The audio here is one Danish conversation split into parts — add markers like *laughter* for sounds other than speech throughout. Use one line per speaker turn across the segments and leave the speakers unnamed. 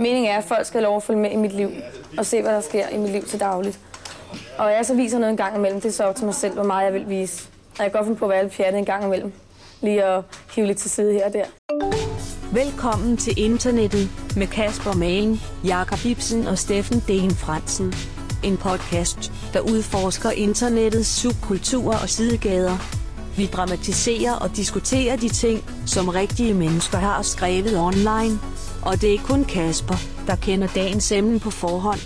Meningen er, at folk skal have lov at følge med i mit liv, og se, hvad der sker i mit liv til dagligt. Og jeg så viser noget en gang imellem, det er så op til mig selv, hvor meget jeg vil vise. Og jeg kan godt finde på at være lidt pjattet en gang imellem. Lige at hive lidt til side her og der.
Velkommen til internettet med Kasper Malen, Jakob Ibsen og Steffen Dehen Fransen. En podcast, der udforsker internettets subkulturer og sidegader. Vi dramatiserer og diskuterer de ting, som rigtige mennesker har skrevet online. Og det er kun Kasper, der kender dagens emne på forhånd.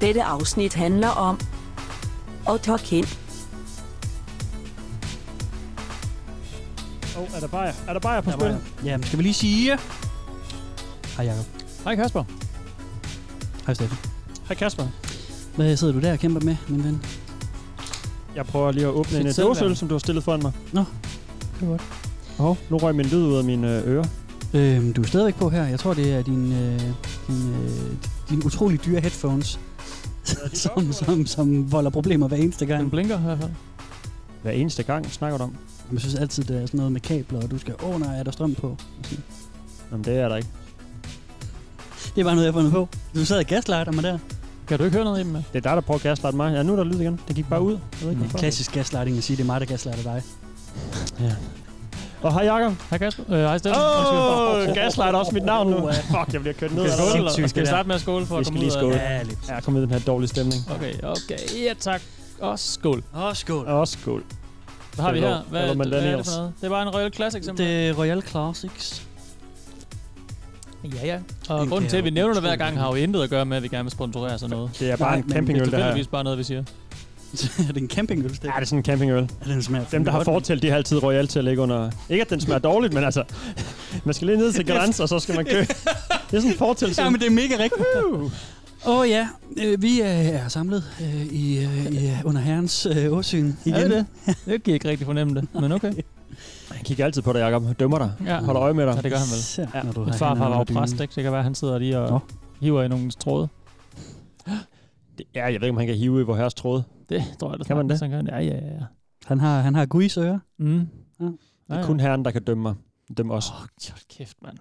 Dette afsnit handler om at tage ind.
Åh, oh, er der bajer? Er der bajer på
Der
spil?
var- Jamen, skal vi lige sige... Hej Jacob.
Hej Kasper.
Hej Steffen.
Hej Kasper.
Hvad sidder du der og kæmper med, min ven?
Jeg prøver lige at åbne
Sit
en øh,
sædværn.
dåseøl, som du har stillet foran mig.
Nå,
det var godt. Hov, nu røg min lyd ud af mine øh, ører.
Øhm, du er stadigvæk på her. Jeg tror, det er din, øh, din, øh, dine utrolig dyre headphones, som, som, som volder problemer hver eneste gang.
Den blinker i hvert fald.
Hver eneste gang snakker du om.
Jeg synes altid, det er sådan noget med kabler, og du skal, åh oh, nej, er der strøm på? Og sådan.
Jamen, det er der ikke.
Det er bare noget, jeg har fundet på. Du sad og gaslighter mig der.
Kan du ikke høre noget i med?
Det er dig, der prøver at gaslighte mig. Ja, nu er der lyd igen. Det gik bare ud. Jeg ved ikke,
Mm.
hvorfor.
Klassisk gaslighting at sige, det er mig, der gaslighter dig.
Og hej Jacob.
Hej Kasper. Øh, hej Steffen.
Åh,
Undskyld.
gaslighter også mit navn nu.
Åh, ja.
Fuck, jeg bliver kørt
Skal
ned
vi
af
skåle,
dig.
eller?
sindssygt,
Skal vi
det
starte med at skåle for
Vi
at
skal
komme
lige
ud af
skåle.
det?
Ja, lige
Ja, kom ud i den her dårlige stemning.
Okay, okay. Ja, tak. Og skål.
Åh, oh, skål.
Og skål.
Hvad har vi
Skål.
her? Hvad,
Eller med
hvad er det
Daniels.
for noget? Det er bare en Royal Classic,
Det
simpelthen.
er Royal Classics.
Ja, ja. Og
Den
grunden
kan
til, at vi
jeg
nævner det
utrolig
hver gang, har jo intet at gøre med, at vi gerne vil sponsorere sådan noget.
Det er bare
Nej,
en
men
Det er
campingøl, det her.
tilfældigvis bare noget, vi siger.
er det en campingøl, det?
Ja, det er sådan en campingøl.
Ja, den smager
Dem, der har fortalt, de har altid royal til at ligge under. Ikke at den smager dårligt, men altså, man skal lige
*laughs*
ned til grænsen, og så skal man købe. Det er sådan en fortæl.
Ja,
Ja,
men det er mega rigtigt. Åh oh, ja, øh, vi øh, er samlet øh, i, øh, i øh, under herrens øh, åsyn igen.
Er det
*laughs*
det? Jeg kan ikke rigtig fornemme det, men okay.
Jeg kigger altid på dig, Jacob. Dømmer dig.
Ja,
Holder øje med dig.
ja det gør han vel.
Især,
Ja,
når du
Min
har
farfar
hænderne
var jo
under dynen.
præst, ikke? Det kan være, at han sidder lige og
Nå.
hiver i nogle tråde.
Ja, jeg ved ikke, om han kan hive i vor herres tråd.
Det tror jeg, der
Kan man det?
sagtens, han kan. Ja, ja, ja.
Han har, han har guis ører.
Mm.
Ja.
Det er kun herren, der kan dømme mig. Dømme os.
Åh, hold kæft, mand.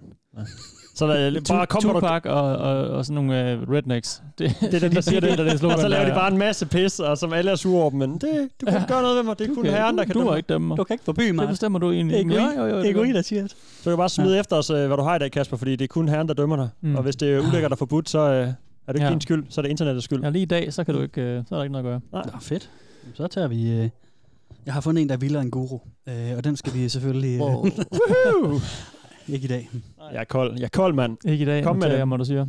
*laughs*
Så der, bare kom, hvor du...
Tupac og, og, og sådan nogle uh, rednecks. *laughs* Det,
Det er dem, der siger det,
der det slogan.
Og så laver
der,
de bare en masse pis, og som alle er sure over dem. Men det, du kan ikke gøre noget ved mig. Det er kun herren, der kan
Du
dømme
må
mig.
ikke dømme mig.
Du kan ikke forbyde mig.
Det bestemmer du egentlig.
Det er Gui-
jo, jo,
Det er
gør
Gui,
jeg.
der siger det.
Så kan du bare smide efter os, øh, hvad du har i dag, Kasper, fordi det er kun herren, der dømmer dig.
Mm.
Og hvis det er ulækkert og forbudt, så øh, er det ikke
Ja.
din skyld. Så er det internettets skyld.
Ja, lige i dag, så kan du ikke, øh, så er der ikke noget at gøre.
Nå, fedt. Så tager vi... Øh, jeg har fundet en, der er vildere end guru. Øh, og den skal vi selvfølgelig... *laughs* Øh, ikke i dag.
Jeg er kold. Jeg er kold, mand.
Ikke i dag,
Kom
Kom
med
med
det.
jeg, må du sige.
Ja.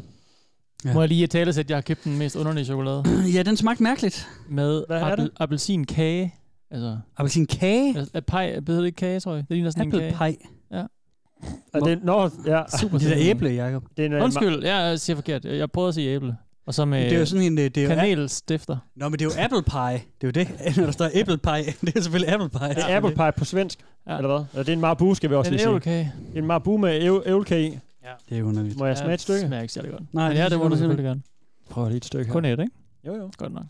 Ja. Må jeg lige tale at jeg har købt den mest underlige chokolade
*clears throat* Ja, den smagte mærkeligt.
med
Hvad er det?
appelsinkage. Altså,
Appelsinkage.
altså pej, hedder det ikke kage, tror jeg? Det ligner sådan
Apple
en kage.
pie.
Er det, nå, ja.
*laughs*
*laughs*
Super
Det er
sødt.
da æble, Jacob.
Det er en, øh,
Undskyld, jeg siger forkert. Jeg prøvede at sige æble. Og så med
Det er jo sådan en... øh, Det er jo
kanelstifter.
Nå, men det er jo apple pie. Det er jo det, *laughs* når der står apple pie. Det er jo selvfølgelig apple pie.
Det er apple pie på svensk, ja.
Ja.
eller hvad? Eller det er en marabu, skal vi også
En
lige sige.
æblekage.
En marabu med æv- ævlekage i.
Det er underligt.
Må jeg smage et stykke?
Det smager ikke særlig godt.
Nej,
Nej,
det
ja, det
synes
må
jeg
du
også
selvfølgelig gerne.
Prøv lige et stykke
Kun et, ikke?
Jo, jo.
*laughs*
Godt nok.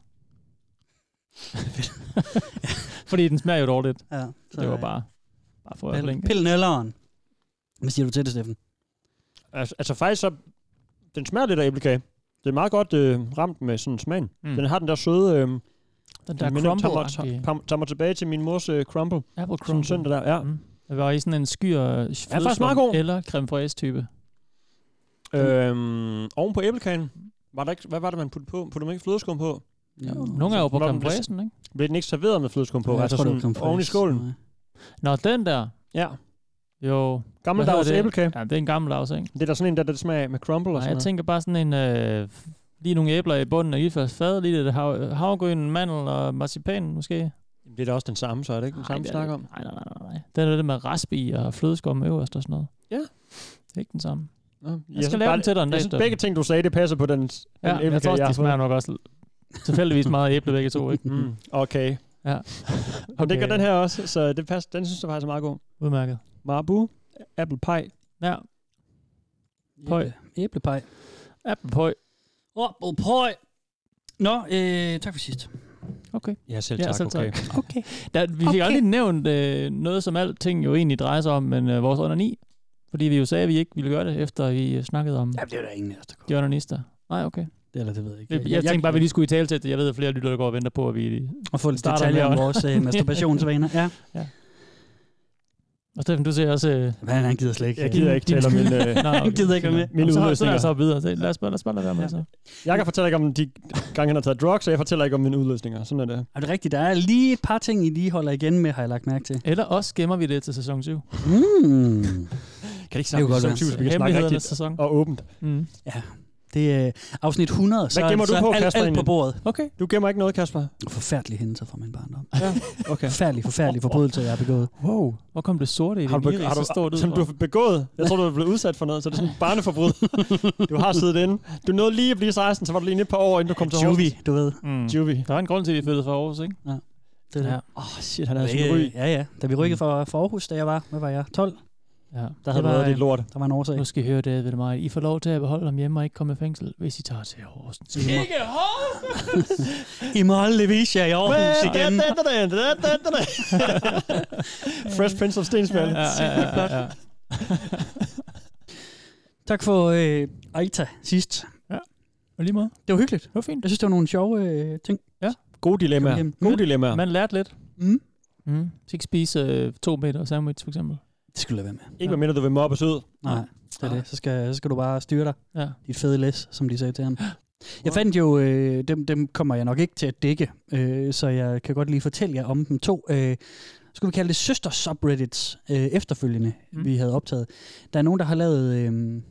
Fordi den smager jo dårligt.
Ja, øh,
Så det var bare, bare Ah, for at
Pille,
blinke.
pille nælderen. Hvad siger du til det, Steffen?
Altså, altså faktisk så, den smager lidt af æblekage. Det er meget godt øh, ramt med sådan smagen. Mm. Den har den der søde... Øh,
Den der
den minder- tager mig-
crumble
tager- tager mig tilbage til min mors øh, crumble.
Apple
Sådan en
crumble.
søndag der, ja.
Mm. Det var i sådan en skyr øh, flødeskum
meget god.
eller creme fraise type.
Øhm, oven på æblekagen, var der ikke, hvad var det, man puttede på? Puttede man ikke flødeskum på?
Nogle er jo på
Nå,
creme
men det-
fraisen, ikke?
Blev den ikke serveret med flødeskum på? altså sådan oven i skålen.
Nå, den der.
Ja.
Jo.
Gammeldags
hedder det?
æblekage.
Ja, det er en gammel lavs, ikke?
Det er der sådan en der, der smager af med crumble og
Nej,
sådan
jeg
noget.
tænker bare sådan en... Øh, lige nogle æbler i bunden af Ilfærds fad, lige lidt hav- havgryn, mandel og marcipan måske.
Det er da også den samme, så er det ikke den samme,
det
vi
er
snakker
det
om?
ikke. Nej, nej, nej, nej. Det er det med rasp i og flødeskum øverst og sådan noget.
Ja.
Det er ikke den samme.
Nå,
Jeg, skal lave
bare-
den til dig en dag.
Jeg synes,
Steffen.
begge ting, du sagde, det passer på den, den
Ja, jeg tror
æblekage,
også,
har
de smager
fået.
nok også tilfældigvis meget af æble begge to, ikke? *laughs*
Mm, okay.
Ja.
okay. Og det gør den her også, så det passer, den synes jeg faktisk er meget god.
Udmærket.
Marabu, apple pie.
Ja, Pøj.
Æblepej.
æblepøj.
Æblepej. Nå, øh, tak for sidst.
Okay.
Ja, selv
Ja,
tak,
selv
okay.
*laughs*
Okay.
Der, vi fik okay. aldrig nævnt øh, noget, som alting jo egentlig drejer sig om, men øh, vores onani. Fordi vi jo sagde, at vi ikke ville gøre det, efter vi øh, snakkede om
Jamen, det er der ingen af os, der kunne.
journalister. Nej, okay.
Det, eller det ved jeg ikke.
Jeg, jeg, jeg tænkte bare, at vi lige skulle i tale til det. Jeg ved, at flere lytter, der går og venter på, at vi...
Og få lidt
starter
detaljer om
med at-
vores øh, masturbationsvaner. Ja.
Og Steffen, du ser også... Øh,
Hvad han gider slet ikke.
Jeg gider ikke tale om min... Øh,
*laughs* Nå, okay.
gider ikke være med.
Mine
Mine så, så, så,
udløsninger.
så, så videre. Så Lad os bare, lad os bare lade være med.
altså.
Så.
jeg kan fortælle ikke om de gange, han har taget drugs, og jeg fortæller ikke om mine udløsninger. Sådan er det.
Er det rigtigt? Der er lige et par ting, I lige holder igen med, har jeg lagt mærke til.
Eller også gemmer vi det til sæson 7.
Mm.
Kan det ikke
Det kunne godt
snakke
være.
om så vi kan snakke
Hemmelighedernes
rigtigt
sæson.
og åbent?
Mm.
Ja, det er afsnit 100, så,
Hvad gemmer du
så
på,
alt,
Kasper,
alt på
egentlig?
bordet.
Okay.
Du gemmer ikke noget, Kasper?
Forfærdelige hændelser fra min barndom.
Ja, okay.
Forfærdelige, forfærdelige forbrydelser, jeg har begået.
Wow.
Hvor kom det sorte i
Har
din
du,
iris,
har
så stort
du,
ud?
som du
over?
har begået? Jeg tror, du er blevet udsat for noget, så det er sådan en barneforbryd. du har siddet inde. Du nåede lige at blive 16, så var du lige et par år, inden du kom til
Juvie,
Horsens.
du ved.
Mm.
Juvi.
Der er en grund til, at de flyttede fra Aarhus, ikke?
Det er
Ja. Mm.
ja.
Åh, oh, shit, han havde sådan en ryg.
Det, ja, ja. Da vi rykkede fra, fra Aarhus, da jeg var, hvad var jeg, 12,
Ja.
Der havde
Det var,
været
Det er
øh,
lort.
der var en årsag.
Nu skal I høre det, ved mig. I får lov til at beholde ham hjemme og ikke komme i fængsel, hvis I tager til Horsens.
I må-
Ikke Horsens!
*laughs* I må holde Levicia i Aarhus igen. *laughs*
Fresh Prince of Stensvald.
Ja, ja, ja, ja.
Tak for øh, Aita sidst.
Og lige måde.
Det var hyggeligt.
Det var fint.
Jeg synes, det var nogle sjove øh, ting.
Gode dilemmaer.
Kom igennem.
Gode dilemmaer.
Man lærte lidt.
Mm.
Mm. Så ikke spise øh, to meter sandwich, for eksempel.
Det skulle jeg lade være med.
Ikke medmindre du vil mobbes ud.
Nej, det er det. Så skal, så skal du bare styre dig.
Ja.
Dit fede læs, som de sagde til ham. Jeg fandt jo, øh, dem, dem kommer jeg nok ikke til at dække, øh, så jeg kan godt lige fortælle jer om dem to. Øh, skulle vi kalde det søster-subreddits øh, efterfølgende,
Mm.
mm. vi havde optaget. Der er nogen, der har lavet øh,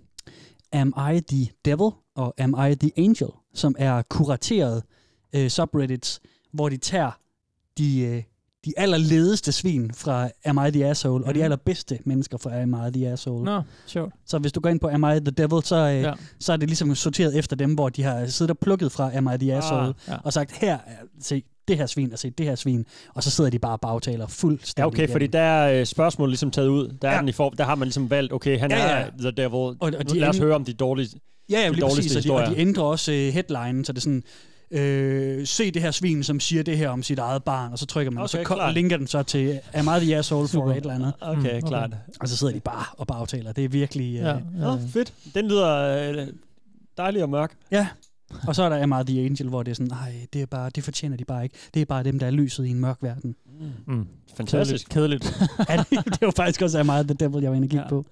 Am I the Devil og Am I the Angel, som er kurateret øh, subreddits, hvor de tager de, øh, de allerledeste svin fra Am I the Asshole, mm. og de
Mm.
allerbedste mennesker fra Am I the Asshole.
Nå, sjovt.
Så hvis du går ind på Am I the Devil, så, øh,
Ja.
ja. så er det ligesom sorteret efter dem, hvor de har siddet og plukket fra Am I the Asshole, ah.
ja.
og sagt, her, er- se det her svin, og se det her svin, og så sidder de bare og bagtaler fuldstændig.
Ja, okay,
igennem.
fordi der er øh, spørgsmålet ligesom taget ud. Der, er
Ja.
den i form, der har man ligesom valgt, okay, han
Ja,
ja,
ja.
ja. er the devil. Og,
og
og
de
de Lad os
ende-
høre om de dårlige.
Ja, ja,
de
lige præcis,
dårligste
og de, og de
historier.
ændrer også øh, headlinen, så det er sådan, øh, se det her svin, som siger det her om sit eget barn, og så trykker man, okay, og så
Okay,
ko-
klart.
linker den så til Am I the Asshole for et eller andet,
Okay,
Mm,
okay.
okay.
klart.
og så sidder de bare og bagtaler. Det er virkelig... Øh,
Ja,
ja.
Ja.
ja.
Oh, fedt. Den lyder øh, dejlig og mørk. *laughs*
Ja. Og så er der Am I the Angel, hvor det er sådan, nej, det, er bare, det fortjener de bare ikke. Det er bare dem, der er lyset i en mørk verden.
Mm.
Fantastisk.
Kedeligt. Kedeligt.
*laughs* ja, det, det var
*laughs*
faktisk også af meget The Devil, jeg var inde og kigge
Ja.
ja. på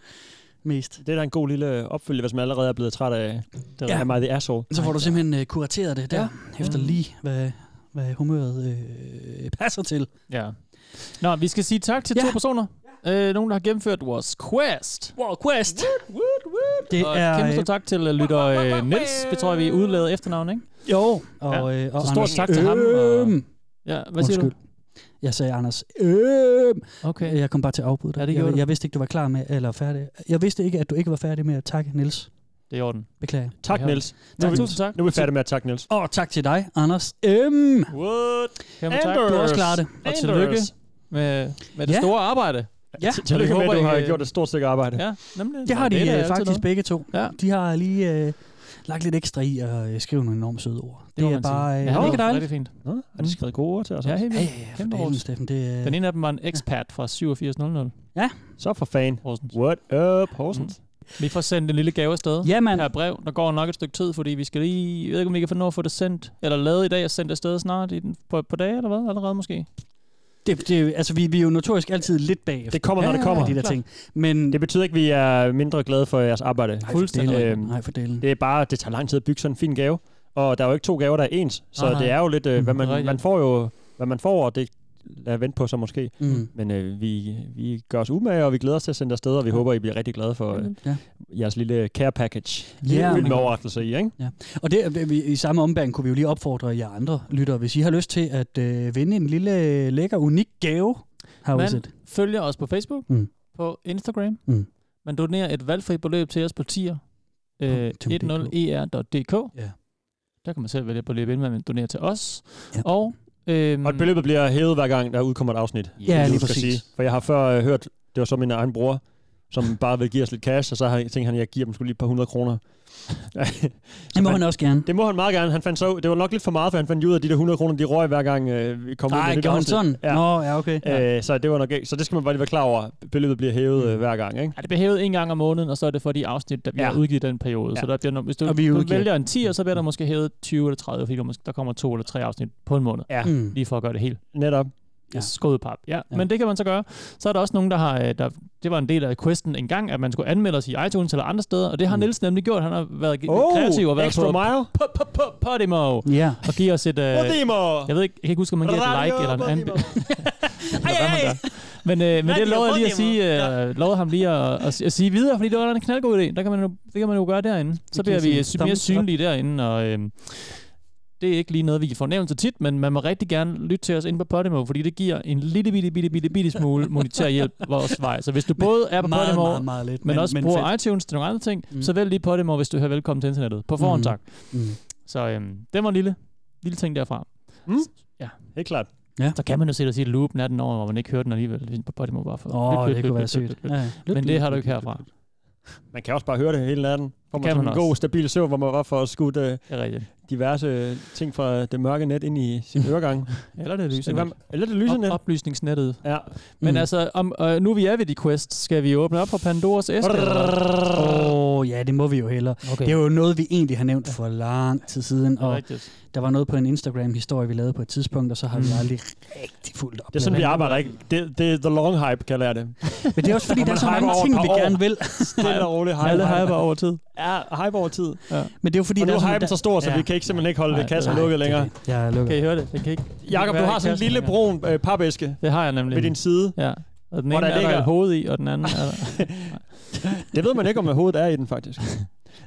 mest.
Det er da en god lille opfølge, hvis man allerede er blevet træt af det
Ja.
ja. mig, det er så.
Så får du simpelthen uh, kurateret det der,
Ja.
ja. efter
Mm.
lige, hvad, hvad humøret øh, passer til.
Ja. Nå, vi skal sige tak til ja.
Ja.
to personer. Ja. Øh, nogen, der har gennemført vores quest.
Wow, quest! Det
og
er...
kæmpe
Øh,
stor tak til øh, lytter øh, Niels. Det tror jeg, vi udlader efternavn, ikke?
jo, og,
Ja.
ja. øh, og
Så stort
Anders
tak til ham, og-
Øhm.
Ja, hvad siger
Undskyld. Jeg sagde Anders Øhm.
du? Okay.
Jeg kom bare til at afbryde dig.
Ja, det gjorde
jeg,
du.
jeg vidste ikke, du var klar med, eller færdig. Jeg vidste ikke, at du ikke var færdig med at takke Nils.
Det er i orden.
Beklager.
Tak,
Ja.
Niels. Nu
Tak,
er, vi,
tusind tak.
nu er vi færdige med at takke Niels.
Og tak til dig, Anders Øhm.
What?
Kæmpe tak.
Anders.
Du har også klaret det.
Og
Anders.
tillykke med, med det
Ja.
store arbejde.
Ja.
Til- Tillykke
Og vi
med, at du
håber,
har
I, øh,
gjort et stort stykke arbejde.
Ja, nemlig.
Det har
Nå,
de
er
øh,
altid
faktisk
noget.
begge to.
Ja.
De har lige øh, lagt lidt ekstra i at øh, skrive nogle enormt søde ord. Det,
må
det er
man sige.
bare... Øh,
Ja,
ja,
det
ikke
er
dejligt?
rigtig fint.
Nå, har de skrevet gode ord til os?
Ja,
også?
helt
Mm. Ja,
vildt.
ja,
Kæmpe
for
Aarhus.
helvede, Steffen. Det, øh,
Den ene af dem var en expat fra 8700
Så for fan.
Horsens.
What up, Horsens?
Vi får sendt en lille gave afsted.
ja, mand.
her brev. Der går nok et stykke tid, fordi vi skal lige... Jeg ved ikke, om vi kan få nå at få det sendt, eller lavet i dag og sendt afsted snart i den, på, på dage, eller hvad? Allerede måske?
Det, det, altså, vi, vi er jo notorisk altid lidt bagefter.
Det kommer, når
ja,
det kommer.
De der
klart.
ting. Men
Det betyder ikke, at vi er mindre glade for jeres arbejde.
Ej, for
fuldstændig.
dælen.
Øhm,
Nej, for delen.
Det er bare, det tager lang tid at bygge sådan en fin gave. Og der er jo ikke to gaver, der er ens. Så
Nej, nej.
det er jo lidt, øh, hvad
Mm,
man,
rigtigt.
man får jo, hvad man får, og det lader vente på så måske.
Mm.
Men øh, vi, vi gør os umage, og vi glæder os til at sende afsted, og vi ja. håber, I bliver rigtig glade for øh,
Ja.
ja. jeres lille care package.
Ja,
Ja, Uden
men-
med overraskelse i, ikke?
Og det, øh, vi, i samme ombæring kunne vi jo lige opfordre jer andre lyttere, hvis I har lyst til at øh, vinde en lille, øh, lækker, unik gave. How is
Man
it?
følger os på Facebook,
Mm.
på Instagram.
Mm.
Man donerer et valgfrit beløb til os på tier. Øh,
Tim.dk.
10er.dk.
Ja.
Der kan man selv vælge at beløbe, inden man donerer til os.
Ja.
Og, øhm,
Og at beløbet bliver hævet hver gang, der udkommer et afsnit. Det er
Ja,
det,
lige
du skal
præcis.
For jeg har før øh, hørt, det var så min egen bror, som bare vil give os lidt cash, og så har jeg tænkt, han, jeg giver dem skulle lige et par hundrede kroner.
*laughs* Det må han også gerne.
Det må han meget gerne. Han fandt så, det var nok lidt for meget, for han fandt ud af, at de der 100 kroner, de røg hver gang øh, vi kom ud.
Nej,
med det
gjorde han
afsnit.
sådan?
Ja.
Nå, ja, okay. Ja.
Øh, så det var nok ikke. Så det skal man bare lige være klar over. Beløbet bliver
Mm.
hævet øh, hver gang, ikke?
Ja, det bliver hævet en gang om måneden, og så er det for de afsnit, der vi
Ja.
ja. har udgivet i den periode. Ja. Så
Ja.
der bliver, no- hvis du,
Og vi
du
udgiver-
vælger en 10, så bliver der måske hævet 20 eller 30, fordi der, måske, der kommer to eller tre afsnit på en måned.
Ja.
Mm.
Lige for at gøre det helt
Netop.
Ja.
ja. skådepap. Ja.
Ja.
ja, men det kan man så gøre. Så er der også nogen, der har... øh, Der, det var en del af questen engang, at man skulle anmelde os i iTunes eller andre steder, og det har
Mm.
Niels nemlig gjort. Han har været
Oh,
oh, kreativ og været på,
extra mile.
på, på, på, Podimo
Ja.
og give os et... Øh,
Podimo!
jeg ved ikke, jeg kan ikke huske, om man giver et like eller en anden... Eller hvad man gør. Men, øh, men
Radio
det lovede jeg lige at
Podimo.
sige, øh, lovede ham lige at, at, si- at, sige videre, fordi det var en knaldgod idé. Der kan man jo, det kan man jo gøre derinde. Så
kan
bliver
jeg sige.
vi sy- mere
Thumbs up.
synlige derinde, og øh, det er ikke lige noget, vi får nævnt så tit, men man må rigtig gerne lytte til os inde på Podimo, fordi det giver en lille bitte, bitte, bitte, bitte
*laughs*
smule monetær hjælp vores vej. Så hvis du både er på
meget,
Podimo,
meget, meget lidt.
men, men også bruger
fedt.
iTunes til nogle andre ting,
Mm.
mm. så vælg lige Podimo, hvis du hører velkommen til internettet. På forhånd,
Mhm.
mm. tak.
Mm.
Så øh, det var en lille, lille ting derfra.
Mm? Helt klart.
Så kan man jo sætte os i et loop natten over, hvor man ikke hører den alligevel på Podimo. Bare for.
Åh,
Lyt, lyt,
det
lyt,
kunne være
lyt, lyt,
sygt.
lyt, lyt.
Ja, ja. Lyt,
Men
lyt,
det har du
lyt,
ikke
lyt,
herfra.
lyt, lyt.
Man kan også bare høre det hele natten. Får
Det
man,
kan
sådan
man
en god,
også.
stabil søvn, hvor man var for at skudt øh,
Det er rigtigt.
diverse øh, ting fra det mørke net ind i
*laughs*
sin øregang.
Eller det er
Så hvad-
lysende.
Eller det lyser net.
Op- oplysningsnettet.
Ja.
Men
Mm.
altså, om, øh, nu vi er ved de quest, skal vi åbne op for Pandoras æske?
Åh, oh, ja, det må vi jo hellere.
Okay.
Det er jo noget, vi egentlig har nævnt for lang tid siden, og
rigtigt.
der var noget på en Instagram-historie, vi lavede på et tidspunkt, og så har vi
Mm.
aldrig rigtig fuldt op.
Det er sådan,
med
vi arbejder ikke. Det, det er the long hype, kalder jeg det.
det. *laughs* Men det er også fordi,
Man
der er så
hyper
mange
over
ting,
et par
vi
år.
gerne vil.
*laughs* Stille og
*laughs*
roligt hype.
Alle
hype.
hyper over tid.
Ja, hype over tid.
Men det er jo fordi,
Og nu
der er
er
sådan-
hypen så stor, så
Ja.
vi kan ikke simpelthen ikke holde
Nej,
det kassen
nej,
lukket
det er
længere.
rigtigt. Jeg lukker.
Kan I høre det? Det, kan ikke,
Jakob, du har sådan en lille brun øh, papæske
Det har jeg nemlig.
ved din side.
Ja. Og den
Hvor
ene
der
er der
ligger-
et hoved i, og den anden er der.
*laughs* Det ved man ikke, om hovedet er i den,
*laughs*
faktisk.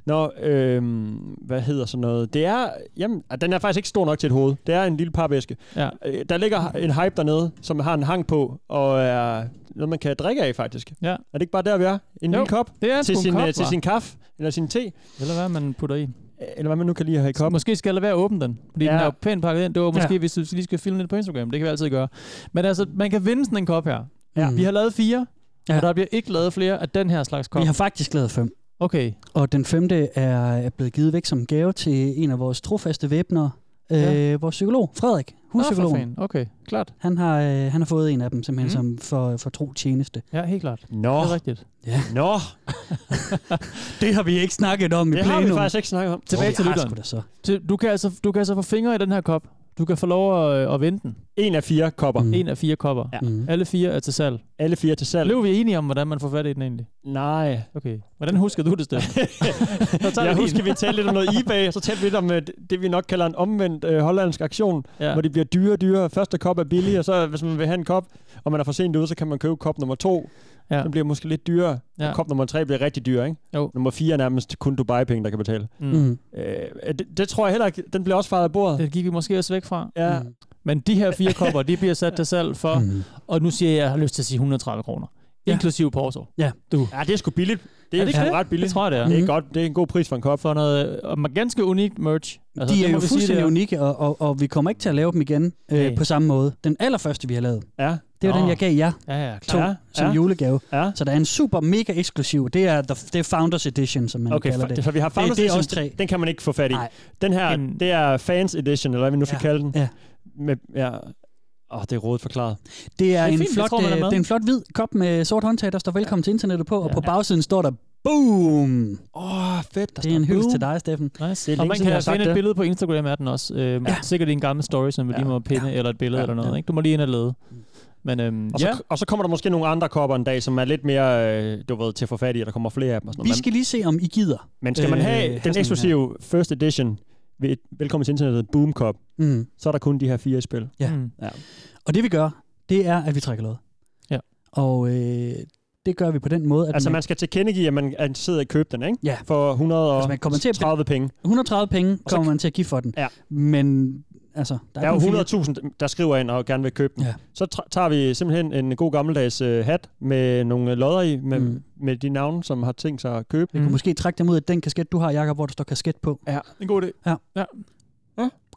Nå, øhm, hvad hedder sådan noget? Det er, jamen, ah, den er faktisk ikke stor nok til et hoved. Det er en lille papæske.
Ja.
Øh, Der ligger en hype dernede, som har en hang på, og er noget, man kan drikke af, faktisk.
Ja.
Er det ikke bare der, vi er? En
Jo,
lille kop
Det er
til
sgu en
sin,
kop,
øh, til
hva'?
sin kaffe, eller sin te,
Eller hvad man putter i.
eller hvad man nu kan lige have i koppen.
Måske skal jeg lade være at åbne den, fordi ja.
Ja.
den er jo pænt pakket ind. Det var måske, ja. hvis vi lige skal filme lidt på Instagram. Det kan vi altid gøre. Men altså, man kan vinde sådan en kop her.
Ja.
Vi har lavet fire,
Ja.
ja. og der bliver ikke lavet flere af den her slags kop.
Vi har faktisk lavet fem.
Okay.
Og den femte er blevet givet væk som gave til en af vores trofaste væbnere,
Ja.
øh, vores psykolog, Frederik,
Nå, for
huspsykologen.
fanden. Okay, klart.
Han har, øh, han har fået en af dem simpelthen mm.
Mm.
som for, for tro tjeneste.
Ja, helt klart.
Nå,
Det er rigtigt.
nå,
Det har vi ikke snakket om
det har vi faktisk ikke snakket om.
Tilbage til lytteren.
lytteren. Så.
Til- Du kan, altså, du kan altså få fingre i den her kop. Du kan få lov at, øh, at vinde den.
En af fire kopper.
Mm.
Mm. En af fire kopper.
Ja.
Mm.
Alle fire er til salg.
Alle fire til salg.
Blev vi enige om, hvordan man får fat i den egentlig?
Nej.
Okay. Hvordan husker du det, Steffen?
*laughs*
Så tager
Jeg
vi
husker,
din.
vi talte lidt om
*laughs*
noget eBay, og så talte vi lidt om øh, det, vi nok kalder en omvendt øh, hollandsk aktion, ja.
Ja.
hvor det bliver dyrere og dyrere. Første kop er billig, og så hvis man vil have en kop, og man er for sent ude, så kan man købe kop nummer to. Ja.
Ja.
Den bliver måske lidt dyrere. Ja.
Ja.
Og kop nummer tre bliver rigtig dyr, ikke?
Jo.
Nummer fire er nærmest kun Dubai-penge, der kan betale.
Mm.
Mm.
Øh, det, det tror jeg heller ikke. Den bliver også fejret af bordet.
Det gik vi måske også væk fra.
Ja.
Mm.
Men de her fire kopper, de bliver sat til salg for,
Mm.
og nu siger jeg, at jeg har lyst til at sige 130 kroner.
Ja.
Inklusive porto.
ja, Ah, det er sgu billigt. Det er,
Er det
det sgu
ikke
ret billigt.
Det tror jeg, det er.
Det er
Mhm.
godt. Det er en god pris for en kop.
For noget øh, og med ganske unikt merch.
Altså, de
det
er
må
jo
vi sige,
fuldstændig
det er.
unikke, og, og, og vi kommer ikke til at lave dem igen øh,
Nej.
på samme måde. Den allerførste, vi har lavet,
Ja.
det er jo
Nå.
den, jeg gav jer
Ja, ja,
to
klart.
Ja,
ja, som
ja.
ja. julegave.
Ja.
Så der er en super mega eksklusiv. Det er, the, det er Founders Edition, som man
Okay,
kalder det.
for, så vi har Founders
det er
Edition.
os tre.
Den kan man ikke få fat i.
Nej.
Den her,
En-
det er Fans Edition, eller hvad vi nu skal
Ja,
kalde den.
ja.
Med, ja. Åh, det er rådet forklaret.
Det er,
Det er
en,
fint, jeg
flot,
tror, man er
øh,
med.
det er en flot hvid kop med sort håndtag, der står velkommen til internettet på, og
Ja.
på bagsiden står der BOOM!
Åh, oh, fedt. Der
Det er en hyldest
boom.
til dig, Steffen.
Nice.
Det er
og
længe
man
siden, jeg har
kan
sagt
finde
det.
et billede på Instagram af den også. Øhm,
Ja.
ja. Sikkert i en gammel story, som vi
Ja.
lige må pinde, ja. eller et billede
Ja.
ja. eller noget.
Ja.
Ikke? Du må lige ind og lede. Men øhm,
Og så,
ja,
og så kommer der måske nogle andre kopper en dag, som er lidt mere, øh, du ved, til at få fat i, og der kommer flere af dem. Og sådan
Vi
noget.
skal lige se, om I gider.
Men, men skal man
øh,
have
have sådan
den
en
eksklusive First Edition ved et Velkommen til Internettet Boom Cup,
Mm.
så er der kun de her fire i spil.
ja.
Mm.
Og det vi gør, det er, at vi trækker lod.
Ja.
Og øh, det gør vi på den måde, at
Altså,
man,
man skal tilkendegive, at man er interesseret i at købe den, ikke?
Ja.
For
Altså, man kommer til at
130 penge.
130 penge
så-
kommer man til at give for den.
Ja.
Men altså, der
Der er
kun fire.
jo 100.000, der skriver ind og gerne vil købe den.
Ja.
Ja. Så tra- tager vi simpelthen en god gammeldags øh, hat med nogle øh, lodder i, med,
Mm.
mm. med de navne, som har tænkt sig at købe.
Vi kunne måske trække dem ud af den kasket, du har, Jakob, hvor der står kasket på.
en god idé.
Ja.
ja.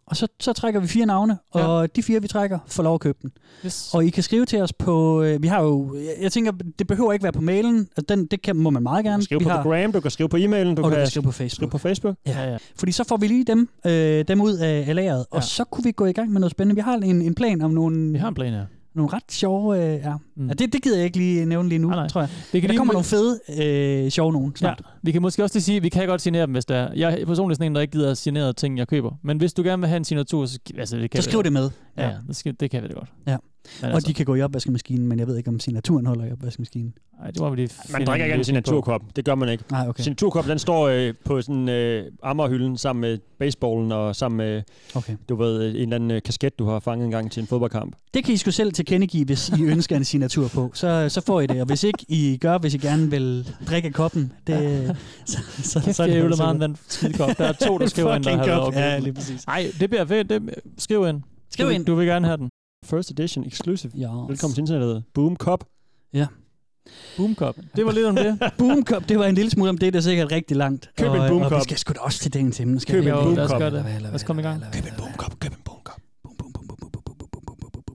Og så, så trækker vi fire navne, og de fire, vi trækker, får lov at købe den.
Yes.
Og I kan skrive til os på... Øh, vi har jo... Jeg, jeg tænker, det behøver ikke være på mailen. Altså, Den, det kan, må man meget gerne.
Skriv
vi
på
har,
har... Gram, du kan skrive på e-mailen, du,
og du
kan
kan skrive på Facebook.
skrive på Facebook.
Ja, ja.
Fordi så får vi lige dem, øh, dem ud af af lageret, ja. og så kunne vi gå i gang med noget spændende. Vi har en, en plan om nogle,
Vi har en plan her.
nogle ret sjove... Øh, ja.
Mm.
Mm. ja det, det gider jeg ikke lige nævne lige nu,
Nej,
nej,
nej.
nej. tror jeg.
Vi
Men der kommer nogle fede, øh, sjove nogen snart.
Ja, vi kan måske også lige sige, at vi kan godt signere dem, hvis der er. Jeg er personligt sådan en, der ikke gider at signere ting, jeg køber. Men hvis du gerne vil have en signatur, så, gi- altså, det kan
Så
vi
skriv
da.
det med.
Ja, ja det, skal, det kan vi da godt.
Ja.
Men
Og
altså,
de kan gå i opvaskemaskinen, men jeg ved ikke, om signaturen holder i opvaskemaskinen.
ej, det må vi lige
Man
finde
drikker ikke af en
løsning på.
signaturkop. Det gør man ikke.
Nej,
Okay.
okay.
Signaturkop, den står øh, på sådan øh, ammerhylden sammen med baseballen og sammen med,
okay.
du ved, øh, en eller anden øh, kasket, du har fanget en gang til en fodboldkamp.
Det kan I sgu selv tilkendegive, hvis I ønsker en signatur på. Så, så får I det, og hvis ikke I gør, hvis I gerne vil drikke af koppen, det, så, så,
Kæft,
så
jeg
er
ævler
det altså
meget om den skidekop. Der er to, der
*laughs*
skriver ind, der
Fucking
har været
kop.
opgivet
Ja,
den.
lige præcis.
Ej, det bliver fedt. Det, skriv ind.
Skriv
du,
ind.
Du vil gerne have den.
First edition exclusive.
Ja.
Velkommen til internettet. Boom Cup.
Boomkop. Det var lidt om det.
Boomkop, det var en lille smule om det, der er sikkert rigtig langt.
Køb en
Og-
boomkop.
Og vi skal sgu da også til dagen til emne. Skal
Køb
vi? Jo,
en boomkop.
lad os gøre
Lad os
det.
lad os komme i gang.
Køb en
Boomkop, køb en boomkop.
boomkop.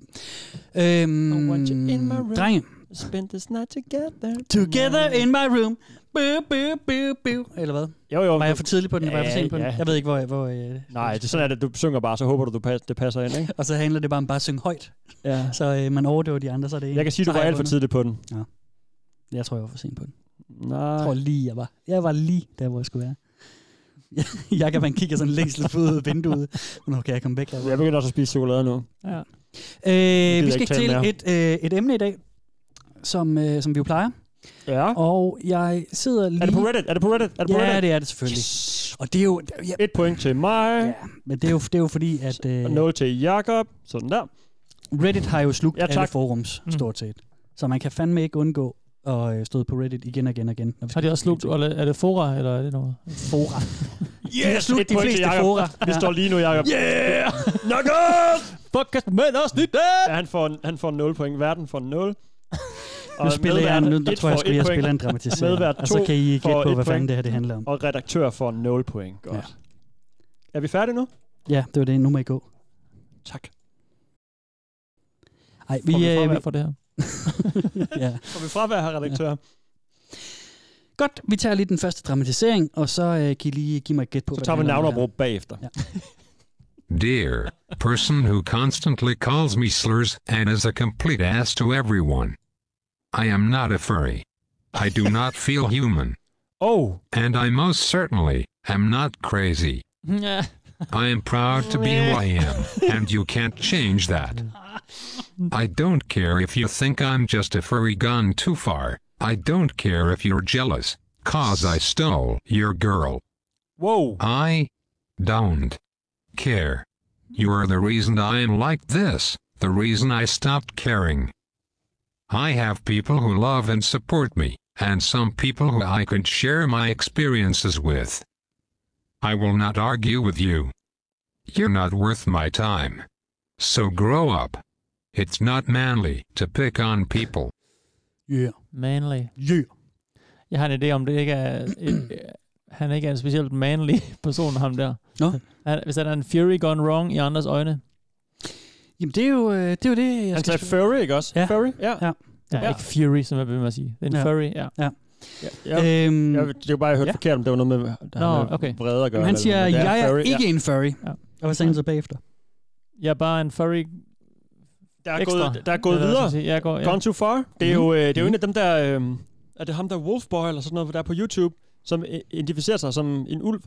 Øhm, drenge.
Spend this night together.
Together in my room. Boo, boo, boo, boo. Eller hvad?
Jo, jo.
Var jeg for tidlig på den? Var jeg for
Ja,
sent på den?
ja.
Jeg ved ikke, hvor... jeg- hvor øh,
Nej, det er sådan, at du synger bare, så håber du, du pas, det passer ind, ikke?
Og så handler det bare om bare at synge højt.
Ja.
Så øh, man overdøver de andre, så er det en.
Jeg kan sige, du
Så har
var
jeg
alt for
vundet.
tidligt på den.
Jeg tror, jeg var for sent på den. Jeg
Nej.
tror lige, jeg var. Jeg var lige der, hvor jeg skulle være. *laughs* jeg kan man kigger sådan længst lidt ud af vinduet. Hvornår kan jeg komme væk herfra?
Jeg begynder også at spise chokolade nu.
Øh, vi
ikke
skal
tale
til
mere.
et, øh, et emne i dag, som, øh, som vi jo plejer.
Ja.
Og jeg sidder lige...
Er det på Reddit? Er det på Reddit? Er det på
Ja,
Reddit?
det er det selvfølgelig. Yes.
Yes.
Og det er jo... Ja,
Et point til mig,
ja, men det er jo, det er jo fordi, at øh,
og 0 til Jakob. Sådan der.
Reddit har jo slugt
Ja,
ja,
tak.
alle forums,
Mm.
stort set. Så man kan fandme ikke undgå at øh, stå på Reddit igen og igen og igen. Når vi
Har
skal
de også slugt? Eller er det Fora, eller er det noget? *laughs*
fora?
Yes,
slut de
point til
fleste
Jakob.
fora.
Vi
Ja.
står lige nu, Jakob.
Yeah!
*laughs* Jakob!
Fuck, kast med os
øh!
lige det!
Ja, han, får, han får 0 point. Verden
*laughs*
får 0. Og
Nu spiller jeg,
medvært
nu, nu
et
tror jeg,
får
sgu,
et
jeg
point,
spiller en dramatisering.
Medvært
Og så
to
kan I
får
gætte på, hvad
et point.
fanden det her det handler om.
Og redaktør får 0 point. Godt. Er vi færdige nu?
Ja, det var det. Nu må I gå.
Tak.
Ej, vi,
Vi,
øh,
Får vi
vi,
øh, for det her?
*laughs* ja.
Får vi fravær her, redaktør?
Godt, vi tager lige den første dramatisering, og så øh, kan I lige give mig et gæt på,
Så
hvad
tager vi
det handler om,
navneopråb bagefter.
Ja.
Dear person who constantly calls me slurs and is a complete ass to everyone. I am not a furry. I do not feel human,
Oh,
and I most certainly am not crazy.
Ja.
I am proud to be who I am, and you can't change that. I don't care if you think I'm just a furry gone too far. I don't care if you're jealous, cause I stole your girl.
wow.
I don't care. You're the reason I am like this, the reason I stopped caring. I have people who love and support me, and some people who I could share my experiences with. I will not argue with you. You're not worth my time. So grow up. It's not manly to pick on people.
der. Yeah.
Manly.
Yeah.
Jeg har en idé om, det ikke er... Et, han ikke er en specielt manly *laughs* person, ham der.
Nå.
*laughs* Han, hvis han er en Fury gone wrong i andres øjne.
Jamen, det er jo øh, det, er jo det jeg
Han
skal
sagde furry, ikke også?
Ja.
Furry? Ja.
Ja.
Ja, ja.
Ja.
ikke Fury, som jeg bliver med at sige. Det er en ja.
Ja.
Fury, ja.
ja.
Øhm,
Jeg, det var bare, jeg hørte
Ja.
forkert, om det var noget med, der
Nå,
har med
okay.
vrede at gøre.
jamen, han
eller
siger,
noget. Det
jeg er
furry,
ikke en furry.
Ja.
Og hvad sagde han så bagefter?
Jeg er bare en Fury
Der er
ekstra.
gået, der er gået
Eller hvad
videre.
skal jeg sige? Jeg går, ja.
Gone too far. Det er jo, øh, det er jo en af dem, der... Øh, er det ham, der er Wolfboy eller sådan noget, der er på YouTube, som øh, identificerer sig som en ulv?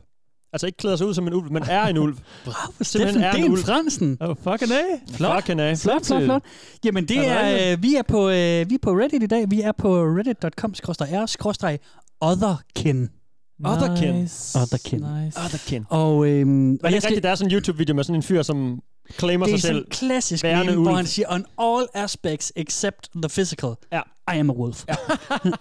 Altså ikke klæder sig ud som en ulv, men er en ulv.
*laughs* Bravo,
Steffen
Steffen
er en
Dean
ulv.
Fransen.
Oh, fucking A.
Flot. Fucking af.
Flot, flot, flot. Jamen, det
Er
er,
det
øh, vi, er på, øh, vi er på Reddit i dag. Vi er på reddit.com-r-otherkin.
Otherkin.
Nice.
Otherkin.
Nice.
Otherkin.
Og, øhm,
Var
og
det
jeg
ikke rigtigt, der er sådan en YouTube-video med sådan en fyr, som claimer
det er
sig
sådan
selv?
en klassisk
Værende
meme, hvor
ulv.
han siger, on all aspects except the physical,
Ja.
I am a wolf. Ja,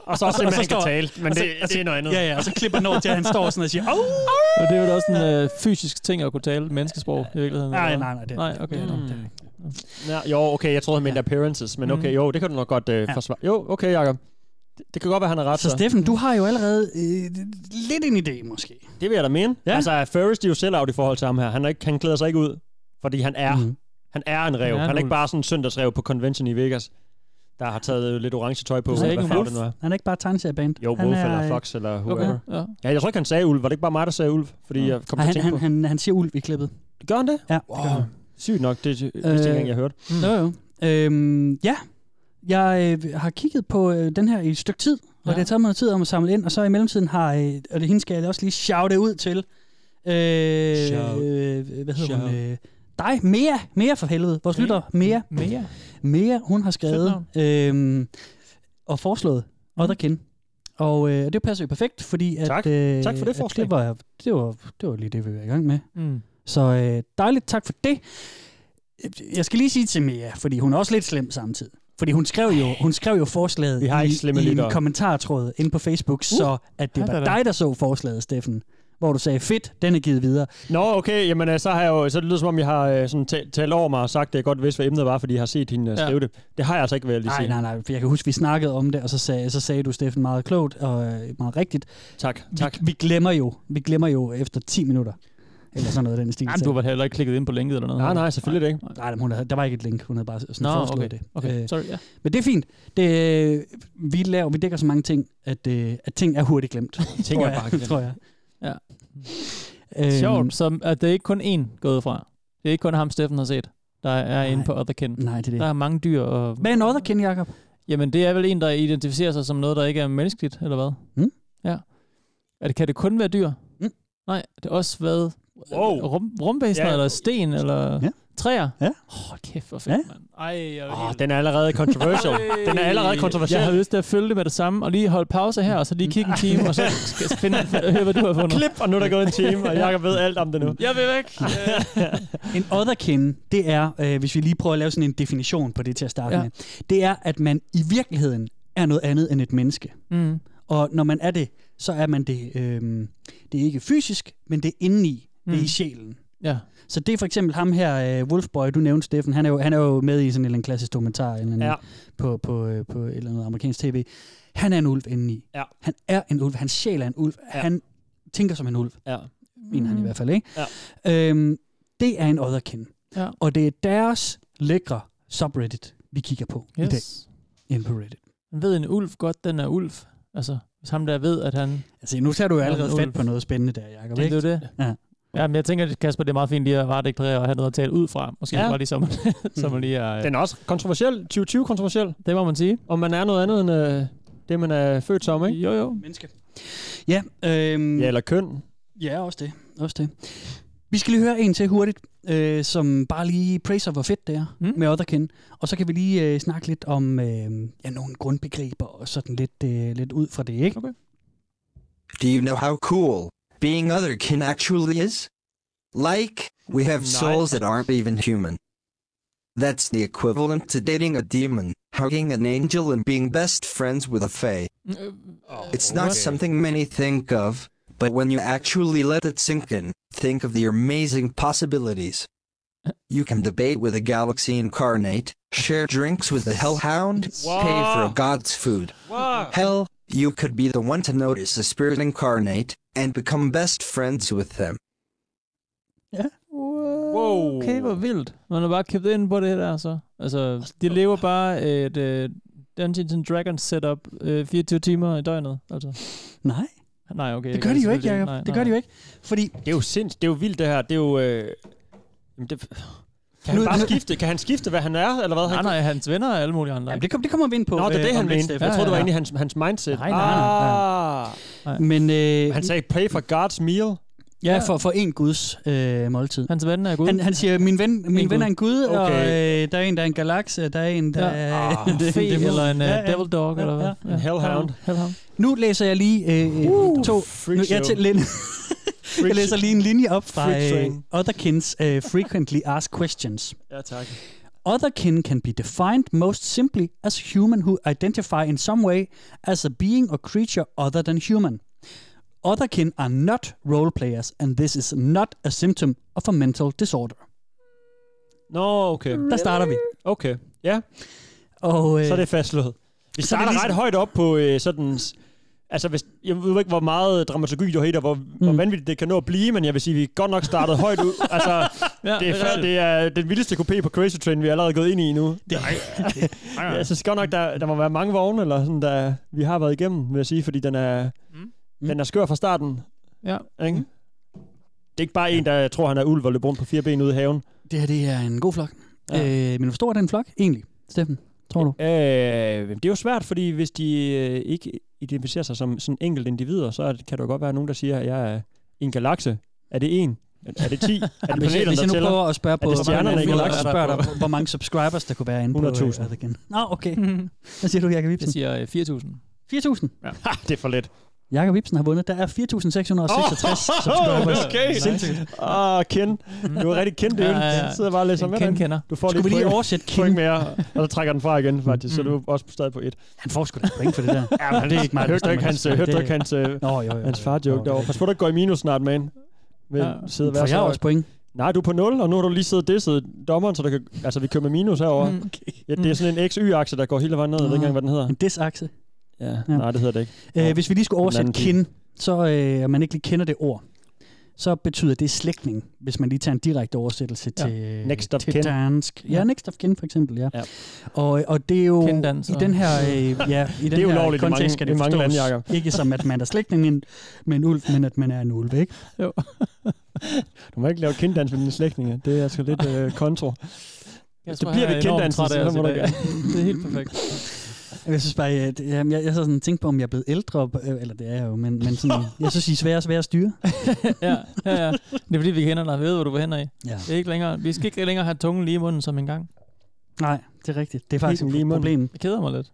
Og så også,
og
at man
så
kan
står-
tale, men
og så-
det,
og så-
det er noget andet.
ja, ja og så klipper den over til, at han står sådan og siger, oh,
*laughs*
Og det er jo da også en øh, fysisk ting at kunne tale menneskesprog i virkeligheden.
nej,
eller hvad?
nej, nej, det,
Nej, okay.
det- det-
Ja, jo, okay, jeg troede, han mente appearances, men okay, jo, det kan du nok godt øh, forsvare. Jo, okay, Jacob. Det, det kan godt være, han har ret.
Så altså, Steffen, du har jo allerede øh, lidt en idé, måske.
Det vil jeg da mene. Ja.
Ja.
Altså, Ferris, de er jo selv out i forhold til ham her. Han, er ikke, han klæder sig ikke ud. Fordi han er, mm.
Mhm.
han er en rev.
Han
Han
er
er,
en
han er ikke
ulv.
bare sådan en søndagsrev på convention i Vegas, der har taget øh, lidt orange tøj på.
Du sagde
hvad
ikke en
farve
wolf?
det nu er.
Han er ikke bare tegneserieband.
Jo,
han
Wolf
er,
eller Fox eller whoever.
Okay.
Okay.
Ja.
Ja, jeg tror ikke, han sagde ulv. Var det ikke bare mig, der sagde ulv? Fordi
Ja.
jeg kom til at
Han,
tænke
han, han, han siger ulv i klippet.
på. Gør han det?
Ja, det gør
Wow.
han.
Sygt nok, det er øh, ikke engang, jeg hørte.
mm.
Jo, jo. Øhm, ja, jeg øh, har kigget på øh, den her i et stykke tid, og
Ja.
det har taget mig noget tid om at samle ind, og så i mellemtiden har, øh, og det hende skal jeg også lige shoute ud til, øh,
Shout.
øh, hvad hedder hun,
Shout.
øh, dig, Mia, Mia for helvede, vores lytter, Mia,
Mere.
Mia, hun har skrevet øh, og foreslået Otterkin. Og øh, det passer jo perfekt, fordi at,
Mm. Tak.
øh,
Tak for det
at
forslag.
Det var, det, var, det var lige det, vi var i gang med.
Mm.
Så øh, dejligt, tak for det. Jeg skal lige sige til Mia, fordi hun er også lidt slem samtidig. Fordi hun skrev jo, hun skrev jo forslaget
Vi har ikke slemme
i, i en
lyttere.
kommentartråd inde på Facebook, uh, så at det
hej
var
da da.
dig, der så forslaget, Steffen. Hvor du sagde, fedt, den er givet videre.
Nå, okay, jamen øh, så har jeg jo, så det lyder som om, jeg har øh, sådan talt, talt over mig og sagt, at jeg godt vidste, hvad emnet var, fordi jeg har set hende øh,
Ja.
skrive det. Det har jeg altså ikke, vil jeg lige
Nej,
sige.
nej, nej, for jeg kan huske, vi snakkede om det, og så sagde, så sagde du, Steffen, meget klogt og øh, meget rigtigt.
Tak, tak.
Vi, vi, glemmer jo, vi glemmer jo efter 10 minutter, eller sådan noget af den stil.
Jamen, du har heller ikke klikket ind på linket eller noget.
Nej, nej, selvfølgelig ikke.
Nej, hun havde, der var ikke et link, hun havde bare sådan
Nå,
foreslået
okay.
det.
Okay,
Øh,
sorry. Ja.
Men det er fint. Det, øh, vi laver, vi dækker så mange ting, at, øh, at ting er hurtigt glemt.
*laughs* Ting
tror
er
jeg,
bare glemt.
tror jeg.
Ja.
Øhm,
Sjovt, så at det er ikke kun én gået fra. Det er ikke kun ham, Steffen har set, der er inde på Otherkin.
Nej, det er
Der
det.
er mange dyr. Og,
Hvad er en otherkin, Jacob?
Jamen, det er vel en, der identificerer sig som noget, der ikke er menneskeligt, eller hvad?
Mm.
Ja. Er det, kan det kun være dyr?
Mm.
Nej, det er også hvad?
Wow.
Rum, rumvæsener,
Ja.
ja. eller sten, eller
Ja.
træer?
Ja.
Åh, oh, kæft, hvor fedt, ja. mand. Ej, jeg er
Åh, oh,
helt-
den er allerede controversial. den er allerede kontroversiel.
Jeg har lyst til at følge det med det samme, og lige holde pause her, og så lige kigge en time,
*laughs*
og så skal jeg finde, høre, hvad du har fundet.
Klip, og nu er der gået en time, og Jacob ved alt om det nu.
Jeg vil væk.
En otherkin, det er, øh, hvis vi lige prøver at lave sådan en definition på det til at starte
Ja.
ja. med, det er, at man i virkeligheden er noget andet end et menneske.
mm.
Og når man er det, så er man det, øh, det er ikke fysisk, men det er indeni, mm. det er
Mm.
i sjælen.
Ja.
Så det er for eksempel ham her, øh, Wolfboy, du nævnte, Steffen, han er jo, han er jo med i sådan en eller anden klassisk dokumentar en eller anden,
Ja.
ja. på, på, øh, på et eller andet amerikansk tv. Han er en ulv indeni.
Ja.
Han er en ulv, hans sjæl er en ulv,
Ja.
ja. han tænker som en ulv,
Ja.
mener han i hvert fald, ikke?
Ja.
Øhm, det er en otherkin,
Ja.
og det er deres lækre subreddit, vi kigger på yes. i dag
Yes.
inde på Reddit.
Han ved en ulv godt, den er ulv. Altså, hvis ham der ved, at han...
Altså, nu tager du jo
Han er
allerede
en
fat
ulv.
på noget spændende der, Jacob,
Det er jo
ikke?
det.
Ja.
Ja, men jeg tænker, Kasper, det er meget fint lige at varedeklarere og have noget at tale ud fra. Måske
Ja.
ja. bare lige som, *laughs* som
Mm.
man lige er...
Ah, Den er også kontroversiel. 2020 kontroversiel.
Det må man sige.
Om man er noget andet end øh, det, man er født som, ikke?
Jo, jo.
Menneske. Ja, øhm,
Ja, eller køn.
Ja, også det. Også det. Vi skal lige høre en til hurtigt, øh, som bare lige praiser, hvor fedt det er
Mm.
mm. med Otherkin. Og så kan vi lige øh, snakke lidt om øh, ja, nogle grundbegreber og sådan lidt, øh, lidt ud fra det, ikke?
Okay.
Do you know how cool being other kin actually is? Like, we have
Nice.
souls that aren't even human. That's the equivalent to dating a demon, hugging an angel, and being best friends with a fae. It's not something many think of, but when you actually let it sink in, think of the amazing possibilities. You can debate with a galaxy incarnate, share drinks with a hellhound, pay for a god's food. Hell, you could be the one to notice a spirit incarnate and become best friends with them.
Wow.
Okay, hvor vildt. Man har bare købt ind på det der, så. Altså, de lever bare et uh, Dungeons and Dragons setup uh, 24 timer i døgnet. Altså.
Nej,
Nej, okay.
det gør de jo ikke,
selvfølgelig
Jacob.
Nej,
det
nej.
gør de jo ikke. Fordi
Det er jo sindssygt. Det er jo vildt, det her. Det er jo... Øh... Jamen, det... Kan han
Nu-
bare
nu-
skifte? Kan han skifte, hvad han er, eller hvad?
Nej,
Han...
nej, hans venner og alle mulige andre.
ja, det, kom, det kommer vi ind på.
Nå, det er
øh,
det,
om
han
lidt,
mente.
Steffen.
Jeg troede, det var
Ja, ja,
egentlig hans, hans mindset.
Nej, nej, nej,
Ah.
Men øh,
Han sagde, pray for God's meal.
ja, for, for en guds øh, måltid.
Hans venner er gode.
Han, han siger, min ven, min
En
ven
gud.
er en gud, okay. og
Okay.
øh, der er en, der er en galakse, og der er en, der
Ja.
er...
*laughs*
Ah,
en fe
dæmon.
eller en uh,
Ja, ja.
devil dog,
Ja,
eller hvad?
ja.
Ja.
En hellhound.
Hellhound.
Nu læser jeg lige øh, uh, to... Nu, *laughs*
Freak
jeg,
show.
til, jeg læser lige en linje op fra
Freak
øh,
train.
Otherkins øh, Frequently Asked Questions.
Ja, tak.
Otherkin can be defined most simply as human who identify in some way as a being or creature other than human. Otherkin are not role players, and this is not a symptom of a mental disorder.
Nå, okay.
Der starter vi.
Okay. Ja,
Mm. Og, øh,
så er det fastslået. Vi
det
starter
ligesom-
ret højt op på øh, sådan... Altså, hvis, jeg ved ikke, hvor meget dramaturgi du hater, hvor, mm. hvor vanvittigt det kan nå at blive, men jeg vil sige, at vi godt nok startede højt ud. Altså, ja, det, er,
det er
det, det er den vildeste kopé på Crazy Train, vi er allerede gået ind i nu. *laughs* Det,
nej.
jeg synes godt nok, der, der må være mange vogne, eller sådan, der vi har været igennem, vil jeg sige, fordi den er, mm. den er skør fra starten.
Ja.
Ikke? Mm. Det er ikke bare en, der tror, han er ulv og løber rundt på fire ben ude i haven.
Det her, det er en god flok.
Ja.
Ja. Øh, men hvor stor er den flok egentlig, Steffen? Tror du?
Øh, det er jo svært, fordi hvis de øh, ikke identificerer sig som sådan enkelt individer, så er det- kan der jo godt være nogen, der siger, at jeg er en galakse. Er det en? Er er det 10? Er det
*laughs* Jamen, hvis, jeg,
planeterne,
hvis jeg
der
nu
tæller?
prøver at spørge på,
det stjernerne i
hvor,
galaksen?
spørger dig, hvor- hvor mange subscribers der kunne være inde på
100.000.
øh, Vatican. Nå,
*laughs*
okay. Hvad siger du, Jakob
Jeg
Ibsen?
siger øh, 4.000.
4.000.
Ha, *laughs* det er for let.
Jakob Ibsen har vundet. Der er 4.666
*laughs* Oh,
subscribers.
okay.
Sindssygt.
Åh, Ah, Ken. Du er rigtig kendt, det.
Ja,
Ja,
ja, ja.
ja. Sidder bare og læser med
Ken
dig.
kender.
Du får
Skulle vi
lige
lige
point,
oversætte Kim?
point mere, og så trækker den fra igen, faktisk. Mm. Så
Mm.
du er også stadig på et.
Han får sgu da point for det der.
*laughs* Ja, men
det er ikke mig, der
Hørte du
bestemmer
ikke hans,
det.
hørte du
Det-
ikke hans, øh,
Nå, jo, jo, jo.
hans far-joke
Nå,
derovre? Pas på, du ikke går i minus snart, man. Med
Ja.
ja. sidde og være
Får jeg
så-
også point?
Nej, du er på 0, og nu har du lige siddet og disset dommeren, så der kan, altså, vi kører med minus herover. Mm.
Okay.
Ja, det er sådan en XY-akse, der går hele vejen ned. Jeg ved ikke engang, hvad den hedder.
En disakse.
Ja. Nej, det hedder det ikke.
Øh, hvis vi lige skulle oversætte
Den anden
kin, så øh, og man ikke lige kender det ord, så betyder det slægtning, hvis man lige tager en direkte oversættelse
Ja.
ja. til,
Next of
til
kin.
dansk. Ja, next of kin for eksempel, ja.
Ja.
ja. Og, og det er jo
Kinddanser.
i den her,
*laughs*
øh, ja, i den
er
her
ulovligt i mange-
kontekst skal
i
det
mange
forstås
lande, Jacob.
*laughs* ikke som, at man er slægtning med en- med en ulv, men at man er en ulv, ikke?
*laughs* Du må ikke lave kinddans med dine slægtninge. Det er sgu lidt øh, kontro.
Jeg
Det bliver ved kenddansen,
så
så må du gerne.
*laughs* Det er helt perfekt.
Jeg synes bare, jeg, jeg, jeg, jeg så sådan tænkt på, om jeg er blevet ældre, øh, eller det er jeg jo, men, men
*laughs*
sådan, jeg synes, I er svære og svære at styre.
ja, ja, ja. Det er fordi, vi kender dig. Vi ved, hvor du vil hen i.
Ja.
Det er ikke længere. Vi skal ikke længere have tungen lige i munden som engang.
Nej, det er rigtigt. Det er faktisk
Helt
et
lige i munden.
problem.
Jeg keder mig lidt.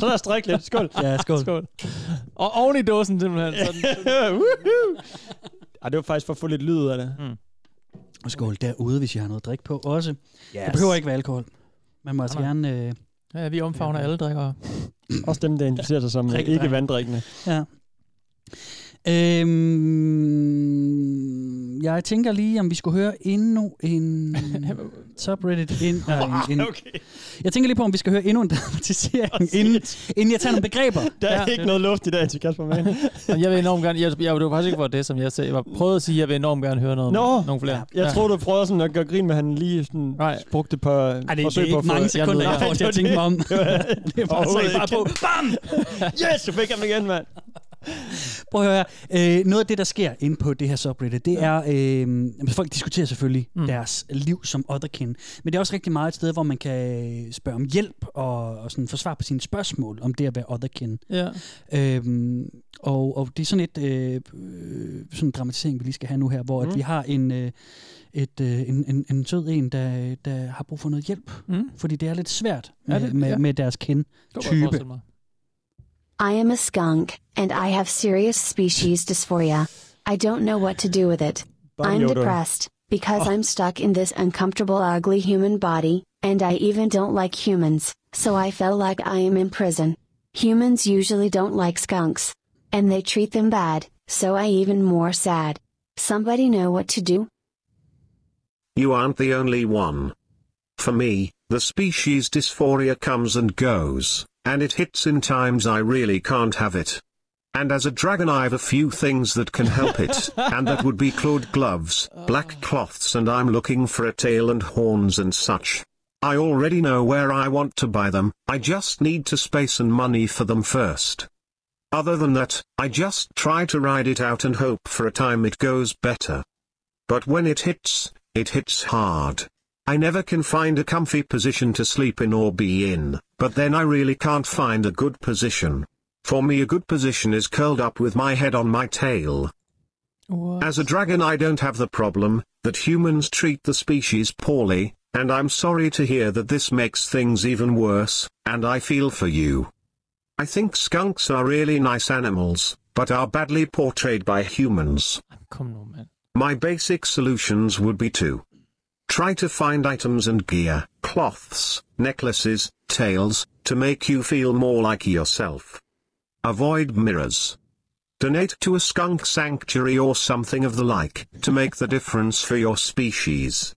Så lad os drikke lidt. Skål.
Ja, skål.
Skål. Og oven i dåsen, simpelthen. Sådan.
*laughs* Ej, det var faktisk for at få lidt lyd ud af det.
Og skål derude, hvis I har noget at drikke på også. Yes. Det behøver ikke være alkohol. Man må altså
Nej,
gerne... Øh,
Ja, vi omfavner alle drikkere.
Også dem, der interesserer sig som øh,
Drik,
ikke
drik.
vanddrikkende.
ja. Øhm, jeg tænker lige, om vi skulle høre endnu
*laughs*
en subreddit. Ind, nej, en, en,
Ah, Okay,
jeg tænker lige på, om vi skal høre endnu en
*laughs*
dramatisering, inden, inden jeg tager nogle begreber.
der er
Ja.
ikke noget luft i dag til Kasper Mann.
Men jeg vil enormt gerne... Jeg, jeg, det var faktisk ikke for det, som jeg sagde. Jeg var- prøvede at sige, at jeg vil enormt gerne høre noget.
Nå.
nogle flere.
Jeg tror, du prøver sådan at gøre grin med, at han lige sådan
Nej.
brugte et par
Ej, det, det er
forsøg på
ikke
at få...
mange
jeg ved
sekunder, jeg
ikke.
får til at
*laughs* Det
tænke mig om.
det er
bare-
overhovedet
så er I bare Mm.
ikke. Yes, du fik ham igen, mand.
*laughs* Prøv at høre, her. øh, noget af det, der sker inde på det her subreddit, det er, øh, jamen, folk diskuterer selvfølgelig
Mm.
mm. deres liv som otherkin, men det er også rigtig meget et sted, hvor man kan øh, spørge om hjælp og, og sådan få svar på sine spørgsmål om det at være otherkin.
Ja.
Øhm, og, og det er sådan et øh, øh, sådan en dramatisering, vi lige skal have nu her, hvor mm.
Mm.
at vi har en, øh, et, øh, en, en, en sød en, der, der har brug for noget hjælp,
Mm.
fordi det er lidt svært
Ja,
med,
det-
med,
ja.
med deres kin.
Det kunne jeg
Type.
forestille mig.
I am a skunk, and I have serious species dysphoria. I don't know what to do with it. I'm
Yoda.
depressed, because I'm stuck in this uncomfortable, ugly human body, and I even don't like humans, so I feel like I am in prison. Humans usually don't like skunks. And they treat them bad, so I even more sad. Somebody know what to do?
You aren't the only one. For me, the species dysphoria comes and goes, and it hits in times I really can't have it. And as a dragon, I've a few things that can help it, and that would be clawed gloves, black cloths, and I'm looking for a tail and horns and such. I already know where I want to buy them, I just need to space and money for them first. Other than that, I just try to ride it out and hope for a time it goes better. But when it hits, it hits hard. I never can find a comfy position to sleep in or be in, but then I really can't find a good position. For me, a good position is curled up with my head on my tail. As a dragon, I don't have the problem that humans treat the species poorly, and I'm sorry to hear that this makes things even worse, and I feel for you. I think skunks are really nice animals, but are badly portrayed by humans.
Kom nu, mand.
My basic solutions would be to try to find items and gear, cloths, necklaces, tails, to make you feel more like yourself. Avoid mirrors. Donate to a skunk sanctuary or something of the like to make the difference for your species.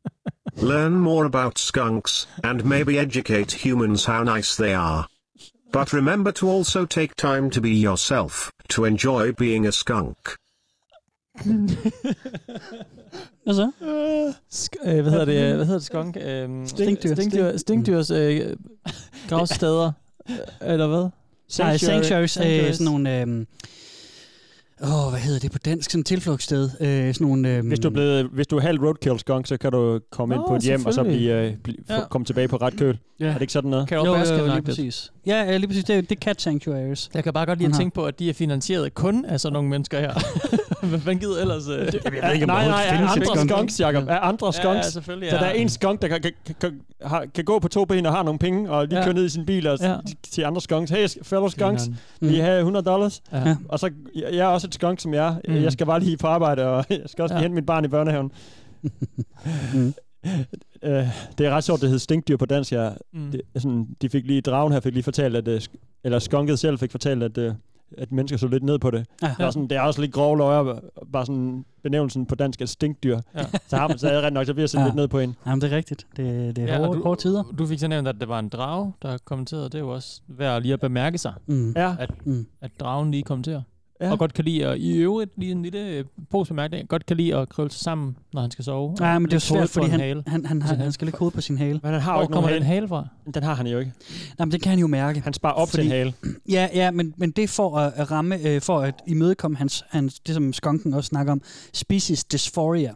Learn more about skunks, and maybe educate humans how nice they are. But remember to also take time to be yourself, to enjoy being a skunk.
Hvad så?
Sk- øh, hvad hedder det? Hvad hedder det? Skunk? Øh,
Stinkdyr.
Stinkdyr. Stinkdyrs
*laughs*
øh, gravsteder. Øh, Eller hvad?
Nej,
Sanctuary-
sanctuaries er øh,
sanctuaries.
sådan nogle... øhm, Åh, hvad hedder det på dansk? Sådan et tilflugtssted. Øh, sådan nogle... øhm,
Hvis du er, blevet, hvis du er halv roadkill skunk, så kan du komme ind
Nå,
på et hjem, og så blive, øh, blive,
Ja.
ja. komme tilbage på ret køl.
Ja.
Er det ikke sådan noget?
Carol
jo,
Baskin
jo, jo, lige
agtigt.
præcis. Ja, ja, lige præcis. Det, er- det er cat sanctuaries.
Jeg kan bare godt lide at
Aha.
tænke på, at de er finansieret kun af sådan nogle mennesker
*laughs*
her. Hvad fanden gider ellers? Øh?
Jeg ved ikke, om nej, nej, er
findes et
andre
skunk.
skunks, Jacob. Er andre
Ja,
skunks?
ja, selvfølgelig.
Så
ja.
der er en skunk, der kan, kan, kan, har- kan gå på to ben og har nogle penge, og lige
Ja.
ja. kører ned i sin bil og
Ja.
ja. til andre skunks. Hey, sk- fellow skunks,
Grineren.
vi vil I have 100 dollars?
Ja.
Og så, jeg jeg er også et skunk, som jeg er.
Mm.
Jeg skal bare lige på arbejde, og *laughs* jeg skal også
Ja.
ja. hente mit barn i børnehaven.
Mm.
*laughs* Øh, det er ret sjovt, det hedder stinkdyr på dansk. Jeg,
Mm.
det, er sådan, de fik lige, dragen her fik lige fortalt, at, øh, sk- eller skunket selv fik fortalt, at, øh, at mennesker så lidt ned på det.
Ja.
Ja. Og sådan, det er også lidt grove løjer, bare sådan benævnelsen på dansk er stinkdyr.
Ja.
Ja. Så har man så er det rent nok, så bliver jeg sådan
Ja.
ja. lidt ned på en.
Jamen, det er rigtigt. Det, det er
Ja,
ja,
og
hårde,
du-
hårde tider.
Du fik så nævnt, at der var en drage, der kommenterede. Det er jo også værd lige at bemærke sig,
Mm.
Ja.
Mm.
at dragen lige kommenterer. Ja.
Ja.
Og godt kan lide, at, i øvrigt lige en lille posbemærkning, godt kan lide at krølle sig sammen, når han skal sove.
Nej, men det er jo svært,
Hovedet på
fordi
en
han,
hale.
han, han, han, han skal lægge hovedet på sin hale.
Men han har jo
Hvor
ikke nogen
kommer
hale.
den hale fra?
Den har han jo ikke.
Nej, men det kan han jo mærke.
Han sparer op Fordi... til
Fordi-
en hale.
Ja, ja, men, men det er for at at ramme, øh, for at imødekomme hans, hans, det som skunken også snakker om, species dysphoria.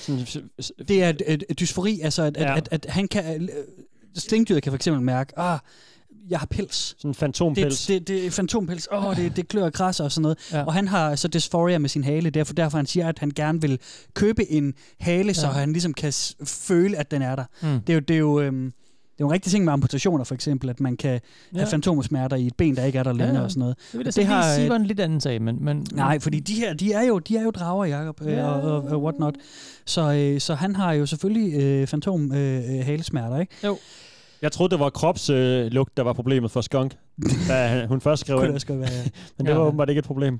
Sådan, s- s-
Det er et, et, et dysfori, altså at, ja.
Ja.
at, at, at han kan, øh, stinkdyret kan for eksempel mærke, ah, jeg har pels.
sådan en fantompels.
Det, det, det er fantompels, åh, oh, det, det klør og krasser og sådan noget.
Ja.
Ja. Og han har så dysphoria med sin hale, derfor, derfor han siger, at han gerne vil købe en hale, ja. så
Ja.
han ligesom kan s- føle, at den er der.
Mm.
Det er jo, det er jo, øhm, det er jo en rigtig ting med amputationer, for eksempel, at man kan ja. have fantomsmerter i et ben, der ikke er der længere ja,
ja.
og sådan noget.
Det vil jeg
det
så det lige
har,
sige,
øh,
var en lidt anden sag, men... men
Nej, fordi de her, de er jo, de er jo drager, Jacob,
Ja.
ja. og, og, og whatnot. Så, øh, så han har jo selvfølgelig øh, fantom øh, øh, halesmerter, ikke?
Jeg troede, det var kropslugt, øh, lugt, der var problemet for skunk, da han- hun først skrev
Kunne det
ind.
også godt være.
*laughs* Men det
Ja.
var åbenbart ikke et problem.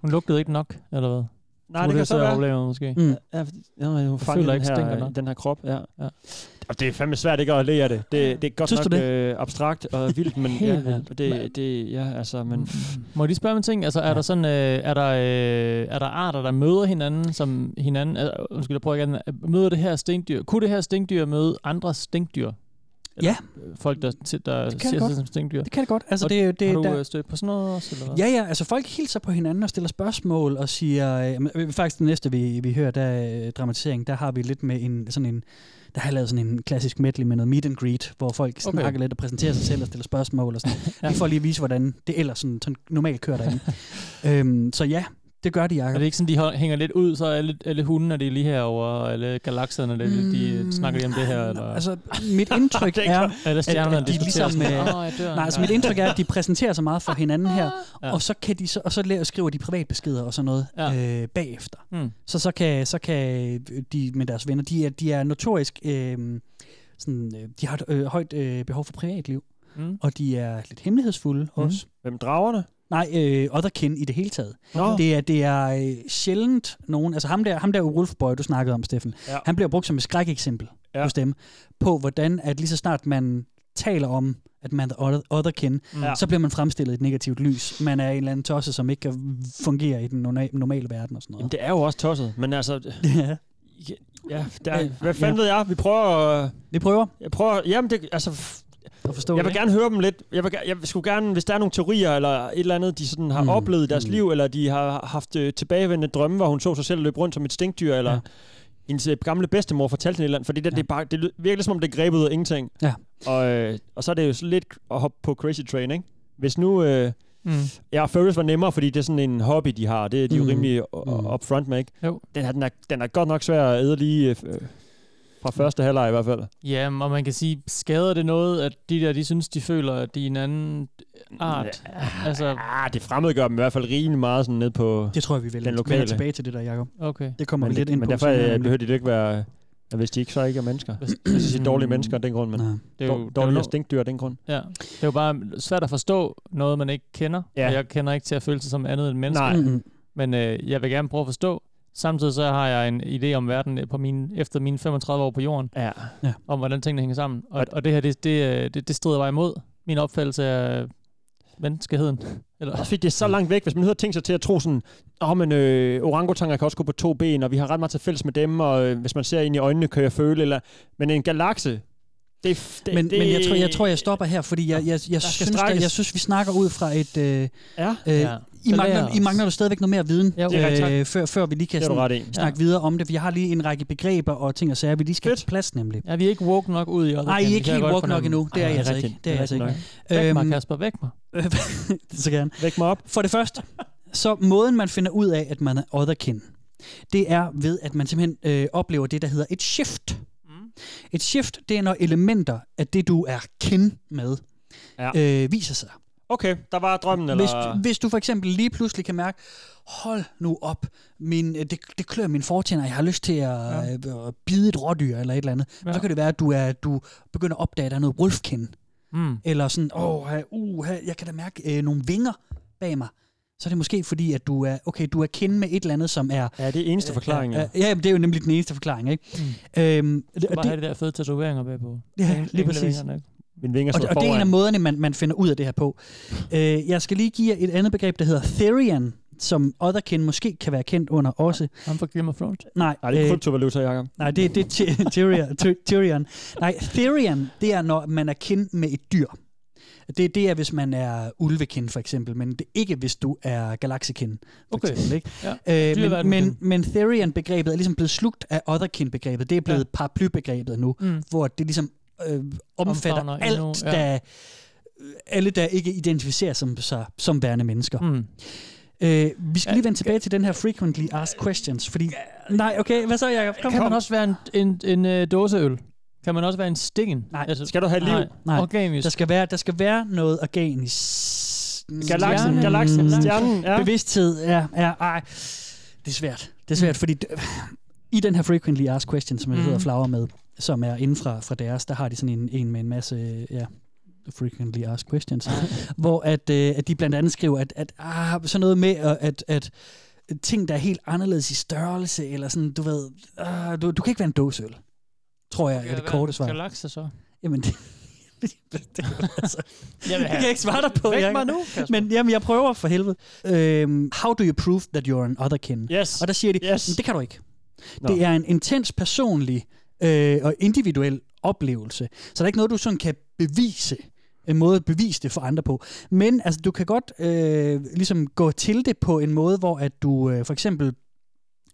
Hun lugtede ikke nok, eller hvad?
Nej, det kan så være.
Problemet, måske.
Mm.
Ja, ja,
føler
hun fanger den
ikke, stinker
her,
nok.
den her krop. Ja.
Ja.
ja. Og det er fandme svært ikke at lære det. Det, det er godt
Synes du
nok øh, abstrakt og vildt, men
Helt
ja,
vildt.
det, det, ja, altså, men,
Mm-hmm.
Må jeg lige spørge om en ting? Altså, er, ja. der sådan, øh, er, der, øh, er der arter, der møder hinanden, som hinanden... Øh, undskyld, jeg prøver igen. Møder det her stinkdyr? Kunne det her stinkdyr møde andre stinkdyr?
Ja.
øh, Folk, der, til- der
kan det
ser sig
godt.
som stinkdyr.
Det kan det godt. Altså,
Og
det, er jo- det,
har
er
du
der,
øh, stødt på sådan noget også, eller hvad?
Ja, ja, altså folk hilser på hinanden og stiller spørgsmål og siger, øh, jamen, øh, faktisk det næste vi, vi hører, der er øh, dramatisering, der har vi lidt med en sådan en, der har jeg lavet sådan en klassisk medley med noget meet and greet, hvor folk
Okay.
okay. snakker lidt og præsenterer sig selv og stiller spørgsmål og sådan.
Ja.
ja. Lige for lige at vise, hvordan det ellers sådan, sådan normalt kører derinde. øhm, så ja, det gør de,
Er
Jacob.
det ikke sådan, de hold- hænger lidt ud, så alle, alle hundene er det lige herover, og alle galakserne, det, mm. de øh, snakker lige om det her, eller altså,
Altså, mit indtryk
Det er
er,
alle stjernerne,
at de
diskuterer
ligesom,
sådan,
øh,
"Åh, jeg dør
nej, altså
engang."
mit indtryk er, at de præsenterer sig meget for hinanden her,
Ja.
ja. og så kan de så, og så laver, skriver de privatbeskeder og sådan noget ja. øh, bagefter.
Mm.
Så så kan, så kan øh, de med deres venner, de er, de er notorisk, øh, sådan, øh, de har et øh, højt øh, behov for privatliv,
Mm.
og de er lidt hemmelighedsfulde
Hmm.
mm. også.
hvem dragerne?
Nej, øh, otherkin i det hele taget.
Nå.
Det er, det er øh, sjældent nogen, altså ham der, ham der Wolfboy, du snakkede om, Steffen,
Ja.
han bliver brugt som et skrækeksempel
Ja.
ja. hos dem, på hvordan, at lige så snart man taler om, at man er other- otherkin,
Ja.
Mm.
ja. så bliver man fremstillet i et negativt lys. Man er en eller anden tosse, som ikke kan fungere i den norma- normale verden og sådan
Jamen,
noget.
det er jo også tosset, men altså,
*laughs* Ja.
ja, der,
Øh,
hvad fanden ved jeg? Vi prøver, at-
Vi prøver
jeg prøver, jamen det, altså,
at forstå
Jeg
det.
vil gerne høre dem lidt. Jeg, vil, ge- jeg skulle gerne, hvis der er nogle teorier eller et eller andet, de sådan har
Mm,
mm. oplevet i deres
mm.
mm. liv, eller de har haft øh, tilbagevendende drømme, hvor hun så sig selv løbe rundt som et stinkdyr, eller
Ja.
ja. hendes øh, gamle bedstemor fortalte hende et eller andet. Fordi det, ja.
Ja.
det, er bare, det lyder- virker lidt som om, det er grebet ud af ingenting.
Ja.
Og, øh, og så er det jo sådan lidt at hoppe på crazy train, ikke? Hvis nu... Øh,
Mm.
ja, Furries var nemmere, fordi det er sådan en hobby, de har. Det er de mm. jo
Mm.
rimelig øh,
Mm.
upfront med, ikke?
Jo.
Den, her, den, er, den er godt nok svær at æde lige øh, fra første halvleg i hvert fald.
Ja, og man kan sige, skader det noget, at de der, de synes, de føler, at de er en anden art? Ja. Altså,
Ah, det fremmedgør dem i hvert fald rimelig meget sådan ned på...
Det tror jeg, vi vil.
Den
Vi
lokale.
vender tilbage til det der, Jacob.
okay.
Det kommer
men,
vi lidt ind
men
på.
derfor
senere,
øh,
nemlig.
behøver de jo ikke være... Ja, hvis de ikke så ikke er mennesker.
Hvis-
Jeg synes, de er dårlige mennesker af den grund, men
Mm. Nej.
Det er jo, det er jo,
dårlige
no-
og stinkdyr af den grund.
ja. det er jo bare svært at forstå noget, man ikke kender. Ja.
Ja.
Og jeg kender ikke til at føle sig som andet end menneske.
Nej.
Mm-hmm.
Men øh, jeg vil gerne prøve at forstå. Samtidig så har jeg en idé om verden øh, på min, efter mine 35 år på jorden,
Ja.
om hvordan tingene hænger sammen. Og, og det her, det, det, øh, det, det strider bare imod min opfattelse af menneskeheden. *laughs* Eller,
Også fordi det er så langt væk, hvis man nu havde tænkt sig til at tro sådan, åh, oh, men øh, orangutanger kan også gå på to ben, og vi har ret meget til fælles med dem, og øh, hvis man ser ind i øjnene, kan jeg føle, eller... Men en galakse, det, er f- det
Men,
det,
men jeg, tror, jeg tror, jeg stopper her, fordi jeg, jeg, jeg,
skal
synes, der,
strækkes.
jeg synes, vi snakker ud fra et... Øh,
Ja.
øh,
Ja.
I,
Så
mangler,
lærer
I
os.
mangler jo stadigvæk noget mere viden,
Jo.
Det er rigtigt,
øh, før, før vi lige kan
Det er du
sådan,
ret i.
snakke videre om det. For jeg har lige en række begreber og ting og sager, vi lige skal
Fedt.
på plads nemlig.
ja, vi er ikke woke nok ud i
Nej, I er ikke helt woke nok endnu. Det er
Ej,
jeg
det er
altså ikke.
rigtigt.
Det er jeg altså
Det er
ikke.
Væk mig,
Øhm,
Kasper, væk mig.
*laughs* så gerne.
Væk mig op.
For det første, så måden man finder ud af, at man er otherkin, det er ved, at man simpelthen øh, oplever det, der hedder et shift. Et shift, det er når elementer af det, du er kin med, ja. øh, viser sig.
Okay, der var drømmen, eller...
Hvis, hvis du for eksempel lige pludselig kan mærke, hold nu op, min, øh, det, det klør min fortænder, jeg har lyst til at, ja. øh, at bide et rådyr eller et eller andet, ja. så kan det være, at du, er, du begynder at opdage, at der er noget wolfkin.
Mm.
Eller sådan, åh, ha, uh, ha, jeg kan da mærke øh, nogle vinger bag mig. Så er det måske fordi, at du er, okay, du er kendt med et eller andet, som er... øh,
Ja, det er eneste forklaring, ja.
Ja, ja, men det er jo nemlig den eneste forklaring, ikke? Mm. Øhm, og det,
Bare have de der fede tatoveringer bagpå.
ja, lige præcis.
Min vinger
Og,
står
og det er en af
foran.
måderne, man, man finder ud af det her på. Øh, jeg skal lige give jer et andet begreb, der hedder Therian, som Otherkin måske kan være kendt under også.
Ham fra Game of Thrones.
Nej, øh,
Nej, det er kryptovaluta, Jacob.
nej det, det er Ty- *laughs* Tyrion- Ty- Tyrion. Nej, Therian, det er, når man er kendt med et dyr. Det, det er, hvis man er ulvekind, for eksempel, men det er ikke, hvis du er galaksekind, for
Okay.
eksempel. Ikke?
Ja.
Øh, men,
Dyreverden
men,
kendt.
men Therian-begrebet er ligesom blevet slugt af Otherkin-begrebet. Det er blevet
Ja.
ja. paraplybegrebet nu, mm.
Mm.
hvor det ligesom øh, omfatter
Omfavner
alt,
endnu, ja.
der, alle, der ikke identificerer som, sig som værende mennesker. Mm.
Mm.
Øh, vi skal lige vende tilbage til den her frequently asked questions, fordi... Nej, okay, hvad så, Jacob? Kom,
Kan
kom.
man også være en, en, en, en dåseøl? Kan man også være en sten? Altså-
Nej.
Skal du have liv?
Nej.
Nej.
Nej. Organisk.
Der skal være, der skal være noget organisk.
Galaksen,
Stjernen.
galaksen,
Mm.
stjernen. Ja.
Bevidsthed, ja, ja, ej. Det er svært. Det er svært, fordi d- i den her frequently asked question, som jeg
Mhm.
hedder Flower med, som er inden fra, fra deres, der har de sådan en, en med en masse, ja, frequently asked questions, hvor at, øh, at de blandt andet skriver, at, at ah, sådan noget med, at, at, at ting, der er helt anderledes i størrelse, eller sådan, du ved, ah, du, du kan ikke være en dåseøl, tror jeg, er det korte svar.
Galakse så.
Jamen, *laughs* det, det, det, altså,
Jeg
det kan jeg ikke svare dig på.
Væk
Jacob.
mig nu, Kasper.
Men jamen, jeg prøver for helvede. Øhm, how do you prove that you're an otherkin?
Yes.
Og der siger de,
Yes.
yes. det kan du ikke.
Nå.
Det er en intens personlig øh, og individuel oplevelse. Så der er ikke noget, du sådan kan bevise en måde at bevise det for andre på. Men altså, du kan godt øh, ligesom gå til det på en måde, hvor at du øh, for eksempel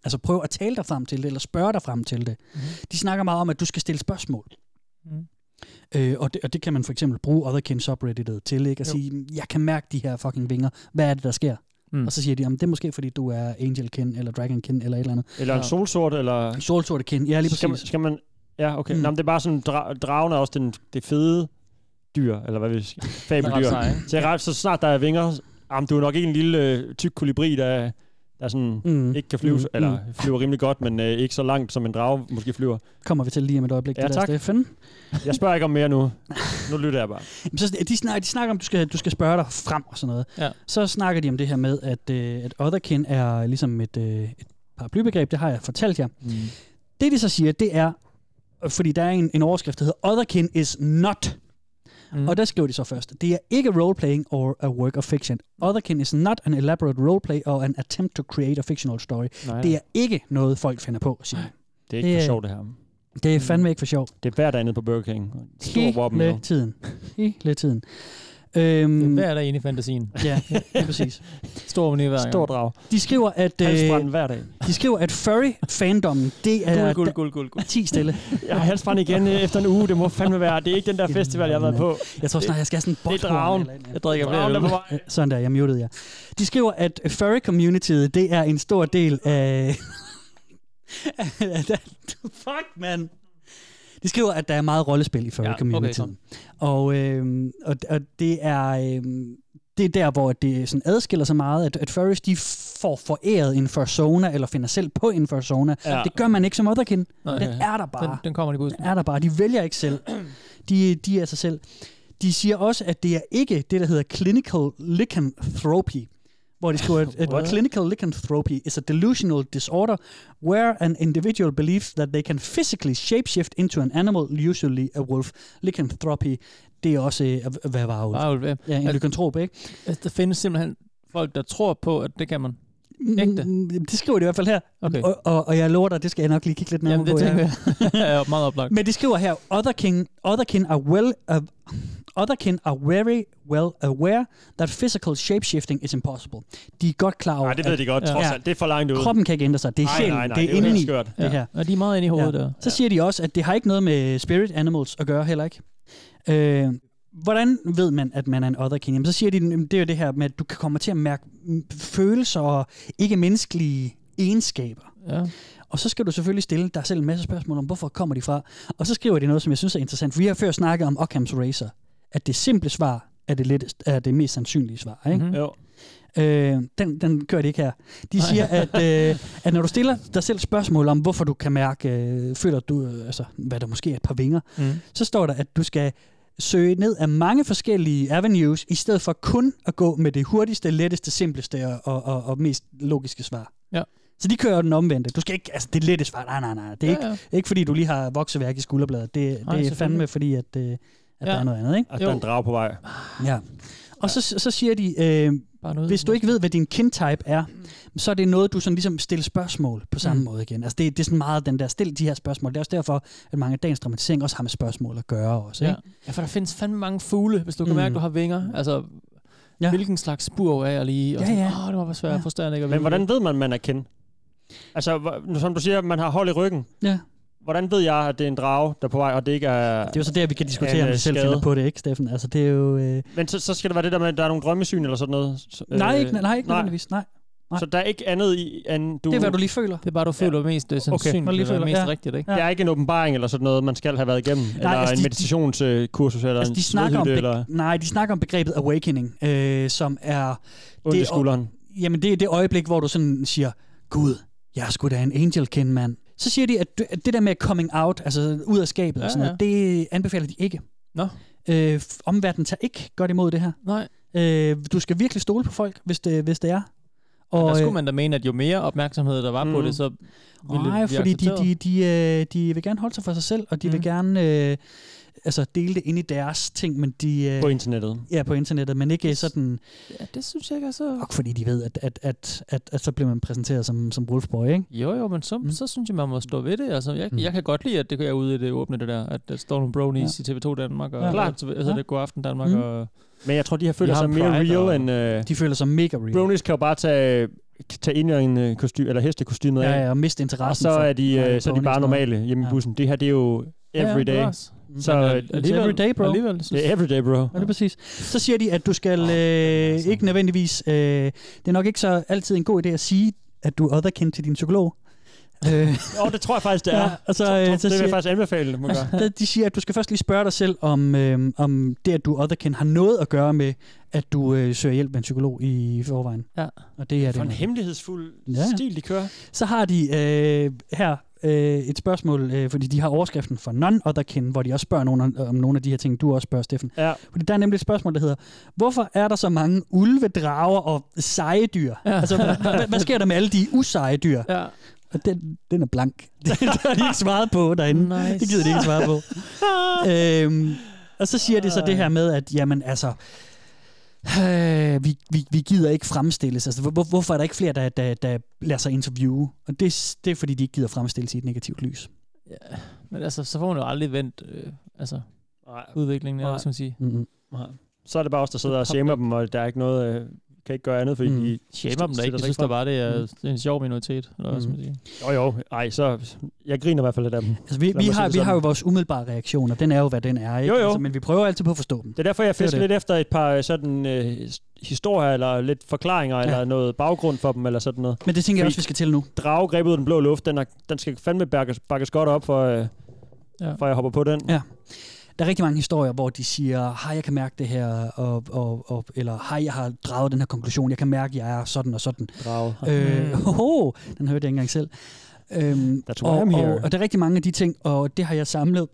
altså, prøver at tale dig frem til det, eller spørge dig frem til det. Mm.
Mm-hmm.
De snakker meget om, at du skal stille spørgsmål.
Mhm.
Øh, og, det, og det kan man for eksempel bruge Otherkin subredditet til, ikke? At
Jo.
sige, jeg kan mærke de her fucking vinger. Hvad er det, der sker? Mm.
Mm.
Og så siger de, om det er måske, fordi du er angelkin, eller dragonkin, eller et eller andet.
Eller en solsort, eller...
Solsorte kin, ja lige præcis.
Skal man, skal man Ja, okay.
Mm.
Mm. Nå, men det er bare sådan, dra- dragen er også den, det fede dyr, eller hvad vi skal fabeldyr.
Den er ret sej, ikke?
Så, jeg, er ret- så snart der er vinger, jamen, du er nok ikke en lille øh, tyk kolibri, der, der sådan
Mm.
mm. ikke kan flyve,
Mm.
mm. eller flyver rimelig godt, men øh, ikke så langt, som en drage måske flyver.
Kommer vi til lige om et øjeblik,
Ja,
det der
tak.
Steffen.
Jeg spørger ikke om mere nu. Nu lytter jeg bare.
Jamen, Så de, snakker, de snakker om, at du skal, du skal spørge dig frem og sådan noget.
Ja.
Så snakker de om det her med, at, øh, at otherkin er ligesom et, øh, et paraplybegreb. Det har jeg fortalt jer. Mm. Det, de så siger, det er, fordi der er en, en overskrift, der hedder Otherkin is not. Mm. Og der skriver de så først, det er ikke roleplaying or a work of fiction. Otherkin is not an elaborate roleplay or an attempt to create a fictional story.
Nej,
Det er ikke noget, folk finder på, siger de.
det er ikke
det
for
er-
sjovt, det her.
Det er fandme ikke for sjov.
Det er hver dag nede på Burger King. Stor våben nu.
Hele tiden. Hele tiden. Øhm,
Hvad er der inde i fantasien?
Ja, ja, lige
*laughs*
præcis.
Stor menu hver gang.
Stor drag.
De skriver, at,
Halsbrand
øh,
hver dag.
de skriver, at furry-fandommen, det er...
Guld, guld, guld, guld, guld.
Ti stille.
Jeg har halsbrand igen øh, efter en uge. Det må fandme være. Det er ikke den der festival, jeg har været på.
Jeg tror snart, jeg skal have sådan en
Det er
botthorn
dragen.
eller et eller andet.
Jeg drikker flere
Dragen
øl.
er på vej.
Sådan der, jeg mutede jer. De skriver, at furry-communityet, det er en stor del af... *laughs* Fuck, man! De skriver, at der er meget rollespil i
Ja,
furry-communityet.
okay,
og, øhm, og, og det er... Øhm, det er der, hvor det sådan adskiller sig meget, at, at furries, de får foræret en persona, eller finder selv på en persona. Ja.
Ja.
Det gør man ikke som otherkin.
Nej,
Den
ja.
er der bare.
Den, den kommer de på
Den er der bare. De vælger ikke selv. De, de er sig selv. De siger også, at det er ikke det, der hedder clinical lycanthropy, hvor de skriver, at, at
What?
clinical lycanthropy is a delusional disorder where an individual believes that they can physically shapeshift into an animal, usually a wolf. Lycanthropy, det er også øh, at være varulv.
Bare ulv, ja.
Ja, en
At-
lykantrop, ikke?
Altså, Der findes simpelthen folk, der tror på, at det kan *laughs* man. Ægte?
Mm, Det skriver de i hvert fald her.
Okay.
Og, og, og jeg lover dig, det skal jeg nok lige kigge lidt nærmere
Jamen, det
på. ja.
tænker jeg. jeg er meget oplagt.
Men de skriver her, otherkin, otherkin are well, uh, otherkin are very well aware that physical shapeshifting is impossible. De er godt klar over,
Nej, det ved
at
de godt, trods
Ja.
alt. Det er for langt ude.
kroppen kan ikke ændre sig. Det er
Nej,
sjælen,
nej,
det
nej, det
er
er jo
indeni,
helt skørt.
det her.
Og de er meget inde i hovedet ja. der.
Så siger de også, at det har ikke noget med spirit animals at gøre heller ikke. Øh, hvordan ved man, at man er en otherkin? Jamen, så siger de, "Jamen, det er jo det her med, at du kan komme til at mærke mm, følelser og ikke-menneskelige egenskaber.
Ja.
Og så skal du selvfølgelig stille dig selv en masse spørgsmål om, hvorfor kommer de fra? Og så skriver de noget, som jeg synes er interessant. For vi har før snakket om Occam's Razor. At det simple svar er det, lettest, er det mest sandsynlige svar. Ikke?
Mhm.
Jo.
Øh, den, den kører de ikke her. De siger, at,
*laughs*
øh, at når du stiller dig selv spørgsmål om, hvorfor du kan mærke, øh, føler du, øh, altså, hvad der måske er et par vinger,
Hmm.
Mm.
så står der, at du skal søge ned af mange forskellige avenues, i stedet for kun at gå med det hurtigste, letteste, simpleste og, og, og, og mest logiske svar.
Ja.
Så de kører jo den omvendte. Du skal ikke, altså det lette svar, nej, nej, nej. Det er
Ja,
ikke, ikke fordi, du lige har vokseværk i skulderbladet. Det,
Nej,
det er fandme
selvfølgelig.
fordi, at, øh, at ja. der
Ja.
er noget andet, ikke?
Altså, der er en drag på vej.
Ja. Og så, så siger de, øh,
Bare noget.
hvis du ikke ved, hvad din kindtype er, så er det noget, du sådan ligesom stiller spørgsmål på samme mm.
Mm.
måde igen. Altså det, det er sådan meget den der, stil de her spørgsmål. Det er også derfor, at mange af dagens dramatisering også har med spørgsmål at gøre også.
Ja.
Ikke?
ja, for der findes fandme mange fugle, hvis du kan
Mm.
mærke, at du har vinger. Altså,
Ja.
ja. hvilken slags spurv er jeg lige? Og
Ja,
ja, ja.
ja.
Sådan, Åh, det var bare svært
Ja.
at forstå, ikke?
Men hvordan ved man, man er kendt? Altså, hvor- som du siger, man har hold i ryggen.
Ja.
Hvordan ved jeg, at det er en drage, der er på vej, og det ikke er...
Det er jo så der, vi kan diskutere,
En,
om
øh,
vi selv
skade.
finder på det, ikke Steffen? Altså det er jo... Øh...
Men så, så skal det være det der med, at der er nogle drømmesyn eller sådan noget. Så,
Nej, ikke, nej, ikke
Øh, nej.
nødvendigvis. Nej.
Så der er ikke andet i, end du...
Det er, hvad du lige føler.
Det er bare, du føler ja. mest øh, sandsynligt,
Må jeg lige
okay. eller
føle-
mest
ja.
ja. rigtigt, ikke?
Ja.
Det er ikke en åbenbaring eller sådan noget, man skal have været igennem. Nej, eller
altså,
altså, en
de-
meditationskursus, eller
Altså,
en
de snakker om be-
svedhytte, eller
Nej, de snakker om begrebet awakening, øh, som er...
ondt
det
i
er-
skulderen.
Jamen, det er det øjeblik, hvor du sådan siger, Gud, jeg er sgu da en angel kind, mand. Så siger de, at du- at det der med coming out, altså ud af skabet ja,
Ja,
og sådan noget, det anbefaler de ikke.
Nå.
Øh, f- omverdenen tager ikke godt imod det her.
Nej,
Øh, du skal virkelig stole på folk, hvis det, hvis det er.
og der
øh,
skulle man da mene, at jo mere opmærksomhed der var mm. på
Mm.
det, så ville
Nej,
det blive
fordi de,
accepteret.
de, de, øh, de vil gerne holde sig for sig selv, og de mm.
Mhm.
vil
Mm.
gerne øh, altså, dele det ind i deres ting, men de... Øh,
På internettet.
Ja, på internettet, men ikke sådan...
Ja, det synes jeg ikke er så...
Og fordi de ved, at, at, at, at, at så bliver man præsenteret som, som Wolfboy, ikke?
Jo, jo, men så, mm. så synes jeg, man må stå ved det. Altså, jeg,
Mm.
mm. jeg kan godt lide, at det kan jeg ude i det åbne, det der, at der står nogle bronies ja. i TV2 Danmark, og
Ja.
ja,
Klart.
altså, altså,
Ja.
det god aften Danmark,
Mm.
mm. og
Men jeg tror, de her føler
har
sig
en
mere
pride
real
og-
end... Øh,
De føler sig mega real.
bronies kan jo bare tage, tage ind i en øh, kostyme, eller hestekostymet af,
ja, ja, og miste
og
interessen.
så
for-
er de,
for
øh, så er de
Brownies
bare
og-
normale hjemme i
Ja.
bussen. Det her, det er jo everyday.
Ja,
Så øh,
It's every day, bro.
Alligevel, synes
det er everyday, bro.
Ja, det er præcis. Så siger de, at du skal øh, ikke nødvendigvis... Øh, det er nok ikke så altid en god idé at sige, at du er otherkendt til din psykolog. Øh, *laughs*
Åh, det tror jeg faktisk, det er.
Ja, og så,
Tror-
øh, så
tror- det vil
siger-
jeg faktisk
*laughs*
anbefale, man gør.
der- de siger, at du skal først lige spørge dig selv, om, øh, om det, at du er otherkendt, har noget at gøre med, at du øh, søger hjælp med en psykolog i forvejen.
Ja.
Og det er
For
det.
en hemmelighedsfuld
Ja, ja.
stil, de kører.
Så har de øh, her øh, et spørgsmål, øh, fordi de har overskriften for non-otherkin, hvor de også spørger nogen om, om nogle af de her ting, du også spørger, Steffen.
Ja.
Fordi der er nemlig et spørgsmål, der hedder, hvorfor er der så mange ulve, drager og seje dyr? Ja. Altså, hvad, hvad- hvad sker der med alle de useje dyr?
Ja.
Og den, den er blank. *laughs* det har de ikke svaret på derinde.
Nice.
Det gider de ikke svare på. øhm, og så siger de så det her med, at jamen altså, øh, vi, vi, vi gider ikke fremstilles. Altså, hvor, hvorfor er der ikke flere, der, der, der lader sig interviewe? Og det, det er, fordi de ikke gider fremstilles i et negativt lys.
Ja. Men altså, så får man jo aldrig vendt øh, altså, udviklingen,
Nej.
eller hvad skal man sige.
Mm-hmm.
Så er det bare os, der sidder og shamer dem, og der er ikke noget, øh, kan ikke gøre andet, fordi
Mm.
mm. de...
Shamer dem da
Sætter
ikke. Jeg
sig
synes
ikke
da bare, det er,
Mm.
det er en sjov minoritet, eller hvad skal
Mm.
man sige.
Jo, jo, ej, så... Jeg griner i hvert fald lidt af dem.
Altså, vi,
Lad
vi,
mig sige
har,
det
vi
sådan.
har jo vores umiddelbare reaktion, og den er jo, hvad den er. Ikke?
Jo, jo.
Altså, men vi prøver altid på at forstå dem.
Det er derfor, jeg
er
fisker
det.
lidt efter et par øh, sådan øh, historier, eller lidt forklaringer, ja. eller noget baggrund for dem, eller sådan noget.
Men det tænker jeg
Fordi-
også, vi skal til nu.
Drage grebet ud af den blå luft, den, er, den skal fandme bakkes, bakkes godt op, for, øh,
Ja.
ja. for jeg hopper på den.
Ja. Der er rigtig mange historier, hvor de siger, hej, jeg kan mærke det her, og, og, og, eller hej, jeg har draget den her konklusion, jeg kan mærke, jeg er sådan og sådan.
Drage.
*laughs* Øh, hoho, den hørte jeg ikke engang selv. Øhm,
That's why
og,
I'm
og,
here.
og der er rigtig mange af de ting, og det har jeg samlet.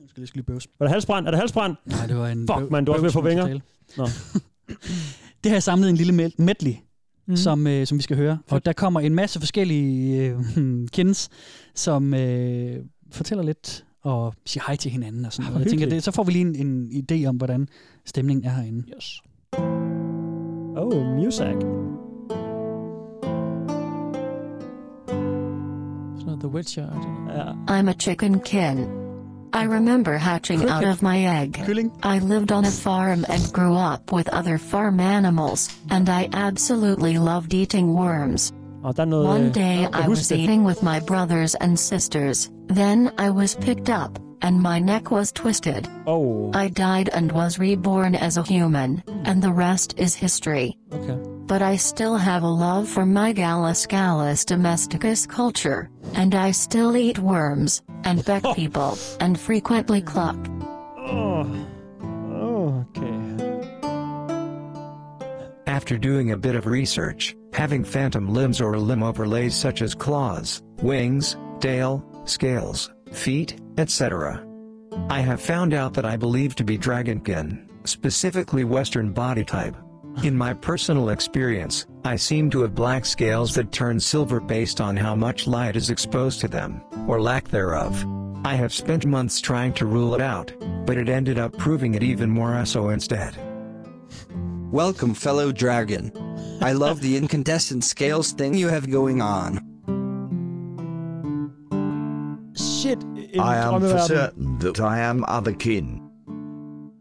Nu skal jeg lige bøvs.
Var det halsbrand? Er det halsbrand?
Nej, det var en
Fuck, mand, du er også ved at få vinger.
bøvsmotortale. Det har jeg samlet en lille mel- medley, mm. som, øh, som vi skal høre. Og der kommer en masse forskellige øh, kendes, som øh, fortæller lidt og siger hej til hinanden og sådan
Ah,
noget.
hvor
Jeg tænker,
hyggeligt.
det, så får vi lige en, en idé om, hvordan stemningen er herinde.
Yes.
Oh, music.
Sådan noget The Witcher. og sådan noget.
Ja.
I'm a chicken kin. I remember hatching out of my egg.
Kylling.
I lived on a farm and grew up with other farm animals, and I absolutely loved eating worms.
Og der er noget...
One
øh,
day
jeg
I
husker
was
det.
eating with my brothers and sisters, then I was picked up, and my neck was twisted.
Oh,
I died and was reborn as a human, and the rest is history.
okay.
But I still have a love for my Gallus Gallus domesticus culture, and I still eat worms,
*laughs*
and peck people, and frequently cluck.
Oh, okay.
After doing a bit of research, having phantom limbs or limb overlays such as claws, wings, tail, scales, feet, etc. I have found out that I believe to be dragonkin, specifically Western body type. In my personal experience, I seem to have black scales that turn silver based on how much light is exposed to them, or lack thereof. I have spent months trying to rule it out, but it ended up proving it even more so instead.
Welcome, fellow dragon. I love the incandescent scales thing you have going on.
Shit. en
I am for
drømmeverden.
certain that I am other kin.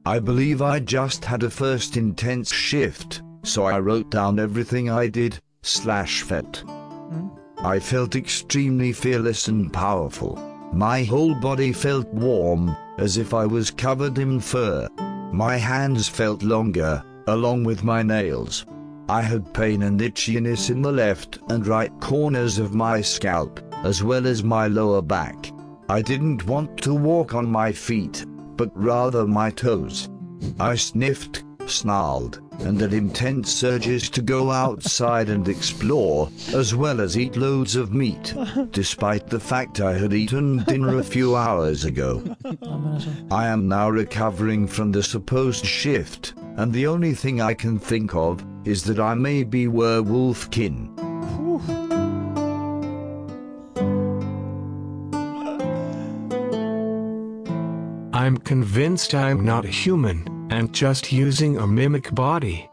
I believe I just had a first intense shift, so I wrote down everything I did, slash felt. I felt extremely fearless and powerful. My whole body felt warm, as if I was covered in fur. My hands felt longer, along with my nails. I had pain and itchiness in the left and right corners of my scalp, as well as my lower back. I didn't want to walk on my feet, but rather my toes. I sniffed, snarled, and had intense urges to go outside and explore, as well as eat loads of meat, despite the fact I had eaten dinner a few hours ago.
Jamen, altså.
I am now recovering from the supposed shift, and the only thing I can think of is that I may be werewolf kin.
I'm convinced I'm not human, and just using a mimic body.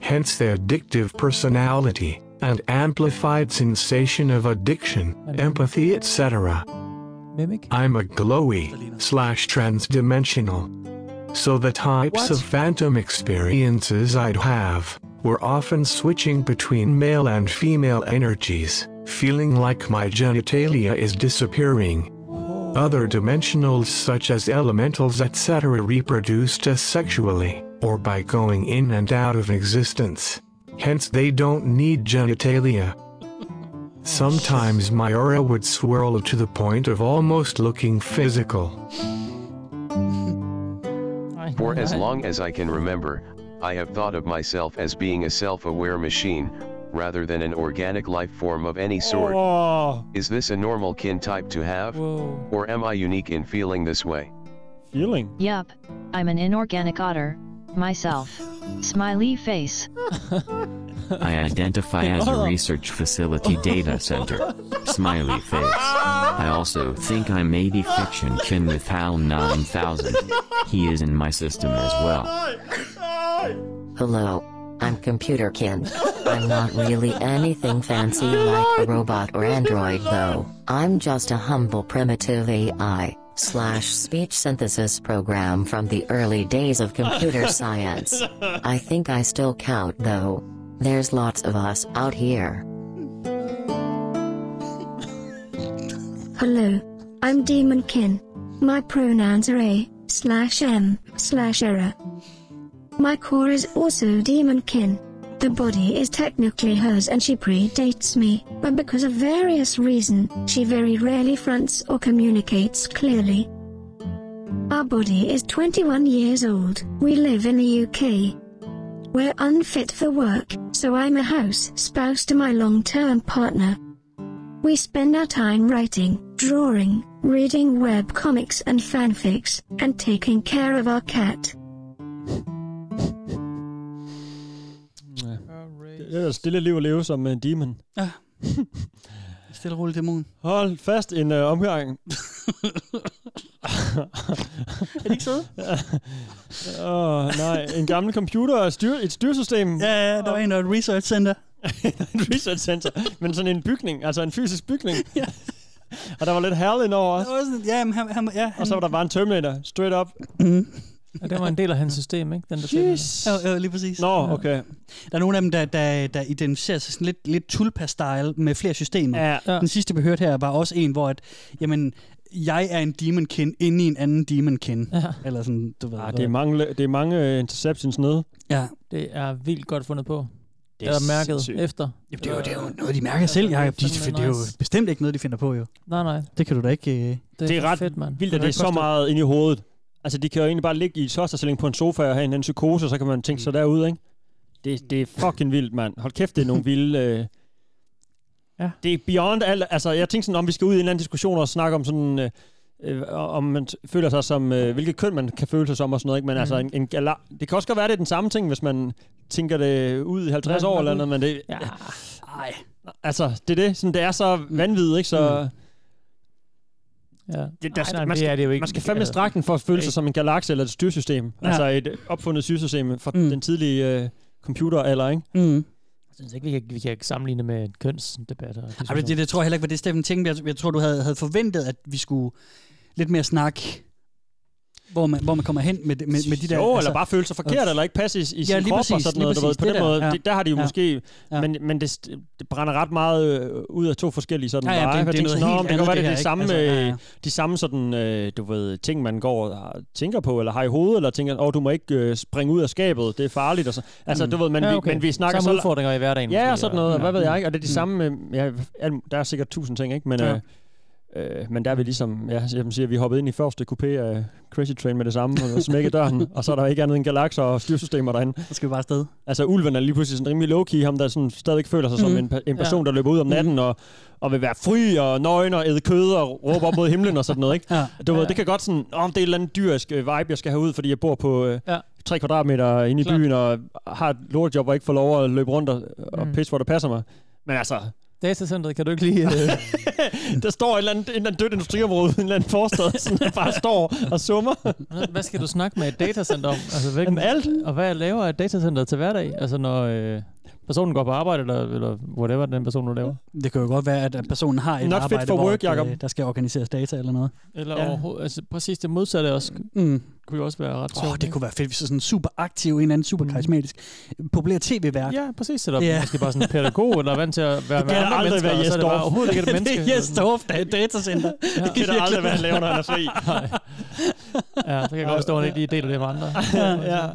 Hence their addictive personality, and amplified sensation of addiction, empathy, etc.
Mimic?
I'm a glowy slash transdimensional. So the types
What?
of phantom experiences I'd have were often switching between male and female energies, feeling like my genitalia is disappearing. Other dimensionals such as elementals etc. reproduced as sexually, or by going in and out of existence. Hence they don't need genitalia. Sometimes my aura would swirl to the point of almost looking physical.
Nej,
For
nej,
as
nej.
long as I can remember, I have thought of myself as being a self aware machine, rather than an organic life form of any sort.
Åh,
Is this a normal kin type to have?
Whoa.
Or am I unique in feeling this way?
feeling.
Yup, I'm an inorganic otter, myself. Smiley face.
I identify as a research facility data center. Smiley face. I also think I may be fiction kin with HAL 9000. He is in my system as well.
Hello, I'm computer kin. I'm not really anything fancy like a robot or android though. I'm just a humble primitive AI slash speech synthesis program from the early days of computer science. I think I still count though. There's lots of us out here.
Hello. I'm Demon Kin. My pronouns are A, slash M, slash error. My core is also Demon Kin. The body is technically hers and she predates me, but because of various reason, she very rarely fronts or communicates clearly. Our body is 21 years old. We live in the UK. We're unfit for work, so I'm a house spouse to my long-term partner. We spend our time writing, drawing, reading web comics and fanfics, and taking care of our cat.
Det er et stille liv at leve som en demon. *laughs*
Ja. Stille og roligt dæmon.
Hold fast en øh,
*laughs*
omgang. *laughs*
Er det ikke søde?
*laughs* Åh, oh, nej. En gammel computer og styr, et styresystem.
Ja, ja, der var en, der var et research
*laughs*
center.
et research center. Men sådan en bygning, altså en fysisk
*laughs*
bygning. ja. Og der var lidt Hal indover også.
Der var sådan, ja, men han, han, ja, han, Mhm.
Og så var der bare en Terminator, straight up.
Ja, det var en del af hans system, ikke? Den der
Jeez. Ja, ja, lige præcis.
Nå, okay.
Der er nogle af dem, der, der, der identificerer sig sådan lidt, lidt tulpa-style med flere systemer.
Ja.
Den sidste, vi hørte her, var også en, hvor at, jamen, jeg er en demonkin inde i en anden demonkin. Ja. Eller sådan, du ved.
Ah, det, er mange, det er mange øh, interceptions nede.
Ja.
Det er vildt godt fundet på.
Det
Det
er
er mærket
sindssygt.
efter.
Jamen, det er jo, det er jo noget, de mærker selv, Jacob. De, det er jo bestemt ikke noget, de finder på, jo.
Nej, nej.
Det kan du da ikke... Øh...
Det er, det er ret fedt, man. vildt, at det er så meget inde i hovedet. Altså, de kan jo egentlig bare ligge i tosterstilling på en sofa og have en, en psykose, og så kan man tænke sig derud, ikke? Det, det er fucking vildt, mand. Hold kæft, det er nogle vilde... Øh...
Ja.
Det er beyond alt... Altså, jeg tænkte sådan, om vi skal ud i en eller anden diskussion og snakke om sådan... Øh, øh, om man t- føler sig som... Øh, hvilket køn man kan føle sig som og sådan noget, ikke? Men mm. altså, en, en gala... det kan også godt være, det er den samme ting, hvis man tænker det ud i 50
Ja,
år
nok
eller
ud.
noget, men det...
Ja.
Ej.
Altså, det er det. Sådan, det er så vanvittigt, ikke? Så...
Ja.
Mm. Det, der,
Ej,
Ej,
nej,
man, skal,
det er det jo ikke.
man skal fandme
Altså,
strække den for at føle sig
ikke-
som en galakse eller et styresystem.
Ja.
Ja. Altså et opfundet styresystem fra mm. den tidlige øh, computeralder, ikke?
Mm.
Jeg synes ikke, vi kan, vi kan sammenligne med en kønsdebat. Og
Ej, men det, det tror jeg heller ikke var det, Steffen tænkte. Jeg, jeg tror, du havde, havde forventet, at vi skulle lidt mere snakke, hvor man, hvor man kommer hen med, det- med, med de der... altså-
jo, eller bare føle sig forkert, eller ikke passe i, i sin krop og sådan noget. Du ved, på den måde, det, der har de jo måske... Men, men det, det brænder ret meget øh, ud af to forskellige sådan
Ja, ja, det-
veje.
det
Jeg
er noget
tænkte sådan, "Nå,
helt
men det kan
andet,
være,
det
det
her,
er de
ikke? Altså, ja,
samme, øh,
ja.
de samme sådan, øh, du ved, ting, man går og tænker på, eller har i hovedet, eller tænker, åh, du må ikke øh, springe ud af skabet, det er farligt. Og så. Altså,
Mm.
du ved, men,
Ja,
vi,
okay.
men vi snakker
Samme
så-
udfordringer i hverdagen
Ja,
måske,
og sådan
og-
noget, og
Ja.
hvad ved jeg ikke. Og det er de
Mm.
samme, øh, ja, al- der er sikkert tusind ting, ikke? Men,
Ja.
øh, øh, men der er vi ligesom, ja, jeg siger, vi hoppede ind i første coupé af Crazy Train med det samme, og smækkede døren, og så er der ikke andet end galakser og styrsystemer derinde.
Så skal vi bare afsted.
Altså, ulven er lige pludselig sådan rimelig low-key, ham der sådan stadigvæk føler sig som
Mhm.
en, per- en
Ja.
person, der løber ud om natten og, og vil være fri og nøgen og æde kød og råbe op mod himlen og sådan noget, ikke?
Ja.
Du ved,
Ja.
det kan godt sådan, om oh, det er et eller andet dyrisk øh, vibe, jeg skal have ud, fordi jeg bor på øh,
Ja.
3 kvadratmeter inde i
Klart.
byen og har et lortejob og ikke får lov at løbe rundt og, og
Mm.
pisse, hvor det passer mig. Men altså,
Datacenteret kan du ikke lige... Øh,
*laughs* der står et eller andet, en eller anden dødt industriområde uden en eller anden forstad, *laughs* sådan der bare står og summer.
hvad skal du snakke med et datacenter om? Altså, hvilken,
Jamen, alt.
Og hvad laver et datacenter til hverdag? Altså, når øh, personen går på arbejde, eller, eller whatever den person nu laver.
Det kan jo godt være, at at personen har et
Not fit
arbejde,
for
hvor
work,
at, øh,
Jacob.
der skal organiseres data eller noget.
Eller
Ja.
ja. overhovedet... Altså, præcis det modsatte også,
mm.
kunne jo også være ret
Åh, oh, det kunne være fedt, hvis det er sådan super aktiv, en eller anden super karismatisk,
Mm.
populær tv-vært.
Ja, præcis. Sætter yeah. måske bare sådan en pædagog, eller er vant til at
*laughs*
være
Det
med
kan
andre
aldrig
mennesker,
være
og så er det
Jes
bare
Dorf.
overhovedet ikke et
*laughs* Det er
menneske.
Jes Dorf, der er et datacenter. Det kan da aldrig være, han laver, når han er *laughs* fri.
ja, så kan jeg godt forstå, at han ikke lige deler det med
*laughs*
andre.
ja.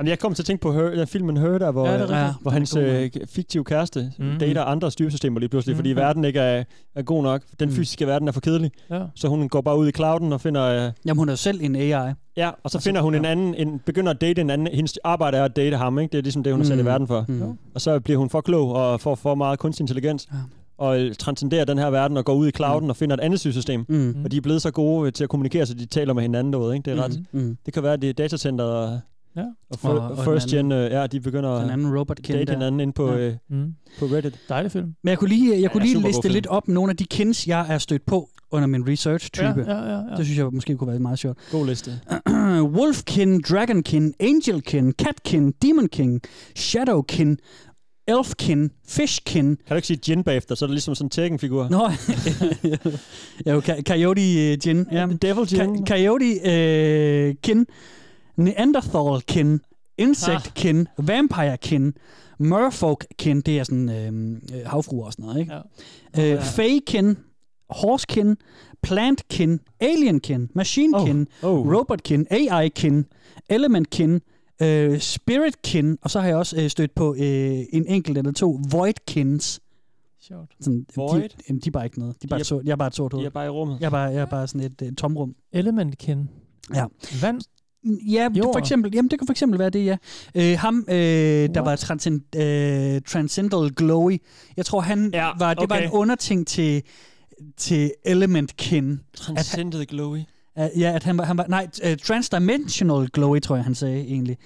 Jamen, jeg kom til at tænke på Her, den filmen Her, der, hvor,
Ja,
ja,
det er rigtigt.
der, hvor hans
Den er god,
øh, fiktive kæreste
Mm.
mm. dater andre styresystemer lige pludselig, fordi
Mm.
verden ikke er, er god nok. Den
Mm.
fysiske verden er for kedelig.
Ja.
Så hun går bare ud i clouden og finder... Øh,
Jamen, hun er jo selv en AI.
Ja, og så finder hun en anden, en, begynder at date en anden. Hendes arbejde er at date ham, ikke? Det er ligesom det, hun er sat
Mm.
i verden for.
Mm.
Og så bliver hun for klog og får for meget kunstig intelligens. Og øh, transcenderer den her verden og går ud i clouden og finder et andet system.
Mm.
Og de er blevet så gode øh, til at kommunikere, så de taler med hinanden derude, ikke? Det er ret.
Mm.
Det kan være, at det er datacenteret og,
Ja.
og, fir-
Og-
og,
og den
first
anden-
gen, øh, ja, de begynder
den anden robot
at date
der.
hinanden inde på,
Ja.
øh,
mm.
på Reddit.
Dejlig film.
Men jeg kunne lige, øh, jeg kunne
Ja,
lige
supergod
liste
film.
lidt op nogle af de kins, jeg er stødt på under min research-type.
Ja, ja, ja, ja.
Det synes jeg måske kunne være meget sjovt.
God liste.
*clears throat* Wolfkin, Dragonkin, Angelkin, Catkin, Demonkin, Shadowkin, Elfkin, Fishkin.
Kan du ikke sige Jin bagefter, så er det ligesom sådan en Tekken-figur?
Nå, *laughs* ja, jo, Ka- Coyote uh, Gin. Ja.
Devil
Gin. Ka- coyote uh, Kin, Neanderthal Kin, Insect Kin, Vampire Kin, Merfolk Kin, det er sådan øh, havfruer og sådan noget, ikke? Ja. Øh, Fae Kin, Horse Kin, Plant Kin, Alien Kin, Machine Kin,
oh, oh.
Robot Kin, AI Kin, Element Kin, øh, Spirit Kin, og så har jeg også øh, stødt på øh, en enkelt eller to Void Kins.
Sjovt.
Sådan,
Void?
De, jamen, de er bare ikke noget. De er bare
De er-
et sort, jeg er bare et sort hoved.
De er bare i rummet.
Jeg er bare, jeg er bare sådan et, et tomrum.
Element Kin.
Ja.
Vand.
Ja, det, for
Jord.
eksempel, jamen, det kan for eksempel være det, ja. Øh, ham, øh, der var transcend, øh, Transcendental Glowy, jeg tror, han ja, var, det var
okay.
en underting til, til Element Kin.
Transcended Glowy.
øh, Uh, ja, at han var, han var nej, uh, transdimensional glowy, tror jeg, han sagde egentlig.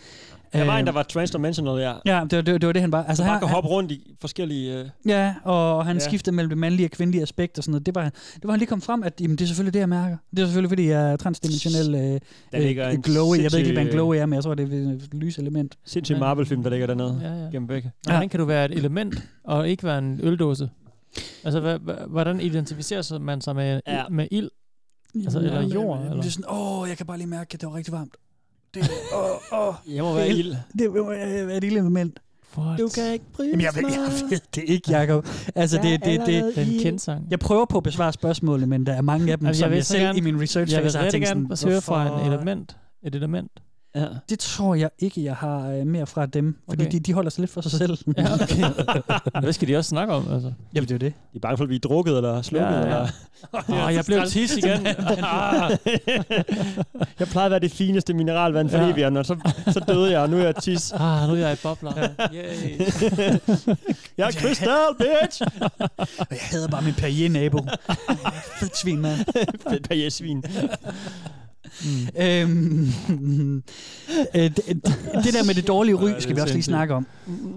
Der var en, der var transdimensional, ja.
Ja, det, var- det, var- det var det, han var.
Altså,
Altså,
bare
her-
kan
han-
hoppe rundt i forskellige... Øh,
Ja, og han
Ja.
ja. skiftede mellem det mandlige og kvindelige aspekt og sådan noget. Det var, det var han lige kom frem, at jamen, det er selvfølgelig det, jeg mærker. Det er selvfølgelig, fordi jeg er transdimensionel øh,
ligger
øh,
en
glow. Jeg ved ikke, lige, hvad en
sindssyg, øh,
glow er, men jeg tror, det er et lyselement.
sindssyg Marvel-film, der ligger dernede.
Ja, ja.
Gennem begge.
Ja. Hvordan kan du være et element og ikke være en øldåse? Altså, hva- hva- hvordan identificerer sig- man sig med, ja.
Ja.
med ild? Altså, eller jord?
Eller?
Eller?
Det er sådan, åh, jeg kan bare lige mærke, at det var rigtig varmt.
*laughs*
Det, åh, åh,
jeg må være
det,
ild.
Det må jeg være et ild element.
What?
Du kan ikke bryde
Jamen, jeg
mig.
ved- jeg ved
det ikke, Jacob. Altså,
Jeg
det, det,
er
det,
allerede Den i- kendsang.
Jeg prøver på at besvare spørgsmålene, men der er mange af dem, altså, som jeg, jeg
vil så
selv i min research
Jeg vil
fase har
rigtig
tænkt
gerne
sådan,
forsøge fra
"Hvorfor?"
en element. Et element.
Ja.
Det tror jeg ikke, jeg har øh, mere fra dem, fordi
Okay.
de, de holder sig lidt for sig selv.
*laughs* Ja, okay. *laughs* Hvad skal de også snakke om? Altså?
Jamen, det er det.
De er bange for, at vi er drukket eller slukket.
Ja, ja.
Eller...
Åh, jeg blev
*laughs*
tis igen. Ah.
*laughs* jeg plejede at være det fineste mineralvand for
Ja.
ja. evigheden, og så, så døde jeg, og nu er jeg tis.
Ah, nu er jeg i bobler. Yay.
*laughs* jeg er krystal, bitch!
*laughs* Og jeg hader bare min
*laughs*
Perrier-nabo. Fedt svin, mand.
Fedt Perrier-svin.
øhm, *laughs* øh, det, det, det der med det dårlige ry,
Ja, det er
skal vi også lige
sindssygt.
snakke om.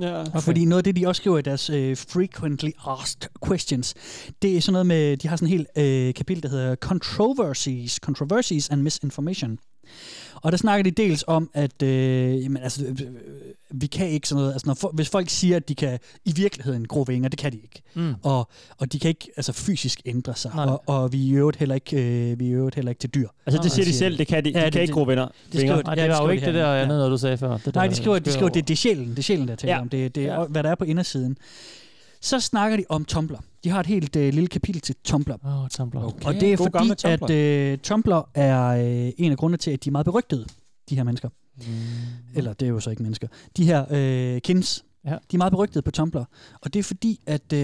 Ja.
Og fordi noget af det, de også skriver i deres øh, frequently asked questions, det er sådan noget med, de har sådan en hel øh, kapitel, der hedder controversies, controversies and misinformation. Og der snakker de dels om, at øh, jamen, altså, øh, vi kan ikke sådan noget, altså, når, fo- hvis folk siger, at de kan i virkeligheden gro vinger, det kan de ikke.
Mm.
Og, og de kan ikke altså, fysisk ændre sig,
Nej.
og, og, vi er i øvrigt heller ikke, øh, vi er i øvrigt heller ikke til dyr.
Altså, det siger de selv, det kan de- de kan ikke gro venner-
Det,
vinger.
skriver,
Nej,
det var jo
skriver
ikke
de
det
her.
der andet, noget du sagde før. Det
Nej,
der
de skriver, de
skøre
skriver
ord.
det, det er sjælen, det er sjælen, der taler
Ja.
om. Det, det er,
Ja.
og hvad der er på indersiden. Så snakker de om Tumblr. De har et helt øh, lille kapitel til Tumblr.
Oh, Tumblr.
Okay. Og det er
God
fordi,
gammel Tumblr.
at øh, Tumblr er øh, en af grundene til, at de er meget berygtede, de her mennesker. Mm. Eller det er jo så ikke mennesker. De her øh, kins,
ja.
de er meget berygtede på Tumblr. Og det er fordi, at øh,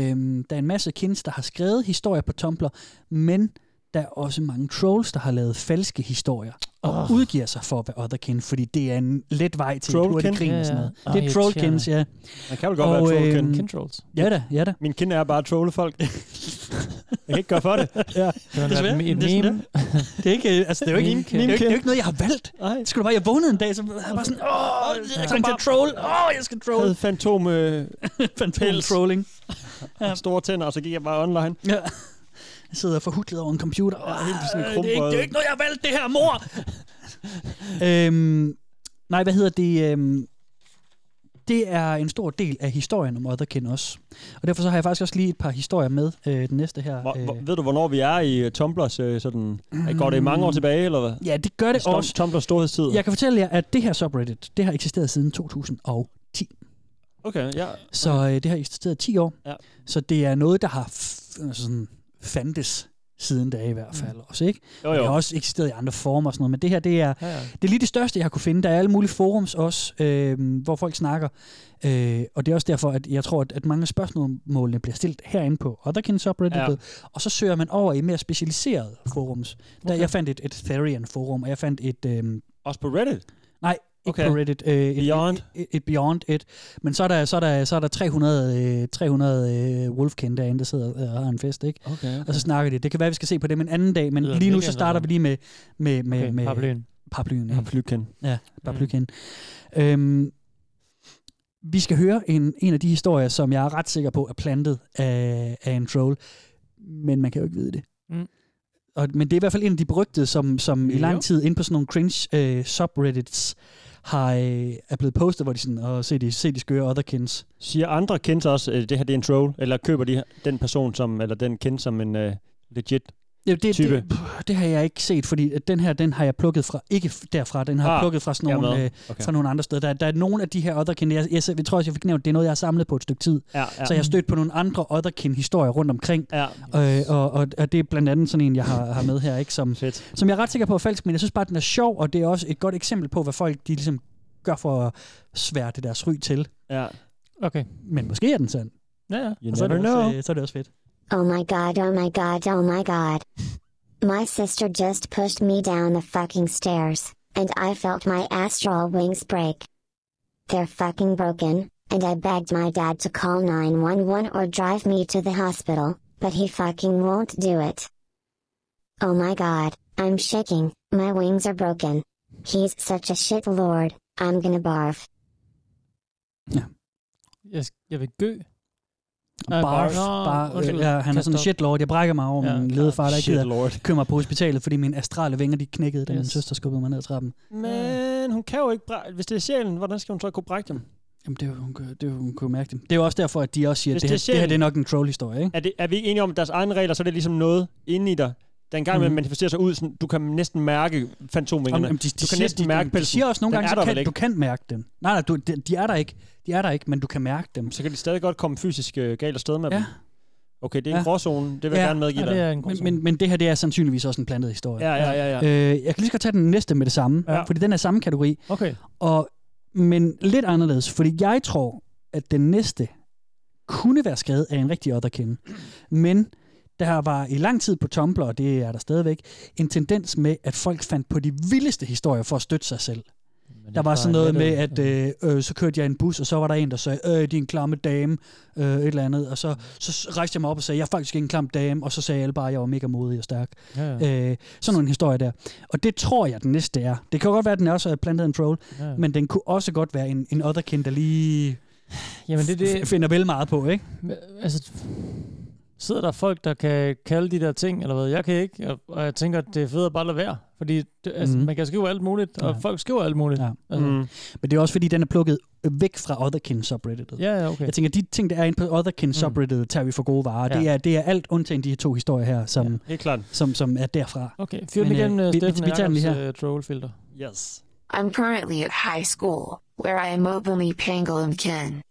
der er en masse kins, der har skrevet historier på Tumblr, men der er også mange trolls, der har lavet falske historier og
Åh.
udgiver sig for at være otherkin, fordi det er en let vej til et hurtigt grin og sådan noget.
Ja, ja.
Det er trollkins, ja.
Man kan vel godt og, være trollkin.
øhm, Ja da, ja da.
Min kind er bare at trolle
*laughs*
folk. jeg kan ikke gøre for det.
ja.
Det
Desværre,
var et
det er sådan
meme.
Det er ikke, øh, altså, det er jo ikke,
Meme
det er jo ikke, det er jo ikke noget, jeg har valgt.
Det
skulle bare, jeg vågnede en dag, så var jeg bare sådan, åh, jeg trængte til at troll. Åh, jeg skal troll.
havde fantom, øh,
*laughs* fantom
*laughs*
trolling.
ja. Store tænder, og så gik jeg bare online.
Ja. Jeg sidder forhudlet over en computer. Ja, helt
sådan
Øh, det, er ikke, det
krumbøjet.
er ikke noget, jeg har valgt, det her, mor! øhm, nej, hvad hedder det? Øhm, det er en stor del af historien om Otherkin også. Og derfor så har jeg faktisk også lige et par historier med øh, den næste her.
Hvor,
øh,
hvor, ved du, hvornår vi er i øh, Tumblrs øh, sådan... Mm. Går det mange år tilbage, eller hvad?
Ja, det gør det
Stum-
også.
Tumblrs storhedstid.
Jeg kan fortælle jer, at det her subreddit, det har eksisteret siden 2010.
Okay, ja.
Så øh, det har eksisteret i 10 år.
Ja.
Så det er noget, der har f- altså sådan, fandtes siden da i hvert fald også, ikke?
Mm. Jo,
Og Det
jo.
har også eksisteret i andre former og sådan noget, men det her, det er,
Ja, ja.
det er lige det største, jeg har kunne finde. Der er alle mulige forums også, øh, hvor folk snakker, øh, og det er også derfor, at jeg tror, at, at mange af spørgsmålene bliver stillet herinde på Otherkin subreddit,
Ja.
ja. og så søger man over i mere specialiserede forums. Der,
Okay.
jeg fandt et, et Therian forum, og jeg fandt et... Øh,
Også på Reddit?
Nej, ikke
Okay.
okay. på Reddit. Øh, et,
Beyond?
Et, et, et Beyond et. Men så er der, så er der, så er der 300, øh, 300 øh, wolfkin derinde, der sidder øh, og har en fest, ikke?
Okay, okay.
Og så snakker de. Det kan være, vi skal se på dem en anden dag, men
Lyder
lige nu
mega
så starter vi lige med... med, med,
Okay,
med
paraplyen.
Paraplyen,
Mm.
ja.
Paraplyen.
Ja, paraplyen. Mm. Øhm, vi skal høre en, en af de historier, som jeg er ret sikker på er plantet af, af en troll, men man kan jo ikke vide det.
Mm.
Og, men det er i hvert fald en af de berygtede, som, som i
Jo.
lang tid inde på sådan nogle cringe øh, subreddits har, øh, er blevet postet, hvor de sådan, og se de, se de skøre otherkins.
Siger andre kendt også, at det her det er en troll, eller køber de den person som, eller den kendt som en uh, legit
Ja, det,
type?
Det, puh, det har jeg ikke set, fordi at den her, den har jeg plukket fra, ikke f- derfra, den har
Ah,
ah, plukket fra sådan nogle,
jeg er med.
øh,
Okay.
okay. fra nogle andre steder. Der, der er nogle af de her otherkin, jeg, jeg, jeg tror også, jeg fik nævnt, det er noget, jeg har samlet på et stykke tid.
Ja, ja.
Så jeg har stødt på nogle andre otherkin-historier rundt omkring.
Ja.
Øh, og, og, og det er blandt andet sådan en, jeg har, har med her, ikke?
*laughs*
Som, som jeg er ret sikker på er falsk, men jeg synes bare, den er sjov, og det er også et godt eksempel på, hvad folk de ligesom gør for at svære det deres ry til.
Ja.
Okay.
Men måske er den sand.
Ja, ja.
You
Og så er det
never
også,
know.
øh, så er det også fedt.
Oh my god, oh my god, oh my god. My sister just pushed me down the fucking stairs, and I felt my astral wings break. They're fucking broken, and I begged my dad to call 911 or drive me to the hospital, but he fucking won't do it. Oh my god, I'm shaking, my wings are broken. He's such a shit lord, I'm gonna barf.
Jeg, sk- jeg vil gø. Øh,
Barf, barf, barf, ja, han er sådan en shitlord. Jeg brækker mig over
Ja,
ja, min ledefar, der ikke gider
shitlord.
køre mig på hospitalet, fordi mine astrale vinger de knækkede, da min
Yes.
søster skubbede mig ned ad trappen.
Men hun kan jo ikke brække. Hvis det er sjælen, hvordan skal hun så kunne brække dem?
Jamen, det er jo, hun, kunne- det er jo, hun kunne mærke dem. Det er jo også derfor, at de også siger,
Hvis
at det,
det er
her, det her
sjælen-
det er nok en troll-historie, ikke?
Er, det, er vi ikke enige om, at deres egne regler, så er det ligesom noget inde i dig, der engang mm. man
Mhm.
manifesterer sig ud, sådan, du kan næsten mærke fantomvingerne.
Jamen, de, de,
du kan
siger,
næsten
de,
mærke
de, de
pelsen.
siger også nogle
Den
gange,
er
så
der
kan,
vel
du
ikke.
kan mærke dem. Nej, nej, du, de, de, er der ikke. De er der ikke, men du kan mærke dem.
Så kan de stadig godt komme fysisk øh, galt afsted med ja. dem. Okay, det er en
Ja.
gråzone. Det vil jeg gerne medgive dig.
men, men, men det her det er sandsynligvis også en plantet historie.
Ja, ja, ja, ja.
Øh, jeg kan lige så godt tage den næste med det samme,
Ja.
ja. fordi den er samme kategori.
Okay.
Og, men lidt anderledes, fordi jeg tror, at den næste kunne være skrevet af en rigtig otterkende. Men der var i lang tid på Tumblr, og det er der stadigvæk, en tendens med, at folk fandt på de vildeste historier for at støtte sig selv. Der var
bare
sådan noget
lidt
med, at øh,
Mm.
øh, så kørte jeg i en bus, og så var der en, der sagde, øh, din klamme dame, øh, et eller andet. Og så, så rejste jeg mig op og sagde, jeg er faktisk ikke en klam dame, og så sagde alle bare, at jeg var mega modig og stærk.
Ja,
ja. Øh, sådan nogle historier der. Og det tror jeg, den næste er. Det kan jo godt være, at den også er plantet af en troll,
Ja, ja.
men den kunne også godt være en, en otherkind, der lige
Jamen, det er det-
f- finder vel meget på, ikke?
Altså, sidder der folk, der kan kalde de der ting, eller hvad? Jeg kan ikke, og, og jeg tænker, at det er fedt at bare lade være. Fordi det, altså,
Mhm.
mm. man kan skrive alt muligt, og
Ja.
ja. folk skriver alt muligt. Ja. Altså,
Mm. Men det er også fordi, den er plukket øh, væk fra Otherkin subredditet.
Ja, ja, okay.
Jeg tænker, de ting, der er inde på
Mm.
Otherkin subredditet, tager vi for gode varer. Ja. Det,
Ja.
er, det er alt undtagen de her to historier her, som,
ja, klart.
som, som er derfra.
Okay, fyr den
Men, øh,
igennem, øh,
vi- vi-
Steffen
vi tager den lige her.
Jacobs øh, trollfilter.
Yes.
I'm currently at high school, where I am openly Pangolin kin.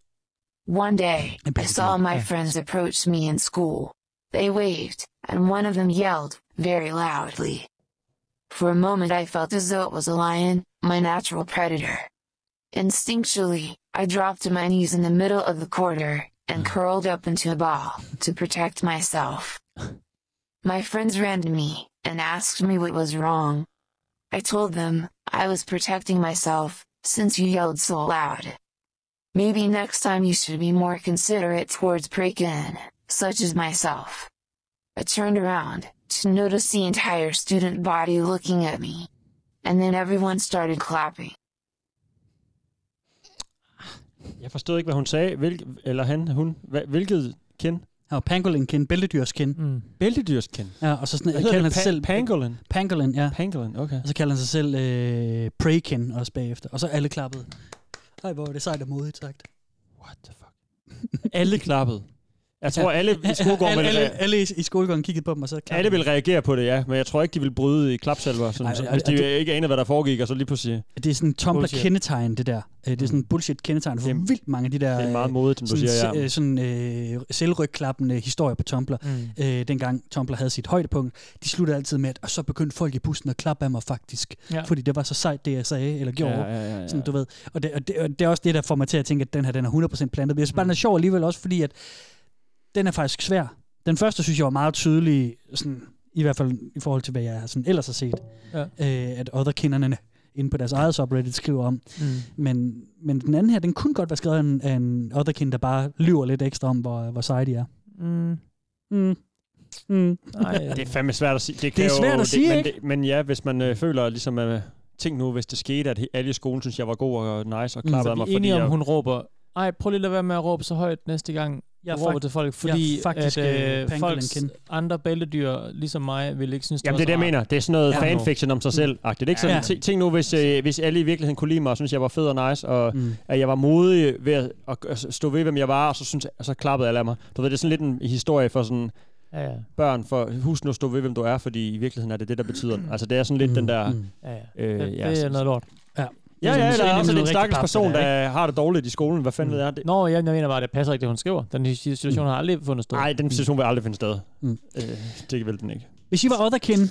One day, I saw my friends approach me in school. They waved, and one of them yelled, very loudly. For a moment I felt as though it was a lion, my natural predator. Instinctually, I dropped to my knees in the middle of the corridor, and curled up into a ball, to protect myself. My friends ran to me, and asked me what was wrong. I told them I was protecting myself since you yelled so loud. Maybe next time you should be more considerate towards break-in, such as myself. I turned around to notice the entire student body looking at me, and then everyone started clapping.
øh,
Jeg forstod ikke, hvad hun sagde. Hvilk, eller han, hun. Hva, hvilket kind?
Ja, pangolin-kind, bæltedyrskind.
Mm.
Bæltedyrskind?
Ja, og så sådan,
Hvad
jeg
hedder
kalder
det?
han sig
Pa-
selv...
Pangolin?
Pangolin, ja.
Pangolin, okay.
Og så kalder han sig selv øh, Preykin også bagefter. Og så alle klappede. Ej, hvor er det sejt og modigt sagt.
Alle klappede. Jeg tror, alle i skolegården
*laughs* alle,
ville,
alle,
alle,
alle i- i skolegården kiggede på dem, og så klappede
alle ville reagere på det, ja. Men jeg tror ikke, de ville bryde i klapsalver, sådan,
Ej,
Ej, så,
og-
hvis
og
de
det-
ikke anede, hvad der foregik, og så lige pludselig...
Det er sådan en
Bullshit. Mm.
Tumblr-kendetegn, det der. Øh, Det er sådan en bullshit-kendetegn for vildt mange af de der...
det er meget
øh,
modigt, som du
sådan,
siger, ja.
se- øh, sådan øh, selvrygklappende historier på Tumblr.
Mm.
Mm. Øh, dengang Tumblr havde sit højdepunkt. De sluttede altid med, at og så begyndte folk i bussen at klappe af mig faktisk.
Ja.
Ja. Fordi det var så sejt, det jeg sagde eller gjorde.
Ja, ja, ja, ja.
Sådan, du ved. Og, det, og, det, og det er også det, der får mig til at tænke, at den her den er 100% plantet. Men jeg synes bare, den er sjov alligevel også, fordi at den er faktisk svær. Den første, synes jeg, var meget tydelig, sådan, i hvert fald i forhold til, hvad jeg sådan ellers har set,
Ja.
øh, at otherkinderne inde på deres eget subreddit skriver om. Mm. Men, men den anden her, den kunne godt være skrevet af en, af en otherkind, der bare lyver lidt ekstra om, hvor, hvor seje de er.
Mm.
Mm. Mm.
Nej,
*laughs*
det er fandme svært at sige. Det,
Det er
kan
svært
jo,
at sige,
men,
ikke?
Det, men ja, hvis man øh, føler ligesom... Øh, Tænk nu, hvis det skete, at he- alle i skolen synes, jeg var god og nice og
Mm.
klappede
Så
af mig,
vi er enige om,
jeg...
hun råber, ej, prøv lige at lade være med at råbe så højt næste gang,
Jeg
jeg
er
råber
fakt-
til folk,
jeg er
fordi
faktisk, øh,
at, øh,
pangolin
folks
kin.
andre bæltedyr, ligesom mig, vil ikke synes,
Jamen det
var
er det, jeg
så rart.
mener. Det er sådan noget
Ja.
ja. fanfiction om sig selv. Mm. Det er ikke sådan,
Ja.
ja. tænk nu, hvis, øh, hvis alle i virkeligheden kunne lide mig og synes, jeg var fed og nice, og
Mm.
mm. at jeg var modig ved at, at at stå ved, hvem jeg var, og så, synes, og så klappede alle af mig. Du ved, det er sådan lidt en historie for sådan
Ja, ja.
børn, for husk nu at stå ved, hvem du er, fordi i virkeligheden er det det, der betyder. Altså det er sådan lidt mm. den der...
Mm. Ja, ja.
Øh,
Det- det
ja,
er
sådan-
noget lort.
Ja,
Ja,
Ligesom
ja, eller også
noget
den
rigtig
stakkels
pap,
person,
det
der,
der,
der har det dårligt i skolen. Hvad fanden mm. ved jeg? Det, Mm.
Nå, jeg mener bare, det passer ikke, det hun skriver. Den situation har aldrig fundet sted. Mm.
nej, den situation vil aldrig finde sted.
Mm.
Øh, det vil den ikke.
Hvis I var otherkind, øh,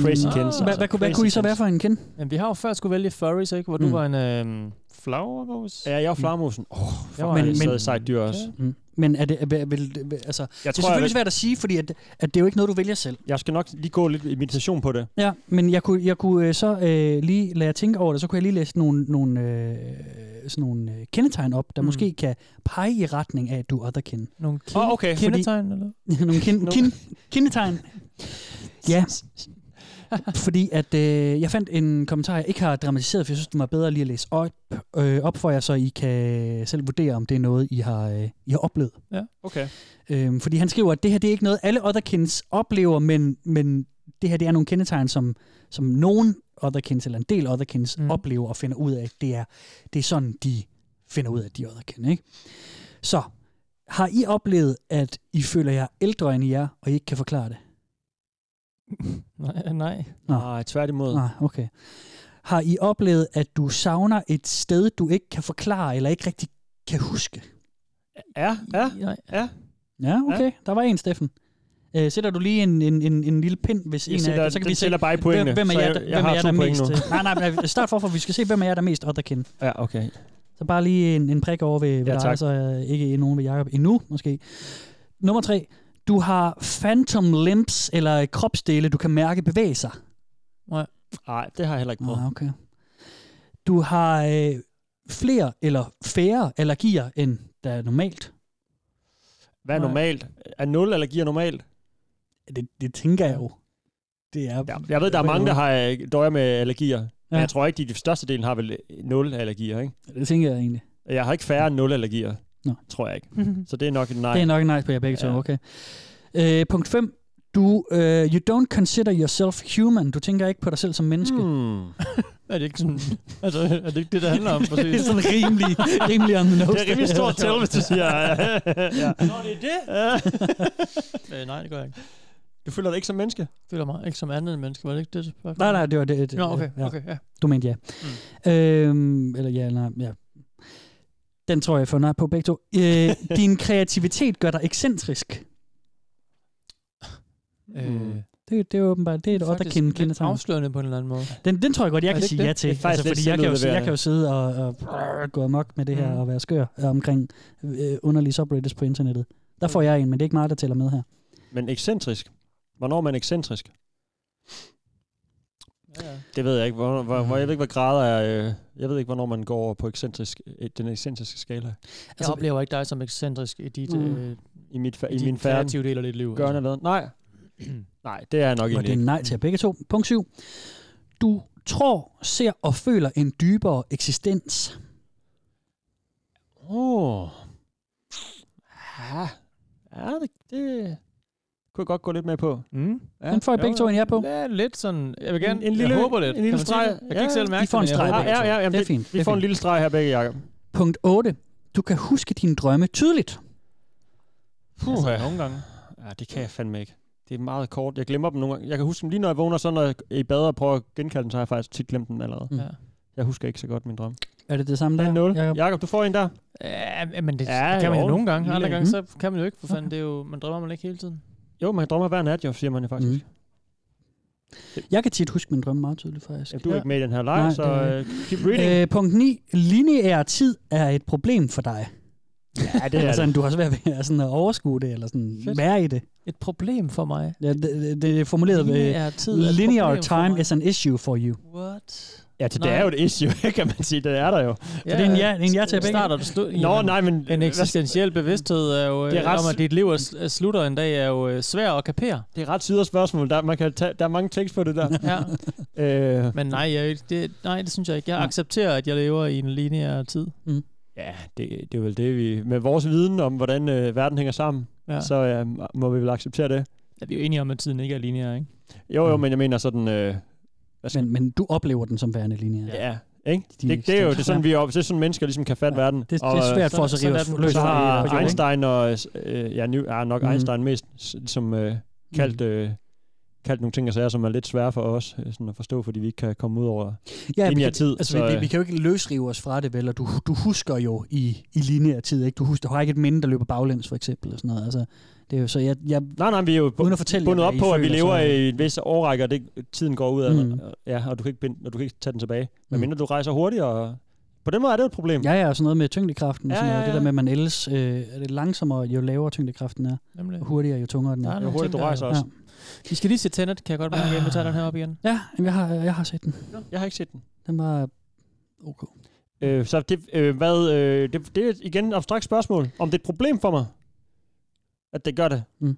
Crazy
hvad,
kins,
hvad,
altså.
hvad, kunne- hvad
Crazy
kunne I så
kins.
være for en kind?
Men vi har jo før skulle vælge furries, ikke? Hvor du
Mm.
var en øh, flagermus.
Ja, jeg var flagermusen. Åh, oh,
jeg
men- men-
sejt dyr også.
Mm. Men er det, vil, vil, vil- altså,
Jeg
det er
tror, jeg
selvfølgelig
vil-
svært at sige, fordi at, at det er jo ikke noget, du vælger selv.
Jeg skal nok lige gå lidt i meditation på det.
Ja, men jeg kunne, jeg kunne øh, så øh, lige lade jer tænke over det, så kunne jeg lige læse nogle, nogle, øh, sådan nogle øh, kendetegn op, der mm. måske kan pege i retning af, at du er otherkin.
Nogle
Åh, okay.
Fordi- *laughs*
*laughs* kendetegn, eller?
nogle kin, kin, kendetegn. Ja, Fordi at øh, jeg fandt en kommentar, jeg ikke har dramatiseret, for jeg synes, det var bedre lige at læse op, øh, op for jer, så I kan selv vurdere, om det er noget, I har, øh, I har oplevet.
Ja, okay.
Øhm, fordi han skriver, at det her det er ikke noget, alle otherkins oplever, men, men det her det er nogle kendetegn, som, som nogen otherkins eller en del otherkins mm. oplever og finder ud af. Det er, det er sådan, de finder ud af, at de er otherkin. Ikke? Så, har I oplevet, at I føler jer ældre end I er, og I ikke kan forklare det?
*laughs* Nej, nej.
Nå.
Nej, tværtimod.
Nej, okay. Har I oplevet, at du savner et sted, du ikke kan forklare, eller ikke rigtig kan huske?
Ja, ja, ja.
Ja, okay. Ja. Der var en, Steffen. Øh, sætter du lige en, en, en, en lille pind, hvis
Jeg
en
sætter-
af så kan vi
den
se,
tæller bare i pointene,
hvem, hvem er
så
jer,
jeg-
der,
jeg
hvem er
har
jer,
to
der er
point
mest?
nu.
øh, Nej, nej, nej, start forfra, vi skal se, hvem er jer, der er mest otherkin.
Ja, okay.
Så bare lige en, en prik over ved, ved
Ja,
ja, dig,
tak.
så øh, ikke nogen ved Jacob endnu, måske. Nummer tre. Du har phantom limbs, eller kropsdele, du kan mærke bevæge sig.
Nej.
Nej, det har jeg heller ikke prøvet.
Ah, okay. Du har øh, flere eller færre allergier, end der er normalt.
Hvad er
Nej.
normalt? Er nul allergier normalt?
Det, det tænker jeg jo. Det er, ja,
Jeg ved, der er mange, der har øh, døjer med allergier. Ja. Men
Ja.
jeg tror ikke, de, de største delen har vel øh, nul allergier, ikke?
Det tænker jeg egentlig.
Jeg har ikke færre end nul allergier.
Nå.
Tror jeg ikke.
*laughs*
Mhm.
Så det er nok et nej.
Nej. Det er nok en nice på jer begge to, okay. Øh, punkt 5. Du, øh, you don't consider yourself human. Du tænker ikke på dig selv som menneske.
Hmm.
Er det ikke sådan... Altså, er det ikke det, det handler
*laughs*
om?
det er sådan rimelig, rimelig on the nose.
Det er rimelig stort til, hvis du siger...
ja.
Nå, det er
*laughs*
det? øh, nej, det gør jeg ikke.
Du føler dig ikke som menneske?
Jeg føler mig ikke som andet end menneske. Var det ikke det?
*laughs*
spørgsmål?
Nej, nej, det var det. det
Nå, okay,
ja.
okay, ja. Hmm.
Du mente ja. Mm. Øhm, eller ja, eller nej, ja. Den tror jeg, jeg får nej på begge to.
*laughs*
Øh, din kreativitet gør dig ekscentrisk.
Mm.
Øh,
Det, det er åbenbart, det er et
faktisk
otterkende
lidt
kendetegn.
afslørende på en eller anden måde.
Den, den tror jeg godt,
Er
jeg kan
det
sige
ikke det?
ja til. Altså,
Det er faktisk lidt
fordi jeg kan, jo, jeg kan jo
selvudleverende.
sidde og, og brrr, gå amok med det her
Mm.
mm. og være skør øh, omkring øh, underlige subreddits på internettet. Der får jeg en, men det er ikke mig, der tæller med her.
Men ekscentrisk. Hvornår er man ekscentrisk?
Ja, ja.
Det ved jeg ikke. Hvor, hvor,
Mm.
hvor, jeg ved ikke, hvad grader er... Øh, jeg ved ikke, hvornår man går over på ekscentrisk, øh, den ekscentriske skala.
Jeg altså, oplever ikke dig som ekscentrisk i dit...
Mm.
Øh,
I, mit, fa-
i
i
din
min færden.
kreative del af dit liv.
Gør altså. Nej. Nej, det er jeg nok
Og
egentlig
det er
ikke.
nej til jer begge to. Punkt 7. Du tror, ser og føler en dybere eksistens.
Åh. Ja. Ja, det, det kunne jeg godt gå lidt med på.
Mm.
Ja.
Den får I begge to en ja på.
Ja, lidt sådan... Jeg vil gerne...
En, en lille,
jeg håber lidt.
En lille
Kan man sige
streg.
det? Jeg kan ikke selv mærke
I får en
det, men jeg
streg.
håber
begge
det.
to.
ja, jamen,
det er
det-
fint.
vi får en lille streg her begge, Jacob.
Punkt 8. Du kan huske dine drømme tydeligt.
Puh, altså, nogle gange. Ja, det kan jeg fandme ikke. Det er meget kort. Jeg glemmer dem nogle gange. Jeg kan huske dem lige, når jeg vågner, så når jeg er i bader og prøver at genkalde dem, så har jeg faktisk tit glemt dem allerede.
Mm.
Ja.
Jeg husker ikke så godt min drøm.
Er det det samme der?
0.
Jacob?
Jakob, du får en der.
Ja, men det, ja, det kan man jo Mm. nogle gange. Andre gange, så kan man jo ikke, for fanden. Det er jo, man drømmer man ikke hele tiden.
Mm. Jo, man drømmer hver nat, jo, siger man jo faktisk. Mm.
Mm. Jeg kan tit huske mine drømme meget tydeligt, faktisk.
Du er ikke med i den her leg,
Nej,
så
det er
uh,
det ikke.
keep reading.
Øh, punkt 9. Lineær tid er et problem for dig.
Ja,
Det er sådan, du har svært ved at, sådan, at overskue det, eller sådan
Fedt.
Fedt. være i det.
Et problem for mig.
Ja, det, det, det er formuleret
Lineær
ved,
tid er et
linear
problem for
time
mig."
is an issue for you.
What?
Ja, det, det er jo et issue, *laughs* kan man sige. Det er der jo.
det er en ja- det er en ja til begge.
Starter du slut?
Nå, nej, men-
En eksistentiel bevidsthed er jo,
Det
det
er
er
ret-
om, at dit liv er, er slutter en dag, er jo øh, svær at kapere.
Det er ret sydere spørgsmål. Der, man kan tage, der er mange tekst på det der. ja. *laughs* øh,
Men nej, jeg, det, nej, det synes jeg ikke. Jeg accepterer, at jeg lever i en lineær tid.
Mm.
Ja, det, det er vel det, vi... Med vores viden om, hvordan øh, verden hænger sammen,
Ja.
ja. så øh, må vi vel acceptere det.
Ja, vi er jo enige om, at tiden ikke er lineær, ikke?
Jo, jo, men jeg mener sådan... Øh,
Men, men du oplever den som værende lineær.
ja, ikke?
De-
det, det, er jo det er sådan,
Ja.
vi op, det er sådan, mennesker ligesom kan fatte ja, verden.
det er svært for os at
sådan
rive
er
os
den.
løs
Så
fra det,
har
ikke?
Einstein og... Øh, ja, nu er nok
Mhm.
Einstein mest s- som øh, kaldt... Øh, kaldt nogle ting og sager, som er lidt svære for os øh, sådan at forstå, fordi vi ikke kan komme ud over ja,
vi
linjer
kan,
tid. øh,
Altså, så, vi, vi, vi kan jo ikke løsrive os fra det, vel? Og du, du husker jo i, i lineær tid, ikke? Du, husker, du har ikke et minde, der løber baglæns, for eksempel, og sådan noget. Altså, det er jo, så jeg, jeg,
Nej, nej, vi er jo
uden at fortælle jer,
bundet
hvad
op
I
på, at vi
føler,
lever
så-
i en vis årrække, og det, tiden går ud af
Mm.
mm. ja, og du kan ikke, binde, og du kan ikke tage den tilbage. Men
Mm.
mindre du rejser hurtigere, og på den måde er det jo et problem.
Ja, ja, og sådan noget med tyngdekraften.
Ja,
Ja, sådan noget.
ja,
Det
ja.
der med, at man ældes, øh, er det langsommere, jo lavere tyngdekraften er.
Nemlig.
Og hurtigere, jo tungere den er.
Der er nogle ting, der- Vi skal lige se Tenet, kan jeg godt mærke, at vi tager den her op igen.
Ja, jamen, jeg har, jeg har set den.
Jeg har ikke set den.
Den var ok.
Øh, så det, øh, hvad, øh, det, det er igen et abstrakt spørgsmål. Om det er et problem for mig, at det gør det.
Mm.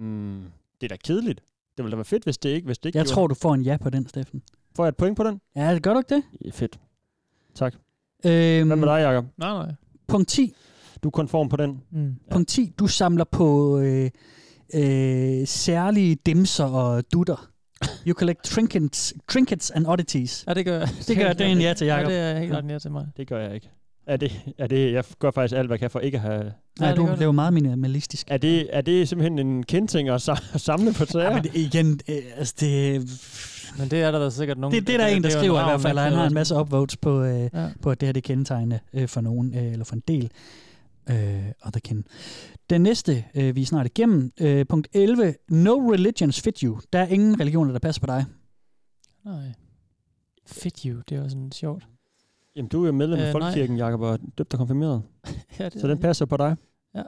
Mm, det er da kedeligt. Det ville da være fedt, hvis det ikke, hvis det ikke
Jeg
gjorde
tror,
det.
du får en ja på den, Steffen.
Får jeg et point på den?
Ja, det gør du ikke det?
Ja, fedt. Tak.
Øhm,
Hvad med dig, Jacob?
Nej, nej.
Punkt 10.
Du er konform på den.
Mm.
Ja. Punkt 10. Du samler på øh, øh, særlige dimser og dutter. You collect trinkets, trinkets and oddities.
Ja, det gør jeg.
*laughs* Det gør det er en ja til Jacob.
Ja, det er helt klart en ja til mig.
Det gør jeg ikke. Er det, er det, jeg gør faktisk alt, hvad jeg kan for ikke at have...
Nej, du blev meget minimalistisk.
Er det, er det simpelthen en kendting at sa- *laughs* samle på træer? Ja, men
det, igen, øh, altså det...
Men det er der da sikkert nogen...
Det, det er der en, der
jo
skriver i
ravn,
hvert fald, og han
der
har en
skriver
masse upvotes på, øh,
Ja.
ja. på at det her det er kendetegnende øh, for nogen, øh, eller for en del øh, other kin. Den næste, øh, vi er snart igennem, øh, punkt 11, no religions fit you. Der er ingen religioner, der passer på dig.
Nej. Fit you, det er jo sådan sjovt.
Jamen, du er jo medlem af
Øh,
øh,
nej.
Folkekirken, Jacob, og døbt og konfirmeret.
*laughs* Ja, det
så
er
den passer på dig.
Ja.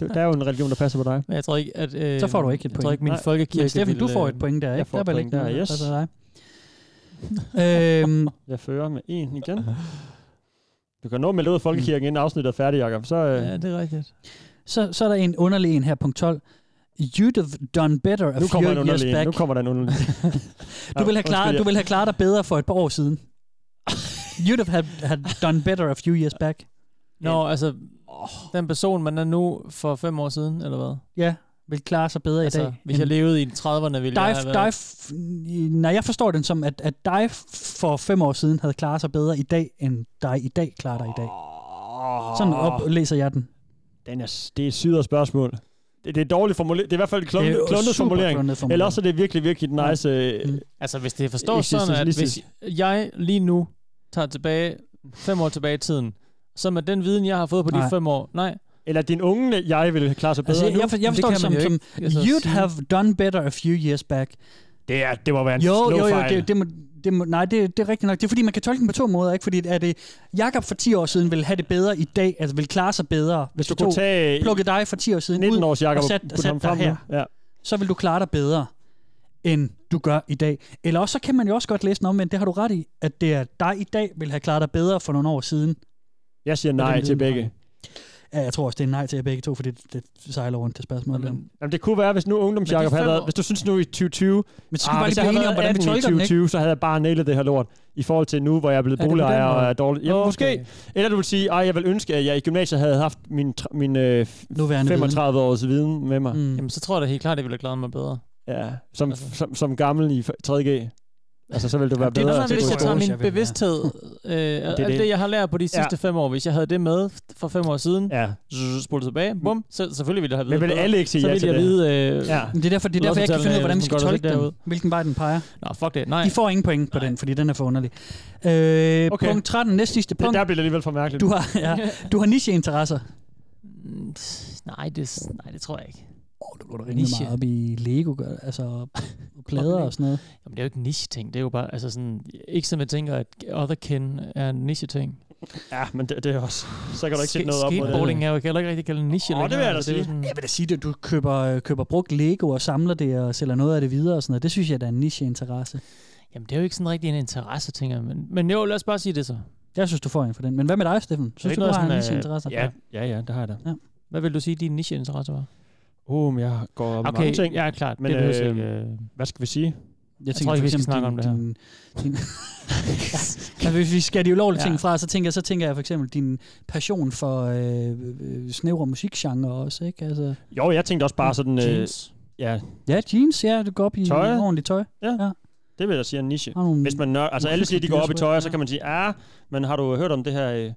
Det- der er jo en religion, der passer på dig.
Men jeg tror ikke, at... Øh,
Så får du ikke et
jeg
point.
tror ikke, min
Nej.
folkekirke
Men Steffen,
ville,
du får
øh,
et point der,
jeg
ikke?
får
Der er
et
vel
point
ikke noget,
der,
der
yes.
passer dig.
*laughs*
øhm,
Jeg fører med en igen. Du kan nå at melde ud af Folkekirken, inden afsnittet er færdigt, Jacob. Så, øh,
Ja, det er rigtigt.
Så, så er der en underlig en her, punkt 12. You'd have done better a
nu
few
kommer der en
years
underlig. en.
back.
Nu kommer der en underlig.
*laughs*
Du vil have klaret,
undskyld,
du vil have klaret dig bedre for et par år
*laughs*
siden. You'd have had, had done better a few years back.
Nå, altså, den person, man er nu for fem år siden, eller hvad?
Ja, vil klare sig bedre i
Altså,
dag.
hvis jeg
end-
levede i 30'erne, ville jeg
dig,
have været...
dig, f- nej, jeg forstår den som, at, at dig f- for fem år siden havde klaret sig bedre i dag, end dig i dag klarer dig i dag. Sådan
Ah.
oplæser jeg den.
Den er, s- det er et syder spørgsmål. Det, det er dårligt formuleret. Det er i hvert fald en
Det er
klundet,
jo
klundet
super
formulering.
klundet formuleret.
Eller også er det virkelig, virkelig nice... Øh,
Mm.
Altså, hvis det forstår sådan, at hvis jeg lige nu tager tilbage, fem år tilbage i tiden, så med den viden, jeg har fået på de
Nej.
fem år, nej.
Eller din unge jeg ville klare sig bedre
Altså, jeg,
nu.
jeg, for- jeg
Det
forstår
kan
det, som,
man jo
som
ikke, altså,
you'd
sige.
have done better a few years back.
Det, er, det må være en
Jo,
slå
jo, jo,
fejl.
det, det, må, det må, nej, det, det er rigtigt nok. Det er fordi, man kan tolke den på to måder, ikke? Fordi er det, Jakob for 10 år siden ville have det bedre i dag, altså ville klare sig bedre, hvis,
du kunne tage
plukke dig for 10 år siden
19
ud
års Jakob
og
og
sat,
putte
og sat
ham
dig
frem nu.
her,
ja.
så vil du klare dig bedre, end du gør i dag. Eller også så kan man jo også godt læse den omvendt, det har du ret i, at det er dig i dag ville have klaret dig bedre for nogle år siden.
Jeg siger
Med den
nej til
viden, du har.
begge.
Ja, jeg tror også, det er nej til jer begge to, fordi det, det sejler rundt, det spørgsmål. der.
Jamen, det kunne være, hvis nu ungdoms
Men de
Jacob havde
fem
været,
år-
hvis du synes nu i 2020,
Men så skal vi bare
hvis
lige
jeg havde
blive enige om,
været
hvordan vi
18 i
tolker den, ikke?
2020, så havde jeg bare nailet det her lort, i forhold til nu, hvor jeg er blevet
Er det på den
boligejer
måde?
og er dårlig. Jamen,
Okay.
okay. måske. Eller du vil sige, at jeg vil ønske, at jeg i gymnasiet havde haft min, tr- min øh, f-
Nuværende
35 års viden med mig.
Mm.
Jamen, så tror jeg da helt klart, at jeg ville have klaret mig bedre.
Ja, som, altså. som, som gammel i f- 3G. Altså, så ville du være
Det er
bedre.
noget,
til
hvis
at
jeg
gå i
tager
skole.
min bevidsthed, øh, alt
det.
det, jeg har lært på de sidste
Ja.
fem år, hvis jeg havde det med for fem år siden,
ja.
spole tilbage, bum, så selvfølgelig ville jeg have
Men vil
bedre.
alle ikke sige
så
ja
ville
til
jeg
det?
Vide, øh,
Ja.
Men Det er derfor, det er derfor jeg ikke kan finde ud af, hvordan vi skal tolke den.
derud.
Hvilken vej den peger.
Nå, fuck det. Nej.
De får ingen point på den, fordi den er for underlig. Øh, okay. Punkt 13, næst sidste punkt.
der bliver det alligevel for mærkeligt.
Du har, ja, du har nicheinteresser.
Mm, Nej, det, nej, det tror jeg ikke.
Oh, du går da rimelig meget op i Lego, gør,
*laughs*
altså og plader og sådan noget.
Jamen, det er jo ikke en niche-ting. Det er jo bare, altså sådan, ikke som jeg tænker, at otherkin er en niche-ting.
Ja, men det, det er også... Så kan du ikke sætte
Sk-
noget op på det.
Skateboarding er jo heller ikke rigtig kaldt en niche.
Åh, det vil jeg da sige.
Jeg vil da sige, at du køber, øh, køber brugt Lego og samler det og sælger noget af det videre og sådan noget. Det synes jeg, der er en nicheinteresse.
Jamen, det er jo ikke sådan rigtig en interesse, tænker jeg. Men, men jo, lad os bare sige det så.
Jeg synes, du får en for den. Men hvad med dig, Steffen?
Er det
Synes
ikke
du, du
noget
har en
sådan, øh,
nicheinteresse?
ja.
Ja, ja, det har jeg da.
Ja.
Hvad vil du sige, din niche-interesse var?
Åh, men jeg går op i
Okay,
mange ting.
ja, klart.
Men
Det behøves
øh,
ikke,
hvad skal vi sige?
Jeg
tror
tænker
ikke,
for
vi skal
eksempel
snakke om det her.
din, din altså, hvis vi skal de ulovlige
Ja.
ting fra, så tænker, så tænker jeg for eksempel din passion for øh, øh, snævre musikgenre også, ikke? Altså,
*laughs* Jo, jeg tænkte også bare sådan...
Jeans.
Øh, ja,
ja, jeans, ja, du går op i
Tøj?
ordentligt tøj.
Ja. det vil jeg sige er en niche.
Har nogle-
Hvis man nør, altså
nogle
alle siger, de
hyggelige
går op i
dyrsvøb,
tøj, og så kan man sige, ah, men har du hørt om det her, øh,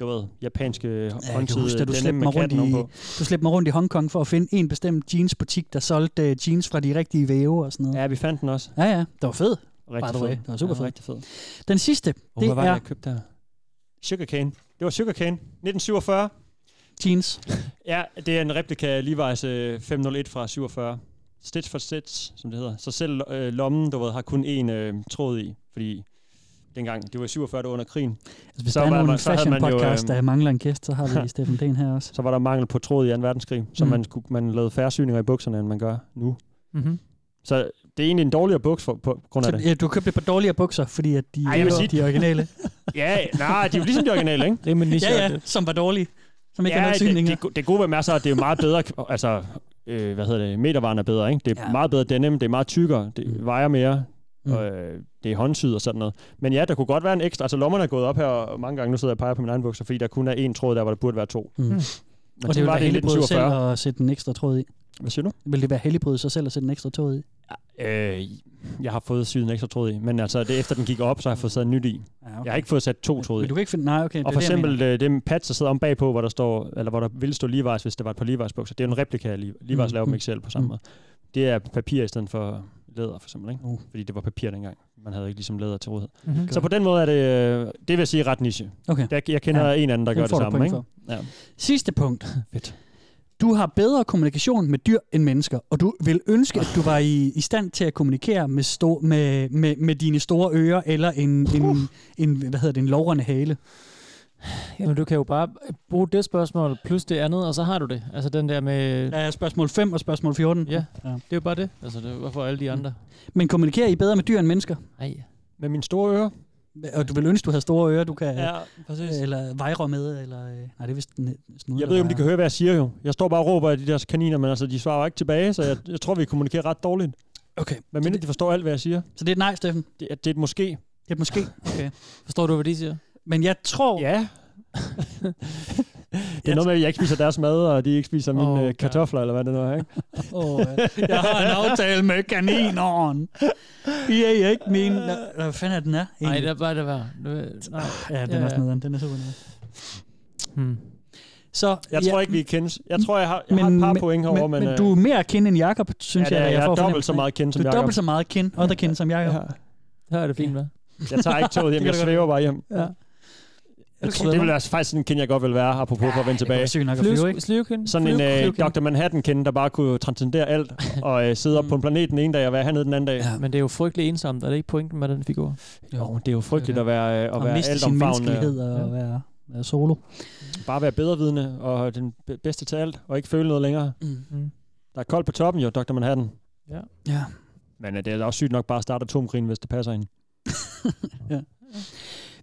du ved, japanske ja,
Jeg kan
håndtid,
huske, da du
denim
slæbte
øh, med
mig, rundt
katten
i,
ovenpå?
du slæbte mig rundt i Hongkong for at finde en bestemt jeansbutik, der solgte øh, jeans fra de rigtige væve og sådan noget.
Ja, vi fandt den også.
Ja, ja. Det var fed.
Rigtig
by the
fed.
way. Det var super
Ja,
fed.
rigtig fed.
Den sidste,
Oh,
det
hvad var det,
er
jeg købte der? Sugarcane. Det var Sugarcane. 1947.
jeans.
*laughs* Ja, det er en replika af Levi's øh, 501 fra 47. Stitch for stitch, som det hedder. Så selv øh, lommen, du ved, har kun én øh, tråd i, fordi dengang, det var i 47, det var under krigen.
Altså, Hvis så der er nogle fashion-podcast, der mangler en gæst, så har
*laughs*
vi Steffen Dehn her også.
øhm, Så var der mangel øh, på tråd i 2. verdenskrig, så
Mm.
mm. man, skulle, man lavede færre syninger i bukserne, end man gør nu.
Mhm.
Så det er egentlig en dårligere buks for, på grund af
Så,
det.
ja, du købte et par dårligere bukser, fordi at de,
Ej,
Ej,
jeg vil
var
sige-
de originale.
*laughs* ja, nej, de er jo ligesom de originale, ikke?
Det er med
ja, ja, som var dårlige. Som ikke
ja,
er noget syninger.
Det, det, go- det gode ved masser, at det er jo meget bedre, *laughs* altså øh, hvad hedder det, metervaren er bedre, ikke? Det er ja. meget bedre denim, det er meget tykkere, det mm. vejer mere, mm. og, øh, det er håndsyd og sådan noget. Men ja, der kunne godt være en ekstra, altså lommerne er gået op her, og mange gange nu sidder jeg og peger på min egen bukser, fordi der kun er én tråd der, hvor der burde være to.
Mm.
Men
Og det, det
var
ville
det
være
i
heldigbrød selv
1947.
at sætte en ekstra tråd i.
Hvad siger du?
Vil det være heldigbrød sig selv at sætte en ekstra tråd i?
Øh, jeg har fået syet en ekstra tråd i, men altså det er efter den gik op, så har jeg fået sat en nyt i.
Ja, okay.
Jeg har ikke fået sat to tråde i.
Men du kan ikke finde... Nej, okay. det er
Og for
det, jeg
eksempel det, det patch, der sidder om bagpå, hvor der, står, eller hvor der ville stå Levi's, hvis det var et par Levi's bukser. Det er jo en replika af Levi's. Levi's
Mm,
laver dem
mm,
ikke selv på samme
mm.
måde. Det er papir i stedet for læder, for eksempel. Ikke?
Uh.
Fordi det var papir dengang. Man havde ikke ligesom læder til rådighed.
Mhm.
Mm-hmm. Så på den måde er det, øh, det vil jeg sige, ret niche.
Okay.
Der, jeg kender ja. en anden, der
Den
gør det
får du
samme.
point
Ikke?
for.
Ja.
Sidste punkt. Fedt. Du har bedre kommunikation med dyr end mennesker, og du vil ønske, at du var i, i stand til at kommunikere med, sto, med, med, med dine store ører eller en, en, en, hvad hedder det, en lovrende hale.
Jamen, du kan jo bare bruge det spørgsmål plus det andet, og så har du det. Altså den der med...
Ja, spørgsmål 5 og spørgsmål 14.
Ja,
ja. det
er jo bare det. Altså, det, hvorfor alle de andre?
Men kommunikerer I bedre med dyr end mennesker?
Nej.
Med mine store ører?
Og du vil ønske, du havde store ører, du kan...
Ja, præcis.
Eller vejre med, eller... øh, Nej, det er vist en snude.
Jeg ved ikke, om de kan høre, hvad jeg siger jo. Jeg står bare og råber af de der kaniner, men altså, de svarer jo ikke tilbage, så jeg, jeg tror, vi kommunikerer ret dårligt.
Okay.
Men mindre de forstår alt, hvad jeg siger.
Så det er et nej, Steffen?
Det, er- det er et måske. Det
er et måske. Okay.
Forstår du, hvad de siger?
Men jeg tror... *laughs*
Ja. Det er noget med, at jeg ikke spiser deres mad, og de ikke spiser mine oh, kartofler, eller hvad det nu er, ikke?
Åh, ja. jeg har en aftale med kanineren. I er ikke min... Nå, Hvad fanden er den er?
Nej,
egentlig?
det er bare det værd. Det- Nej.
Ja, den er også nederen. Den er super nederen.
Hmm.
Så,
Jeg tror ikke, vi kendes. Jeg tror, jeg har, jeg men, har et par point herovre, men...
men,
øh,
men du er mere kendt end Jakob, synes
Ja, det er
jeg.
jeg. Jeg er
får
dobbelt
fornemmelsen
så
af.
meget kendt som
Du er
Jakob.
dobbelt så meget kendt, og der kendt som Jakob.
Her er det fint, hvad?
Jeg tager ikke
*laughs*
toget hjem, jeg svæver bare hjem.
Ja.
Jeg tror, det ville være faktisk sådan en kende, jeg godt vil være, apropos for at vende tilbage.
sygt nok at flyve, ikke?
Flyvekind.
Sådan en øh, Dr. Manhattan-kende, der bare kunne transcendere alt,
*laughs*
og øh, sidde op på en planet den ene dag, og være hernede den anden dag.
Mm. Men det er jo frygtelig ensomt. Er det ikke pointen med den figur?
Jo, det er jo frygteligt at være, øh, at
Og
være
miste sin
altomfavnende.
menneskelighed og
Ja.
være, være solo.
Bare være bedrevidende og den be- bedste til alt, og ikke føle noget længere.
Mm.
Der er koldt på toppen jo, Dr. Manhattan.
Ja.
Ja.
Men øh, det er da også sygt nok bare at starte atomkrigen, hvis det passer ind.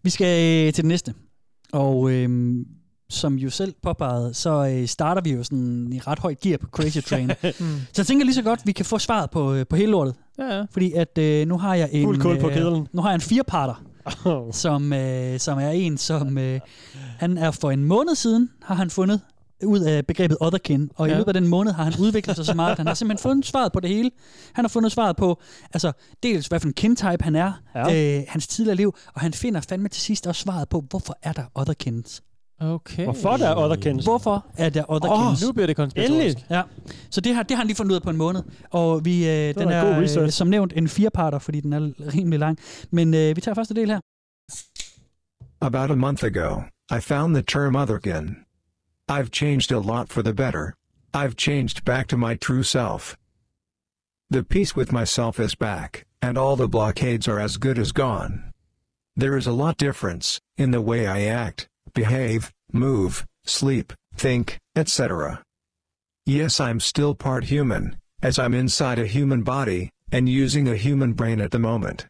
Vi skal øh, til det næste. Og øhm, som jo selv påpegede, så øh, starter vi jo sådan i ret højt gear på Crazy Train. mm. Så jeg tænker lige så godt, vi kan få svaret på, øh, på hele lortet.
Ja, ja.
Fordi at øh, nu har jeg en... øh,
Fuld kul på kedlen.
Nu har jeg en fireparter,
oh.
som, øh, som er en, som... Øh, han er for en måned siden, har han fundet ud af begrebet otherkin, og ja. i
Ja.
løbet af den måned har han udviklet sig så meget, at han har simpelthen fundet svaret på det hele. Han har fundet svaret på, altså dels hvad for en kintype han er,
Ja.
ja. øh, hans tidligere liv, og han finder fandme til sidst også svaret på, hvorfor er der otherkins?
Okay.
Hvorfor der er otherkins?
Hvorfor er der otherkins?
Åh, nu bliver det konspiratorisk. Endelig.
Ja. Så det har, det har han lige fundet ud af på en måned. Og vi, øh, den
da god
er, øh,
research.
som nævnt, en fireparter, fordi den er l- rimelig lang. Men øh, vi tager første del her.
About a month ago, I found the term otherkin. I've changed a lot for the better. I've changed back to my true self. The peace with myself is back, and all the blockades are as good as gone. There is a lot difference in the way I act, behave, move, sleep, think, etc. Yes, I'm still part human, as I'm inside a human body and using a human brain at the moment.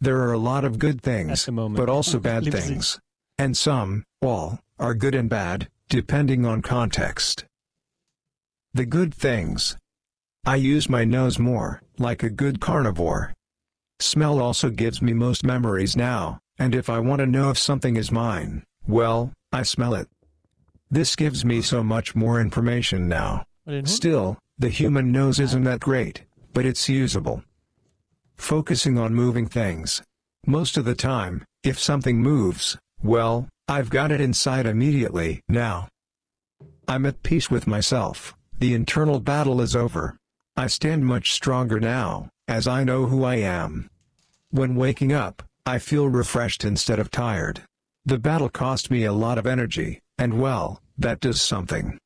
There are a lot of good things, but also bad
Lipstick.
things. And some, all, are good and bad, depending on context. The good things. I use my nose more, like a good carnivore. Smell also gives me most memories now, and if I want to know if something is mine, well, I smell it. This gives me so much more information now. Still, the human nose isn't that great, but it's usable. Focusing on moving things. Most of the time, if something moves, well, I've got it inside immediately now. I'm at peace with myself. The internal battle is over. I stand much stronger now, as I know who I am. When waking up, I feel refreshed instead of tired. The battle cost me a lot of energy, and well, that does something.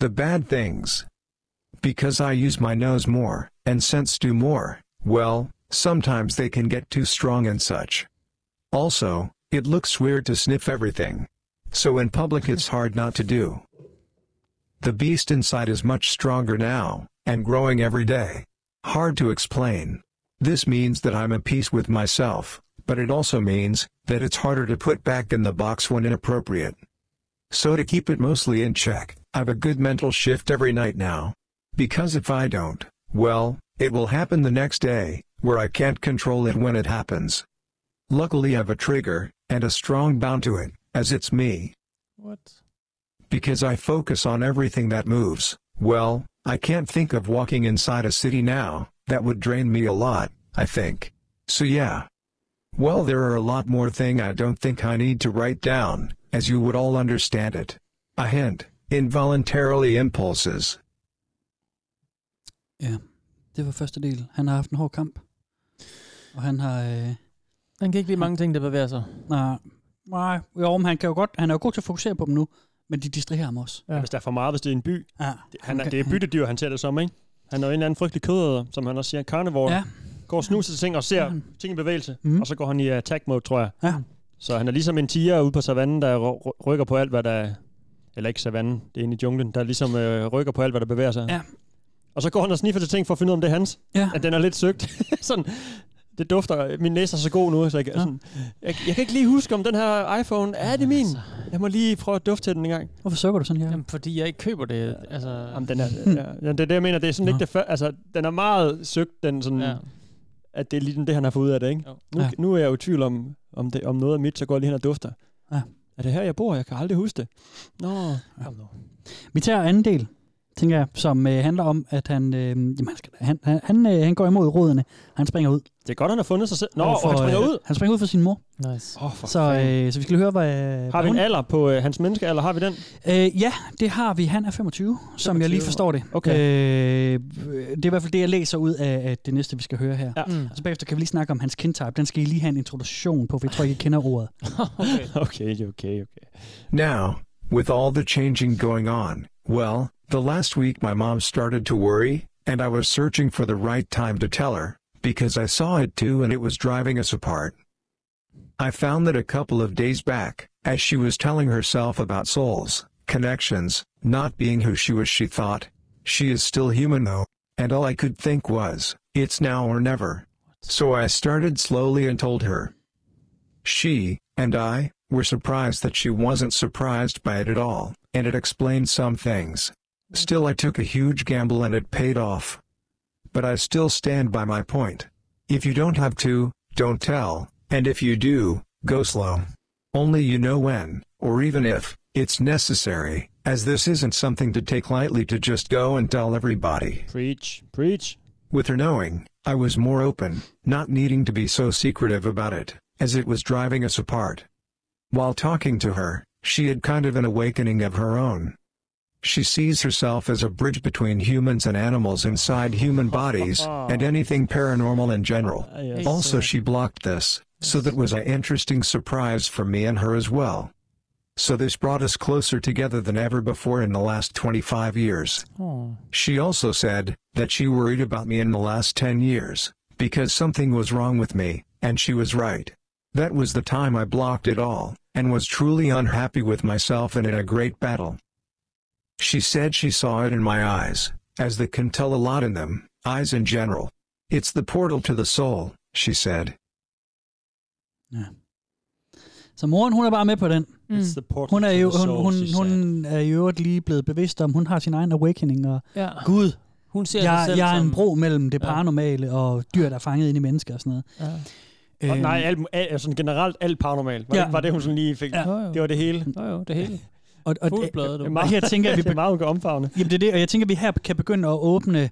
The bad things. Because I use my nose more, and sense do more, well, sometimes they can get too strong and such. Also, it looks weird to sniff everything. So in public it's hard not to do. The beast inside is much stronger now, and growing every day. Hard to explain. This means that I'm at peace with myself, but it also means that it's harder to put back in the box when inappropriate. So to keep it mostly in check, I've a good mental shift every night now. Because if I don't, well, it will happen the next day, where I can't control it when it happens. Luckily I've a trigger, and a strong bound to it, as it's me.
What?
Because I focus on everything that moves, well, I can't think of walking inside a city now, that would drain me a lot, I think. So yeah. Well there are a lot more thing I don't think I need to write down, as you would all understand it. A hint, involuntarily impulses.
Ja, det var første del. Han har haft en hård kamp. Og han har... Øh,
Han kan ikke lide mange ting, der bevæger sig.
nej, nej, jo, men han, kan jo godt, han er jo god til at fokusere på dem nu, men de distraherer ham også.
Ja. Hvis der er for meget, hvis det er en by.
Ja.
Det, han er, det er byttedyr, han ser det som, ikke? Han er jo en eller anden frygtelig kødæder, som han også siger, carnivore.
Ja. Mhm.
Går og snuser til ting og ser ting i bevægelse, mm. og så går han i attack mode, tror jeg.
Ja.
Så han er ligesom en tiger ude på savannen, der ry- ry- rykker på alt, hvad der... Eller ikke savannen, det er inde i junglen, der ligesom øh, rykker på alt, hvad der bevæger sig.
Ja.
Og så går han og sniffer til ting for at finde ud af, om det er hans.
Ja.
At den er lidt søgt. *laughs* sådan, det dufter, min næse er så god nu, så jeg, kan- sådan, jeg, jeg kan ikke lige huske, om den her iPhone, er det min? Jeg må lige prøve at dufte til den en gang.
altså. Hvorfor sukker du sådan her?
Jamen, fordi jeg ikke køber det. Altså, Jamen,
den er, Øh, ja, det er det, jeg mener. Det er sådan ikke det før, altså, den er meget søgt, den sådan, ja. at det er lige den, det, han har fået ud af det, ikke? Nu,
Ja.
ja. nu er jeg jo i tvivl om, om, det, om noget er mit, så går jeg lige hen og dufter.
Ja.
Er det her, jeg bor? Jeg kan aldrig huske det. Nå,
Vi tager anden del, tænker jeg, som øh, handler om, at han, øh, jamen, han, skal, han, han, han, øh, han går imod rådene. Han springer ud.
det er godt, han har fundet sig selv. Nå,
Overfor,
for, han springer
øh,
ud.
Han springer ud for sin mor.
Nice.
Oh, for
så,
fanden.
øh, så vi skal høre, hvad...
Har vi
hvad
en
hun-
alder på øh, hans menneskealder? Har vi den?
Øh, ja, det har vi. Han er 25, som jeg lige
25.
forstår det.
Okay.
Øh, det er i hvert fald det, jeg læser ud af, af det næste, vi skal høre her.
Ja. Mm.
Og så bagefter kan vi lige snakke om hans kintype. Den skal I lige have en introduktion på, for jeg tror ikke, I kender ordet.
okay, okay, okay.
Now, with all the changing going on, well, the last week my mom started to worry, and I was searching for the right time to tell her, because I saw it too and it was driving us apart. I found that a couple of days back, as she was telling herself about souls, connections, not being who she was, she thought, she is still human though, and all I could think was, it's now or never. So I started slowly and told her, she and I were surprised that she wasn't surprised by it at all, and it explained some things. Still, I took a huge gamble and it paid off. But I still stand by my point. If you don't have to, don't tell, and if you do, go slow. Only you know when, or even if, it's necessary, as this isn't something to take lightly to just go and tell everybody.
Preach, preach.
With her knowing, I was more open, not needing to be so secretive about it, as it was driving us apart. While talking to her, she had kind of an awakening of her own. She sees herself as a bridge between humans and animals inside human bodies, and anything paranormal in general.
yes.
Also, she blocked this, so that was an interesting surprise for me and her as well. So, this brought us closer together than ever before in the last 25 years.
Oh.
She also said that she worried about me in the last 10 years because something was wrong with me, and she was right. That was the time I blocked it all and was truly unhappy with myself and in a great battle. She said she saw it in my eyes, as they can tell a lot in them, eyes in general. It's the portal to the soul, she said.
Så moren, hun er bare med på den.
Mm. It's the portal
Hun er
to
jo
the
hun,
soul,
hun,
she
hun er i øvrigt lige blevet bevidst om, hun har sin egen awakening, og
Ja.
Gud,
Hun ser
jeg,
sig selv
jeg er en
som-
bro mellem det
Ja.
paranormale og dyr, der er fanget ind i mennesker og sådan noget.
Ja.
Øh. Og nej, alt, alt, sådan generelt alt paranormal. Var,
Ja.
ja. var det, hun sådan lige fik?
Ja.
Ja. Det var det hele.
Jo, jo, det hele.
Og, og
Fuglebladet, du.
det, og her tænker jeg, vi
det er *laughs* meget, hun kan omfavne.
Jamen det er det, og jeg tænker, at vi her kan begynde at åbne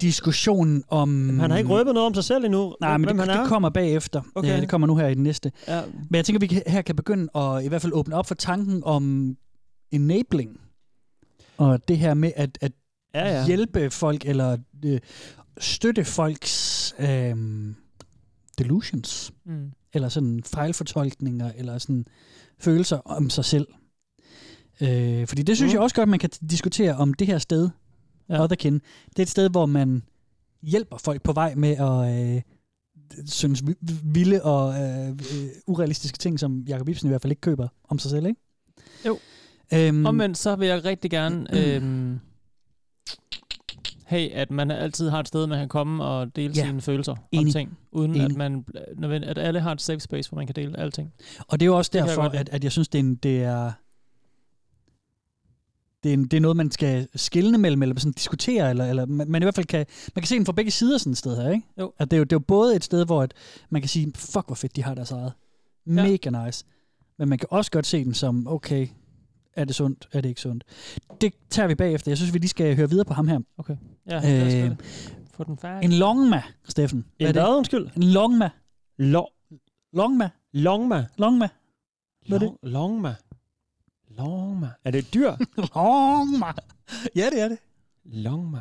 diskussionen om... Jamen,
Han har ikke røbet noget om sig selv endnu.
Nej, men
hvem
det,
han er.
det kommer bagefter.
Okay.
Ja, det kommer nu her i den næste.
Ja.
Men jeg tænker, at vi kan- her kan begynde at i hvert fald åbne op for tanken om enabling. Og det her med at, at
Ja, ja.
hjælpe folk, eller øh, støtte folks øh, delusions.
Mm.
Eller sådan fejlfortolkninger, eller sådan følelser om sig selv. Øh, fordi det synes mm. jeg også godt, man kan diskutere om det her sted, ja. Otherkin. Det er et sted, hvor man hjælper folk på vej med at øh, synes vi- vilde og øh, øh, urealistiske ting, som Jacob Ibsen i hvert fald ikke køber om sig selv, ikke?
Jo.
Øhm,
Og men så vil jeg rigtig
Mm.
gerne øhm, have, at man altid har et sted, man kan komme og dele
Ja.
ja. sine følelser om
Enig.
ting, uden
Enig.
at man bl- nødvendig- at alle har et safe space, hvor man kan dele alting.
Og det er jo også
Det kan jeg
derfor,
godt lide.
at, at jeg synes, det er, en, det er det, er, en- det er noget, man skal skille mellem, eller sådan diskutere, eller, eller man, man i hvert fald kan, man kan se den fra begge sider sådan et sted her, ikke?
Jo.
At det, er jo, det er jo både et sted, hvor at man kan sige, fuck hvor fedt de har deres eget. Mega nice. Men man kan også godt se den som, okay, er det sundt, er det ikke sundt? Det tager vi bagefter. Jeg synes, vi lige skal høre videre på ham her.
Okay. Ja, lad os gøre
Øh,
det. Få den færdig.
en longma, Steffen.
En
er det?
hvad,
undskyld?
En longma.
Lo-
longma.
Longma.
Longma.
Hvad er det? Longma. Longma. Er det et dyr?
*laughs* longma. Ja, det er det.
*laughs* Longma.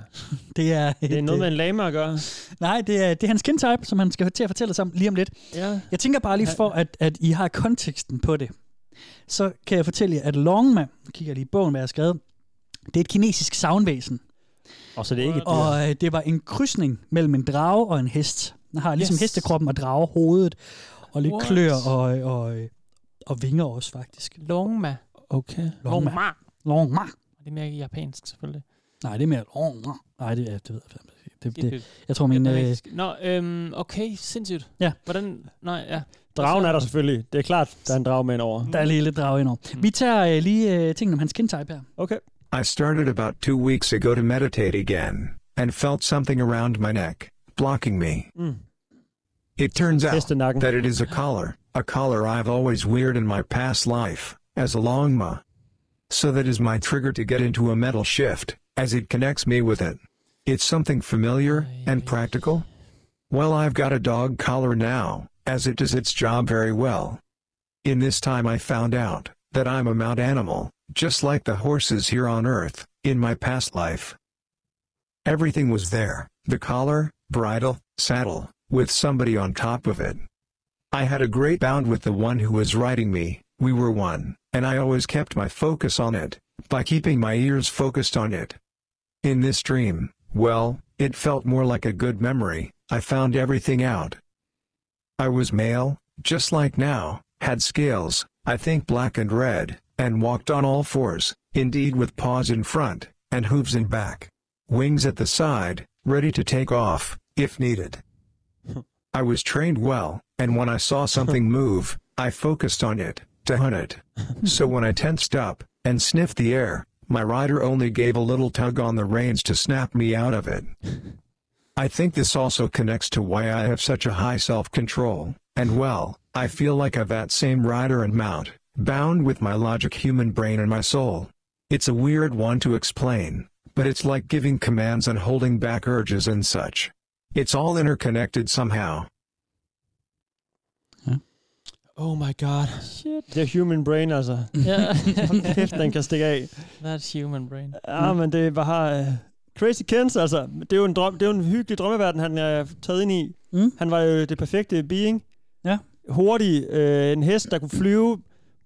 Det er, øh,
Det er noget med en lama at gøre.
Nej, det er, det er hans kintype, som han skal til at fortælle os om lige om lidt.
Ja.
Jeg tænker bare lige for, at, at I har konteksten på det. Så kan jeg fortælle jer, at longma, nu kigger jeg lige i bogen, hvad jeg har skrevet, det er et kinesisk savnvæsen.
Og så det er ikke et dyr.
Og øh, det var en krydsning mellem en drage og en hest. Den har ligesom yes.
Yes.
hestekroppen og dragehovedet, og lidt
What?
What? klør og, øh, og, og vinger også faktisk.
Longma.
Okay.
Longma.
Longma.
Longma.
Det er mere japansk, selvfølgelig.
Nej, det er mere longma. Nej, det, er, det ved jeg fandme ikke. det,
Det er
det, Jeg tror, min... Øh,
Japansk. Nå, øhm, okay, sindssygt.
Ja.
Hvordan? Nej, ja.
Dragen er der selvfølgelig. Det er klart, der er en drag med ind over.
der er lige lidt drage indover. Vi tager øh, lige øh, tingene om hans kintype her.
Okay.
I started about two weeks ago to meditate again, and felt something around my neck, blocking me.
Mm.
It turns out
Test and
that it is a collar, a collar I've always weird in my past life, as a longma. So that is my trigger to get into a metal shift, as it connects me with it. It's something familiar and practical. Well, I've got a dog collar now, as it does its job very well. In this time, I found out that I'm a mount animal, just like the horses here on earth, in my past life. Everything was there the collar, bridle, saddle, with somebody on top of it. I had a great bond with the one who was riding me, we were one, and I always kept my focus on it, by keeping my ears focused on it. In this dream, well, it felt more like a good memory, I found everything out. I was male, just like now, had scales, I think black and red, and walked on all fours, indeed with paws in front, and hooves in back. Wings at the side, ready to take off, if needed. I was trained well, and when I saw something move, I focused on it, to hunt it. So when I tensed up, and sniffed the air, my rider only gave a little tug on the reins to snap me out of it. I think this also connects to why I have such a high self control, and well, I feel like I've that same rider and mount, bound with my logic human brain and my soul. It's a weird one to explain, but it's like giving commands and holding back urges and such. It's all interconnected somehow.
Oh my god. Shit. Det er human brain, altså.
Ja.
*laughs* Hold kæft, den kan stikke af.
That's human brain.
Mm.
Ja, men det er bare... Uh, Crazy Kens, altså. Det er jo en, drøm, det er jo en hyggelig drømmeverden, han er taget ind i.
Mm.
Han var jo det perfekte being.
Ja.
Hurtig. Øh, en hest, der kunne flyve.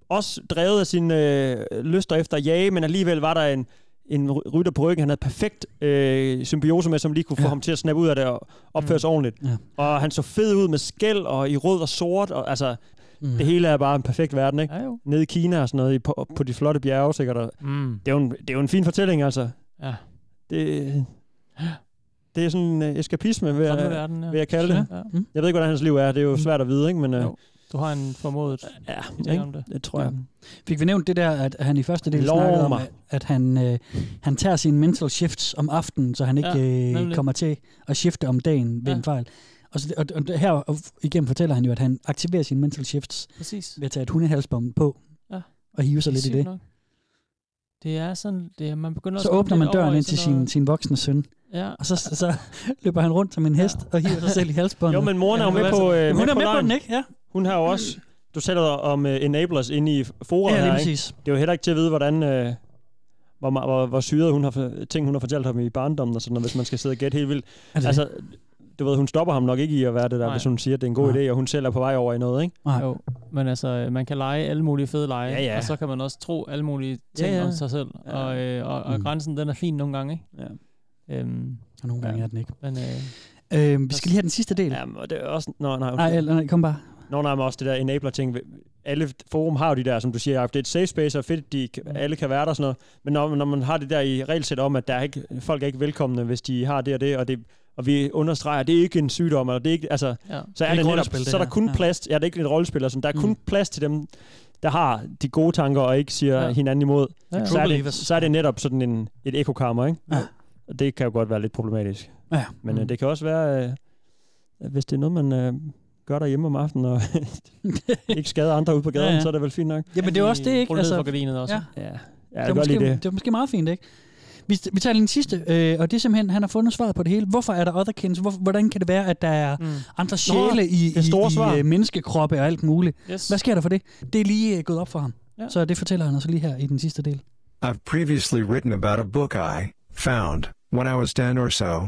Også drevet af sine øh, lyster efter at jage, men alligevel var der en, en ry- rytter på ryggen, han havde perfekt øh, symbiose med, som lige kunne få ja. ham til at snappe ud af det og opføre sig mm. ordentligt.
Ja.
Og han så fed ud med skæld og i rød og sort. Og, altså,
Mm.
det hele er bare en perfekt verden, ikke?
Ja,
Nede i Kina og sådan noget, i- på, på de flotte bjerge sikkert. Og,
Mm.
det er, jo en, det er jo en fin fortælling, altså.
Ja.
Det, det er sådan en øh, eskapisme, vil jeg,
Drømmeverden, ja.
vil jeg kalde det.
Ja. Mm.
Jeg ved ikke, hvordan hans liv er. Det er jo svært at vide, ikke? Men, øh,
Du har en formodet
ja,
idé om det. Mm.
Det tror jeg.
Fik vi nævnt det der, at han i første del
Lov
snakkede om,
mig.
at, at han, øh, han tager sine mental shifts om aftenen, så han ikke
Ja,
ja, øh,
nemlig.
kommer til at skifte om dagen ved
Ja.
ja. en fejl. Og, så, og, og her og igen fortæller han jo, at han aktiverer sine mental shifts
Præcis.
ved at tage et hundehalsbånd på
Ja.
og hive sig
Det er
lidt i
sygt
det.
nok. Det er sådan, det er, man begynder
Så
at komme
åbner
lidt
man døren
over i
ind til
sådan
sin,
noget-
sin voksne søn,
Ja.
og så, så løber han rundt som en hest ja. og hiver sig selv i halsbåndet.
Jo, men moren er jo med på, øh,
Hun er med på
lejen.
den, ikke? Ja. Mm.
Hun har jo også... Du taler om øh, enablers inde i foråret
Ja, lige
her,
præcis.
Ikke? Det er jo heller ikke til at vide, hvordan... Øh, hvor, ma- hvor, hvor syret hun har, for- ting, hun har fortalt ham i barndommen og sådan noget, hvis man skal sidde og gætte helt vildt.
det
Altså, du ved, hun stopper ham nok ikke i at være det der,
Nej.
hvis hun siger, at det er en god idé, og hun selv er på vej over i noget, ikke?
Nej.
Jo, men altså, øh, man kan lege alle mulige fede lege,
Ja, ja.
og så kan man også tro alle mulige ting
Ja,
ja,
ja.
ja. om sig selv, ja. og, øh, og, og
Mm.
grænsen, den er fin nogle gange, ikke? Ja. Øhm,
Og nogle gange er den ikke.
Men, øh,
Øh, vi skal lige have den sidste del.
Jamen, og det er også... Nå, nej,
Nej, eller- nej, kom bare.
Nå, nej, men også det der enabler-ting. Alle forum har jo de der, som du siger, Jacob, det er et safe space, og fedt, de, kan- alle kan være der og sådan noget. Men når, når man har det der i regelsæt om, at der er ikke, folk er ikke velkomne, hvis de har det og det, og, det, og vi understreger, at det er ikke en sygdom, eller det er ikke, altså,
Ja.
så
Det er
er,
ikke
det netop,
rollespil, det
så er der
her.
kun
Ja.
Mm.
plads, ja, det er ikke et rollespil, altså, der er kun plads til dem, der har de gode tanker og ikke siger
Ja.
ja. hinanden imod,
Ja, ja.
Så, er
True
det, så er det netop sådan en, et ekokammer, ikke? Ja. Og det kan jo godt være lidt problematisk.
Ja.
Men øh, det kan også være, øh, at hvis det er noget, man øh, gør derhjemme om aftenen,
*laughs*
og ikke skader andre ude på gaden,
Ja,
ja,
ja.
ja. så er det vel fint nok.
Jamen det er også det, ikke? Altså,
Ja, ja
det,
jeg
var
kan godt
måske,
lide det.
det var måske meget fint, ikke? Vi, vi tager lige den sidste, øh, og det er simpelthen, han har fundet svaret på det hele. Hvorfor er der otherkins? Hvor, hvordan kan det være, at der er mm. andre sjæle i,
det store
i,
svar.
i øh, menneskekroppe og alt muligt?
Yes.
Hvad sker der for det? Det er lige øh, gået op for ham.
Ja.
Så det fortæller han også lige her i den sidste del.
I've previously written about a book I found when I was 10 or so.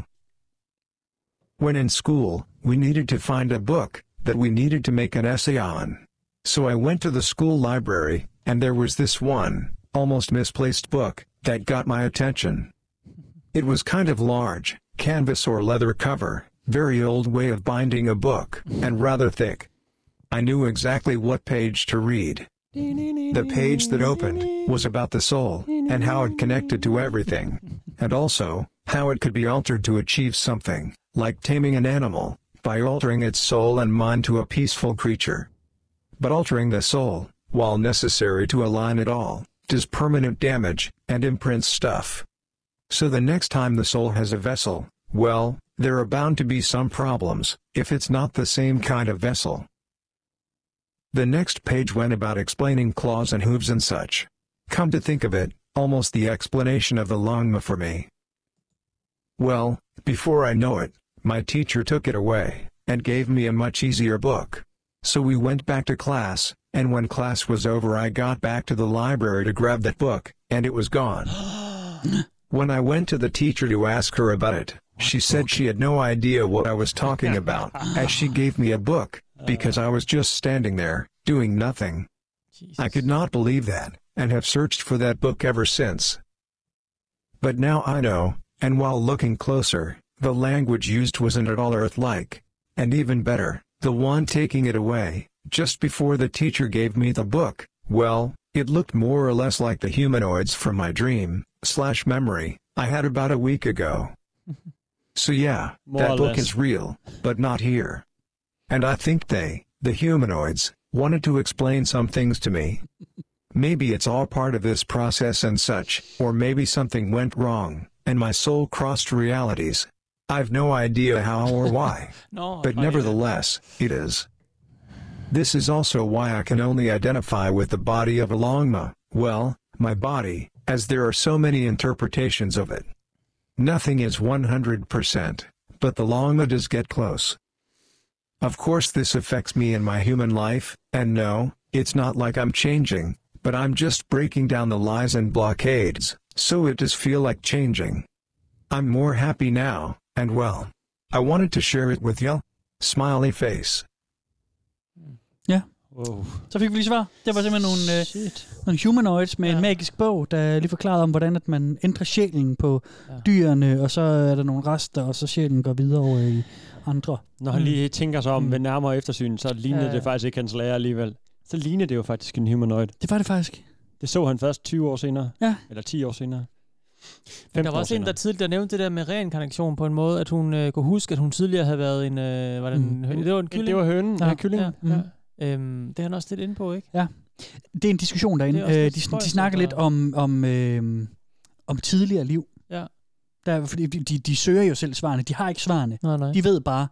When in school, we needed to find a book that we needed to make an essay on. So I went to the school library, and there was this one, almost misplaced book, that got my attention. It was kind of large, canvas or leather cover, very old way of binding a book, and rather thick. I knew exactly what page to read. The page that opened was about the soul and how it connected to everything, and also how it could be altered to achieve something, like taming an animal, by altering its soul and mind to a peaceful creature. But altering the soul, while necessary to align it all, does permanent damage and imprints stuff. So the next time the soul has a vessel, well, there are bound to be some problems if it's not the same kind of vessel. The next page went about explaining claws and hooves and such. Come to think of it, almost the explanation of the longma for me. Well, before I know it, my teacher took it away and gave me a much easier book. So we went back to class, and when class was over, I got back to the library to grab that book, and it was gone. *gasps* When I went to the teacher to ask her about it, she said she had no idea what I was talking about, as she gave me a book, because I was just standing there, doing nothing. I could not believe that, and have searched for that book ever since. But now I know, and while looking closer, the language used wasn't at all Earth like. And even better, the one taking it away, just before the teacher gave me the book, well, it looked more or less like the humanoids from my dream, slash memory, I had about a
*laughs*
week ago. So yeah,
More or
that book
less.
is real, but not here. And I think they, the humanoids, wanted to explain some things to me. Maybe it's all part of this process and such, or maybe something went wrong, and my soul crossed realities. I've no idea how or why.
*laughs* No,
but
I-
nevertheless, it is. This is also why I can only identify with the body of a longma, well, my body, as there are so many interpretations of it. Nothing is 100%, but the longma does get close. Of course, this affects me in my human life, and no, it's not like I'm changing, but I'm just breaking down the lies and blockades, so it does feel like changing. I'm more happy now, and well, I wanted to share it with y'all. Smiley face.
Wow.
Så fik vi lige svar. Det var simpelthen nogle, øh, nogle humanoids med ja. en magisk bog, der lige forklarede om, hvordan at man ændrer sjælen på ja. dyrene, og så er der nogle rester, og så sjælen går videre over i andre.
Når han lige tænker sig om ved nærmere eftersyn, så ligner
Ja, ja.
det faktisk ikke hans lærer alligevel. Så ligner det jo faktisk en humanoid.
Det var det faktisk.
Det så han først 20 år senere.
Ja.
Eller 10 år senere.
Men der var også en, der tidligere nævnte det der med reinkarnation på en måde, at hun øh, kunne huske, at hun tidligere havde været en... Øh, var det, en,
Mm.
hø- det var en kylling?
Det var hønen. Ja,
Ja,
kyllingen. Mm.
ja. Øhm, det er han også lidt inde på, ikke?
Ja. Det er en diskussion derinde.
Det
Øh,
er også
de,
lidt
sn-
spøjst, altså.
de snakker lidt om, om, øh, om tidligere liv.
Ja.
Der, fordi de, de, de søger jo selv svarene. De har ikke svarene.
Nej, nej.
De ved bare,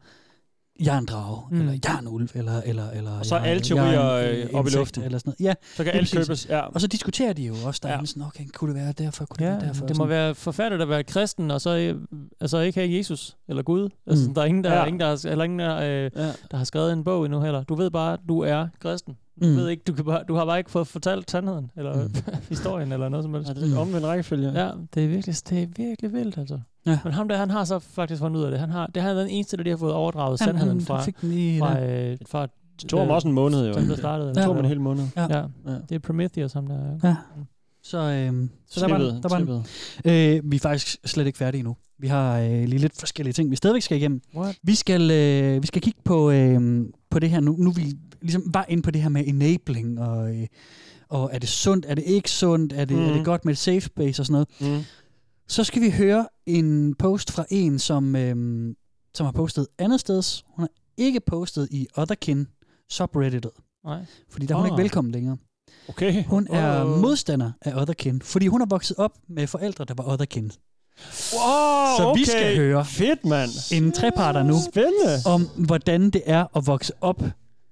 jeg er en drage,
Mm.
mm. eller jeg er en ulv, eller, eller, eller
Og så er
jeg,
alle
jeg en,
teorier,
øh,
øh, op i
insekt,
luften.
Eller sådan noget. Ja,
Så kan
lige
alt
præcis.
købes, ja.
Og så diskuterer de jo også, der ja. sådan, okay, kunne det være derfor, kunne det
Ja,
være derfor.
det må
Sådan.
være forfærdeligt at være kristen, og så øh, altså ikke have Jesus eller Gud. Altså,
Mm.
Der er ingen, der,
Ja.
ja. ingen, der, har, eller ingen der, øh,
ja.
der har skrevet en bog endnu heller. Du ved bare, at du er kristen. Du,
Mm.
ved ikke, du, kan bare, du har bare ikke fået fortalt sandheden, eller mm. *laughs* historien, eller noget som helst. Ja,
det er lidt omvendt rækkefølge.
Mm. Ja, det er virkelig, det er virkelig vildt, altså.
Ja.
Men ham der, han har så faktisk fundet ud af det. Han har, det har været den eneste, der lige har fået overdraget
Han-
sandheden
han
fra,
fik den lige-
fra,
ja.
øh, fra
Det tog ham også en måned, jo.
Dem, der startede.
Det tog ham en hel måned.
Ja.
Ja.
ja. Det er Prometheus, ham der. Mm.
Ja. Så, øhm, så der var den. Der var den. Øh, vi er faktisk slet ikke færdige endnu. Vi har øh, lige lidt forskellige ting, vi stadigvæk skal igennem.
What?
Vi skal, øh, vi skal kigge på, øh, på det her nu. Nu er vi ligesom bare inde på det her med enabling, og, øh, og er det sundt, er det ikke sundt, er det, mm. er
Mhm.
det godt med et safe space og sådan
noget. Mm.
Så skal vi høre en post fra en, som, øh, som har postet andet sted. Hun har ikke postet i Otherkin subredditet.
Nej.
Fordi der er hun
Åh.
ikke velkommen længere.
Ah. Okay. Ah.
Hun er
Wow.
modstander af Otherkin, fordi hun er vokset op med forældre, der var Otherkin.
Wow,
Så
Ah, okay.
vi skal høre
Fedt, mand.
en treparter nu
Spændende.
om, hvordan det er at vokse op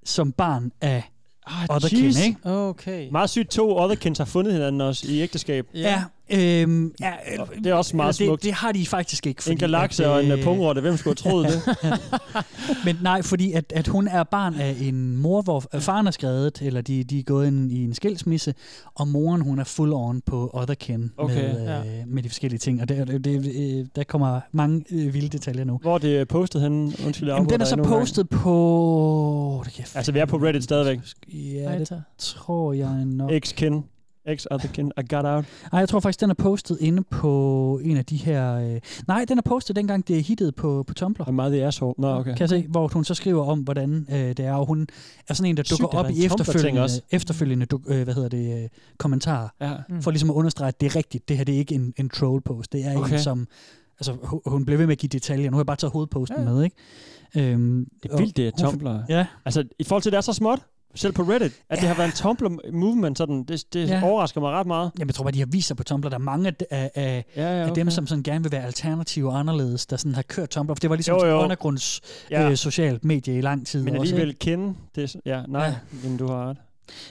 som barn af
Ah,
Otherkin.
jeez.
Ikke?
Okay.
Meget sygt, to Otherkins har fundet hinanden også i ægteskab.
Ja. Øhm, ja,
Og det er også meget
eller
smukt.
Det, det har de faktisk ikke.
En galakse og en, øh, pungrotte. Hvem skulle have
*laughs*
troet *laughs*
det? Men nej, fordi at, at hun er barn af en mor, hvor øh, faren er skrevet, eller de, de er gået ind i en skilsmisse, og moren hun er full on på otherkin
Okay,
med, øh,
ja.
med de forskellige ting. Og der, det, det, øh, der kommer mange øh, vilde detaljer nu.
Hvor er det øh, postet henne? Mm, Undskyld, jeg
Jamen,
afbryder
den er
dig
så
endnu en gang.
postet på... Det kan jeg
Altså, vi er på Reddit stadigvæk.
Ja, det tror jeg nok.
Ex-kin. Ex-otherkin. I got out.
Ej, jeg tror faktisk, den er postet inde på en af de her... Øh... Nej, den er postet dengang, det er hittet på, på Tumblr.
Og meget i asshole. Nå, okay.
Kan jeg se, hvor hun så skriver om, hvordan øh, det er, og hun er sådan en, der
Sygt,
dukker
at der
op
er en
i
Tumblr-ting
efterfølgende,
også.
efterfølgende duk, øh, hvad hedder det, øh, kommentarer,
ja.
for ligesom at understrege, at det er rigtigt. Det her det er ikke en, en troll-post. Det er okay.
Okay.
en, som... Altså, hu- hun blev ved med at give detaljer. Nu har jeg bare taget hovedposten ja. med, ikke? Øhm,
Det er vildt, det er Tumblr.
Ja.
Altså, i forhold til, at det er så småt, selv på Reddit, at ja. det har været en Tumblr-movement, sådan, det, det
Ja.
ja. overrasker mig ret meget.
Jamen, jeg tror bare, de har vist sig på Tumblr. Der er mange af, af, af,
ja, ja,
okay. af dem,
okay.
som sådan gerne vil være alternative og anderledes, der sådan har kørt Tumblr. For det var ligesom
Jo,
jo,
jo.
jo. undergrunds
Ja.
ja. øh, socialt medie i lang tid.
Men
også,
alligevel
ikke?
kende det. Ja, nej, ja. Jamen, du har ret.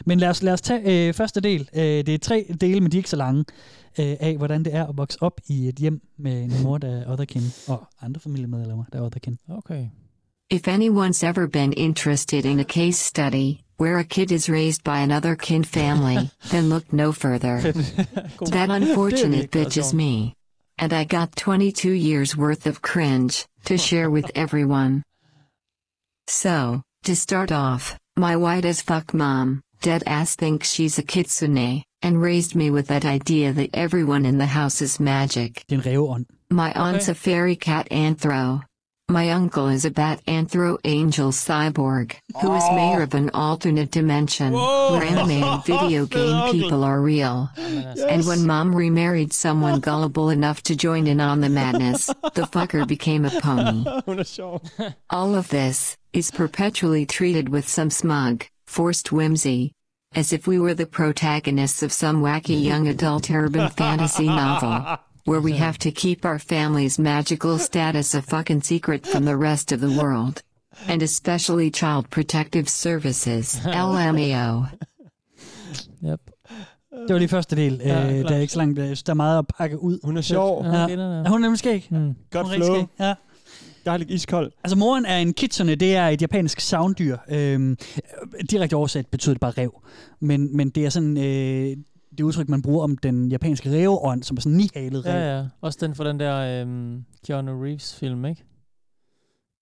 Men lad os, lad os tage øh, første del. Øh, det er tre dele, men de er ikke så lange, øh, af hvordan det er at vokse op i et hjem med en mor, der er otherkin, og andre familiemedlemmer, der er otherkin.
Okay.
If anyone's ever been interested in a case study where a kid is raised by another kin family, then look no further. that unfortunate bitch is me. And I got 22 years worth of cringe to share with everyone. So, to start off, my white as fuck mom, dead ass thinks she's a kitsune, and raised me with that idea that everyone in the house is magic.
Det er en ræveånd.
My aunt's a fairy cat anthro. My uncle is a bat anthro angel cyborg, who is mayor of an alternate dimension, where anime and video game people are real. And when mom remarried someone gullible enough to join in on the madness, the fucker became a pony.
*laughs* Hun er sjov.
Øh,
All of this is perpetually treated with some smug, forced whimsy, as if we were the protagonists of some wacky young adult urban fantasy novel, where we have to keep our family's magical status a fucking secret from the rest of the world, and especially Child Protective Services, LMAO.
Det var lige første del.
Ja,
Ja, øh, der er
klart.
ikke så langt. Jeg synes, Der er meget at pakke ud.
Hun er
sjov. Ja,
Ja.
hun kender det.
Ja, hun er nemlig skæg. Mm.
Godt
hun er rigtig
flow.
skæg, Ja.
Dejligt iskold.
Altså, moren er en kitsune. Det er et japansk savndyr. Øhm, direkte oversat betyder det bare rev. Men, men det er sådan... Øh, det udtryk, man bruger om den japanske ræveånd, som er sådan en nihalet rev.
Ja, ja. Også den for den der øhm, Keanu Reeves film, ikke?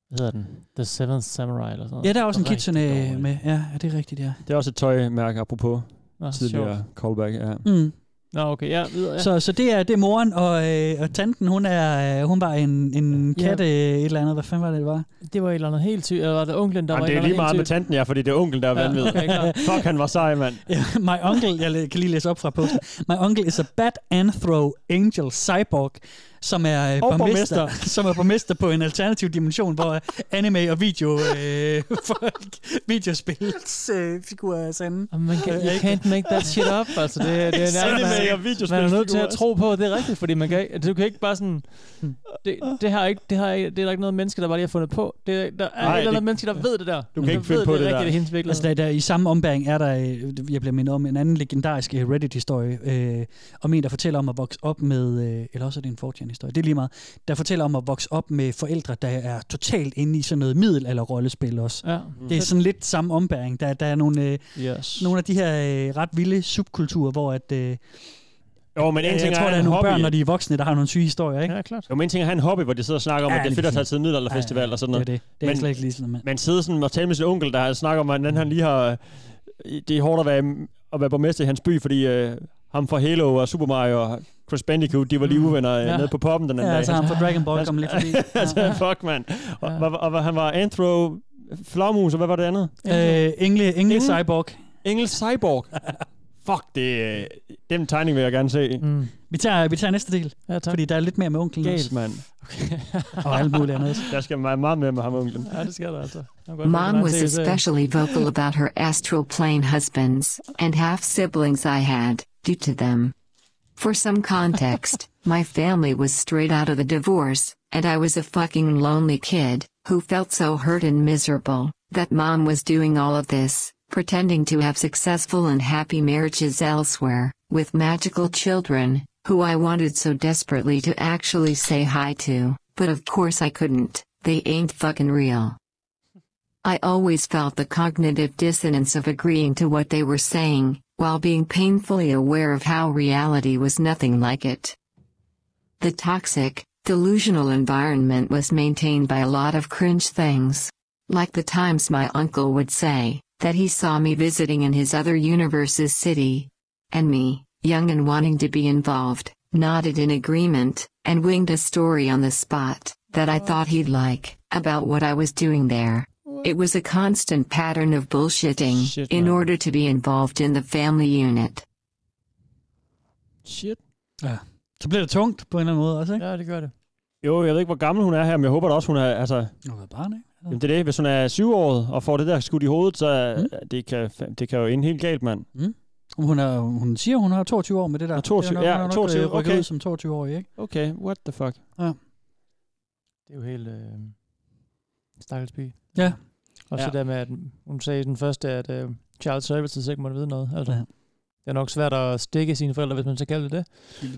Hvad hedder den? The Seventh Samurai eller sådan noget.
Ja, der er også en
Rigtig
kitsune med. Ja, ja, det er rigtigt, ja.
Det er også et tøjmærke, apropos
Nå,
tidligere callback. Ja.
Mm.
Nå, okay, ja, videre, ja.
Så, så det er det er moren, og, øh, og tanten, hun er øh, hun var en, en
Ja.
kat, øh, et eller andet. Hvad fanden var det, det var?
Det var et eller andet helt sygt. Eller var det onklen, der
Jamen,
var
det
et
er lige
eller
meget
andet
med
helt sygt?
tanten, ja, fordi det er onklen, der er
Ja,
vanvittig.
okay, klart.
Fuck, han var sej, mand.
*laughs* My uncle, jeg kan lige læse op fra posten. My uncle is a bat anthro angel cyborg, som er øh,
Og
borgmester, *laughs*
borgmester.
som er borgmester på en alternativ dimension, hvor øh, anime og video øh, *laughs* folk, videospils øh, figurer er sande.
Man kan, you can't make that shit up. Altså, det, det, det
Anime
man,
og videospil-
man er nødt til at
figurer.
tro på, at det er rigtigt, fordi man kan, ikke- du kan ikke bare sådan... Det, det, har ikke, det, har ikke, det er der ikke noget menneske, der bare lige har fundet på. Det, er- der er
Nej,
et eller andet
det-
menneske, der ved det der.
Du
Der ved, er rigtigt, Det er hendes virkelighed.
Altså, der, der, I samme ombæring er der, øh, jeg bliver mindet om, en anden legendarisk øh, Reddit-historie, øh, om en, der fortæller om at vokse op med, øh, eller også er det en 4 historie det er lige meget, der fortæller om at vokse op med forældre, der er totalt inde i sådan noget middel eller rollespil også.
Ja.
Det er sådan lidt samme ombæring. Der, der er nogle, øh,
Yes.
nogle af de her øh, ret vilde subkulturer, hvor at... Øh,
Jo, men en
jeg, jeg
ting er
tror,
at
der
have
er
en
nogle
hobby.
børn, når de er voksne, der har nogle syge historier, ikke?
Ja, klart.
Jo, men en ting er at have en hobby, hvor de sidder og snakker om,
Ja,
ja, at det er
lige
fedt at tage
præcis.
til middelalderfestival ja, ja. og sådan noget.
Det er det. Det er
men,
slet ikke lige sådan, man.
Man sidder sådan og taler med sin onkel, der snakker om, hvordan han lige har... Det er hårdt at være, at være borgmester i hans by, fordi øh, ham fra Halo og Super Mario og Chris Bandicoot, de var lige uvenner ja.
Mm. Ja.
nede på poppen den anden
Ja,
dag.
altså ham fra Dragon Ball kom lidt
*laughs*
forbi. Ja.
altså, fuck, mand. Og, og, og, og, han var Anthro, Flormus, og hvad var det andet?
Øh, engle, engle cyborg.
*laughs* Engel Cyborg. Fuck, det, øh, den tegning vil jeg gerne se. Mm.
Vi tager, vi tager næste del,
ja,
fordi der er lidt mere med onklen
Galt, mand. *laughs*
Og alt muligt andet.
Der skal meget, meget mere med ham og onklen.
Ja, det skal der altså. Han går
Mom
efter
was
den her TV.
especially
*laughs*
vocal about her astral plane husbands and half siblings I had, due to them. For some context, my family was straight out of a divorce, and I was a fucking lonely kid who felt so hurt and miserable that mom was doing all of this, pretending to have successful and happy marriages elsewhere, with magical children, who I wanted so desperately to actually say hi to, but of course I couldn't, they ain't fucking real. I always felt the cognitive dissonance of agreeing to what they were saying, while being painfully aware of how reality was nothing like it. The toxic, delusional environment was maintained by a lot of cringe things. Like the times my uncle would say, that he saw me visiting in his other universe's city. And me, young and wanting to be involved, nodded in agreement, and winged a story on the spot, that I thought he'd like, about what I was doing there. It was a constant pattern of bullshitting, in order to be involved in the family unit.
Shit.
Ja. Så bliver det tungt på en eller anden måde også, ikke?
Ja, det gør det.
Jo, jeg ved ikke, hvor gammel hun er her, men jeg håber da også, hun er... Altså,
Hun er barn, ikke?
Jamen, det er det. Hvis hun er syvåret og får det der skudt i hovedet, så mm. det kan, det kan jo ende helt galt, mand.
Mm. Hun, er, hun siger, hun har 22 år med det der.
22,
det er nok-
ja,
hun er nok,
22,
øh, rykket
okay.
ud som 22 år, ikke?
Okay, what the fuck?
Ja.
Det er jo helt... Øh, stakkels pige.
Ja.
Og så
Ja.
ja. der med, at hun sagde den første, at øh, child services ikke måtte vide noget. Altså, ja. Det er nok svært at stikke sine forældre, hvis man så kalder det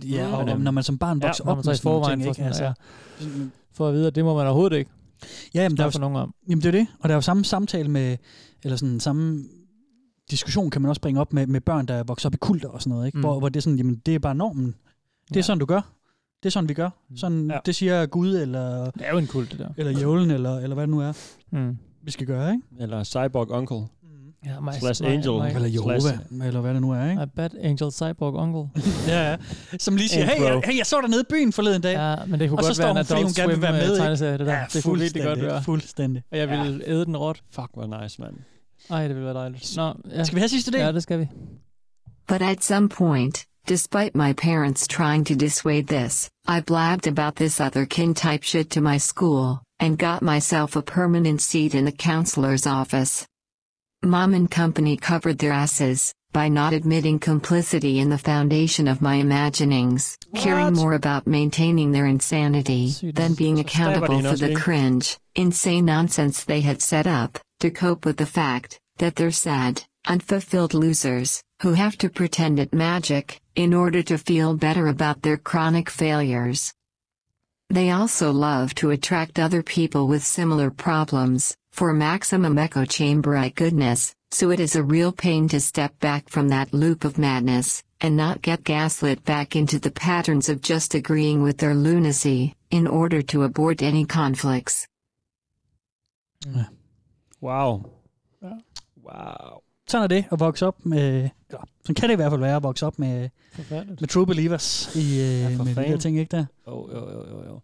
det.
Ja, og- og når man som barn vokser
øhm, når
op
man så
med
i
sådan nogle
forvejen
ting,
får
ikke?
sådan-
Altså-
ja. Mm. For at vide, at det må man overhovedet ikke.
Ja, jamen, der er
for nogen om.
Jamen, det er jo det. Og der er jo samme samtale med, eller sådan samme diskussion kan man også bringe op med, med børn, der vokser op i kulter og sådan noget, ikke?
Mm.
Mm. Hvor, hvor det er sådan, jamen, det er bare normen. Det er ja. sådan, du gør. Det er sådan, vi gør. Sådan, ja. Det siger Gud, eller... Det
er jo en kult, Mm. det der.
Eller Jævlen, eller, eller hvad det nu er,
mm.
vi skal gøre, ikke?
Eller Cyborg Uncle.
Ja,
my- Slash my- Angel. my-
Eller Jehova,
Slash-
eller hvad det nu er, ikke?
A bad angel cyborg *laughs* uncle.
ja, ja. Som lige siger,
Hey,
hey,
bro.
jeg, hey, jeg så dig nede i byen forleden dag.
Ja, men det kunne
og
godt
så står
være en
hun, fordi
Adult
hun gerne vil
Swim,
være
øh,
med. i-
tegneserie, det der.
Ja,
Det kunne virkelig godt
fuldstændig,
være.
fuldstændig.
Og jeg ville æde den råt.
Fuck, hvor nice, mand.
Ej, det ville være dejligt. Nå, ja.
Skal vi have sidste del?
Ja, det skal vi.
But at some point, despite my parents trying to dissuade this, I blabbed about this other kin type shit to my school, and got myself a permanent seat in the counselor's office. Mom and company covered their asses by not admitting complicity in the foundation of my imaginings, caring more about maintaining their insanity than being accountable for the
Stability.
cringe, insane nonsense they had set up to cope with the fact that they're sad, unfulfilled losers who have to pretend it magic in order to feel better about their chronic failures. They also love to attract other people with similar problems for maximum echo chamber at goodness, so it is a real pain to step back from that loop of madness and not get gaslit back into the patterns of just agreeing with their lunacy in order to abort any conflicts.
Wow.
Ja.
Wow.
Sådan er det at vokse op med... Ja, sådan kan det i hvert fald være at vokse op med,
Forfærdeligt.
med True Believers i, ja, med de
fanden.
der ting, ikke der?
Jo, jo, jo, jo, jo.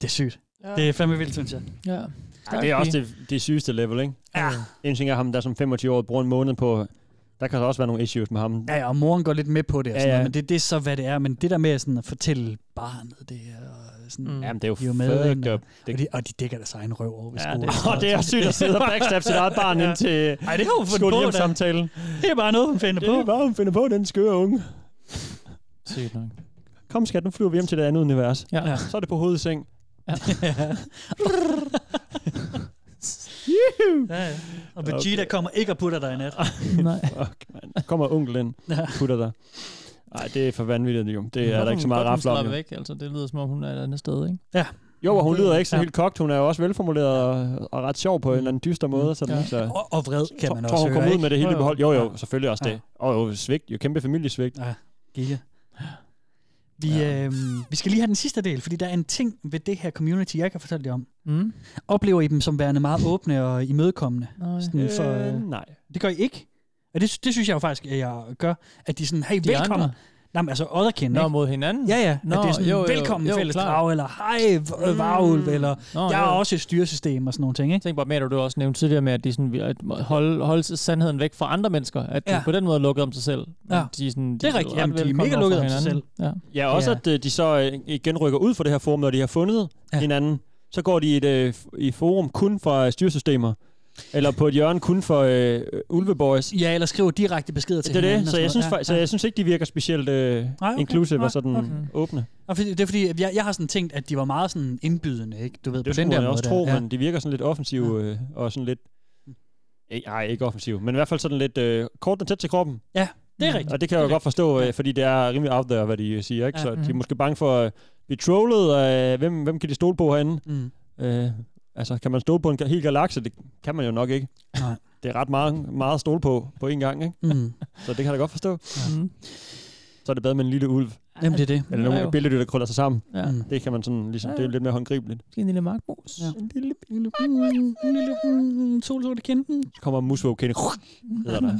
Det er sygt.
Ja.
Det er fandme vildt, synes jeg.
Ja.
Ja, det er også det, det sygeste level, ikke?
Ja.
En ting er ham, der som 25-årig bruger en måned på... Der kan der også være nogle issues med ham.
Ja, ja, og moren går lidt med på det, og
Ja,
sådan ja,
ja.
Noget, men det, det er så, hvad det er. Men det der med sådan at fortælle barnet det her, og sådan,
Mm. Jamen, det er jo
de
fucked
ind, og,
up.
og, de, og de dækker deres egen røv over ved
Ja,
skolen.
det er- Åh, det er sygt at sidde og backstab sit eget barn ind til
Ej, det har hun fundet på,
skole-hjem-samtalen.
da. Det er bare noget, hun finder på.
Det er bare, hun finder på, den skøre unge.
Sygt nok.
Kom skat, nu flyver vi hjem til det andet univers.
Ja. Ja.
Så er det på hovedseng. *laughs*
Ja.
ja, ja. *laughs* Og Vegeta okay. kommer ikke og putter dig i nat.
*laughs* Nej.
Fuck, man. Kommer onklen
Ja.
putter dig. Nej, det er for vanvittigt, jo. Det er der ikke så meget rafler om.
om.
jo.
væk, altså. Det lyder som om, hun er et andet sted, ikke?
Ja.
Jo, og hun lyder ikke så
Ja.
helt kogt. Hun er jo også velformuleret og, og ret sjov på en eller anden dyster måde. Sådan,
Ja.
så,
Mm. Og, og vred kan
Tror-
man
tror,
også
hun
høre,
kom ud
ikke?
med det
Jo,
hele i
jo.
behold. Jo, jo, selvfølgelig også
Ja.
det. Og jo, svigt. Jo, kæmpe familiesvigt.
Ja, giga. Vi, øh, vi skal lige have den sidste del, fordi der er en ting ved det her community, jeg kan fortælle jer om.
Mm.
Oplever I dem som værende meget åbne og imødekommende?
Nej. Øh,
nej.
Det gør I ikke? Og det, det synes jeg jo faktisk, at jeg gør. At de er sådan, hey,
De
velkommen.
andre?
Nej, men altså otterkind,
Nå,
ikke?
mod hinanden?
Ja, ja. Nå, at det er sådan, jo, jo, velkommen jo, fælles
klar.
drag, eller hej, v- varulv,
Mm.
eller
Nå,
jeg er
jo.
også et styresystem og sådan nogle ting, ikke?
Tænk bare med, at du også nævnte tidligere med, at de sådan, vil- at holde, holde sandheden væk fra andre mennesker. At de
Ja.
på den måde er lukket om sig selv. Men
Ja.
De er sådan, de
Det er rigtigt.
ret
Jamen, de er
velkomne
mega
over for
lukket om sig
hinanden. Ja.
Ja, også
Ja.
at øh, de så øh, igen rykker ud fra det her forum, når de har fundet ja. hinanden. Så går de i et øh, f- i forum kun for øh, styrsystemer. Eller på et hjørne kun for øh, Ulveboys.
Ja, eller skriver direkte beskeder til
Det er
hinanden
det,
og
så
sådan
jeg,
noget.
synes,
Ja,
ja, så
ja.
jeg synes ikke, de virker specielt øh,
Nej, okay.
inclusive
Nej,
og sådan
okay.
åbne.
Og fordi, det er fordi, at jeg, jeg har sådan tænkt, at de var meget sådan indbydende, ikke? Du ved,
Det
på den
skulle
der
man
måde.
også
der.
tro,
ja.
men de virker sådan lidt offensive øh, og sådan lidt... Nej, ikke offensiv, men i hvert fald sådan lidt øh, kort og tæt til kroppen. Mm.
Ja, det er rigtigt.
Og det kan jeg jo godt forstå, øh, fordi det er rimelig out there, hvad de siger. Ikke?
Ja.
Ja. Så de er
Mhm.
måske bange for at blive trollet, og øh, hvem, hvem kan de stole på herinde?
Mm.
Øh, altså, kan man stole på en ga- hel galakse? Det kan man jo nok ikke.
Nej.
Det er ret meget, meget at stole på på én gang, ikke?
Mm.
*laughs* Så det kan jeg da godt forstå. Mm. Så er det bedre med en lille ulv.
Jamen, det er det.
Eller
Ja,
nogle
jo.
billeder, der krøller sig sammen.
Ja.
Mm. Det kan man sådan ligesom, det er lidt mere håndgribeligt.
Måske en lille magmus. Ja.
En lille, lille, mm, en lille mm, solsorte kinden.
Så kommer Musvog Kenny.
*laughs*
Hedder der.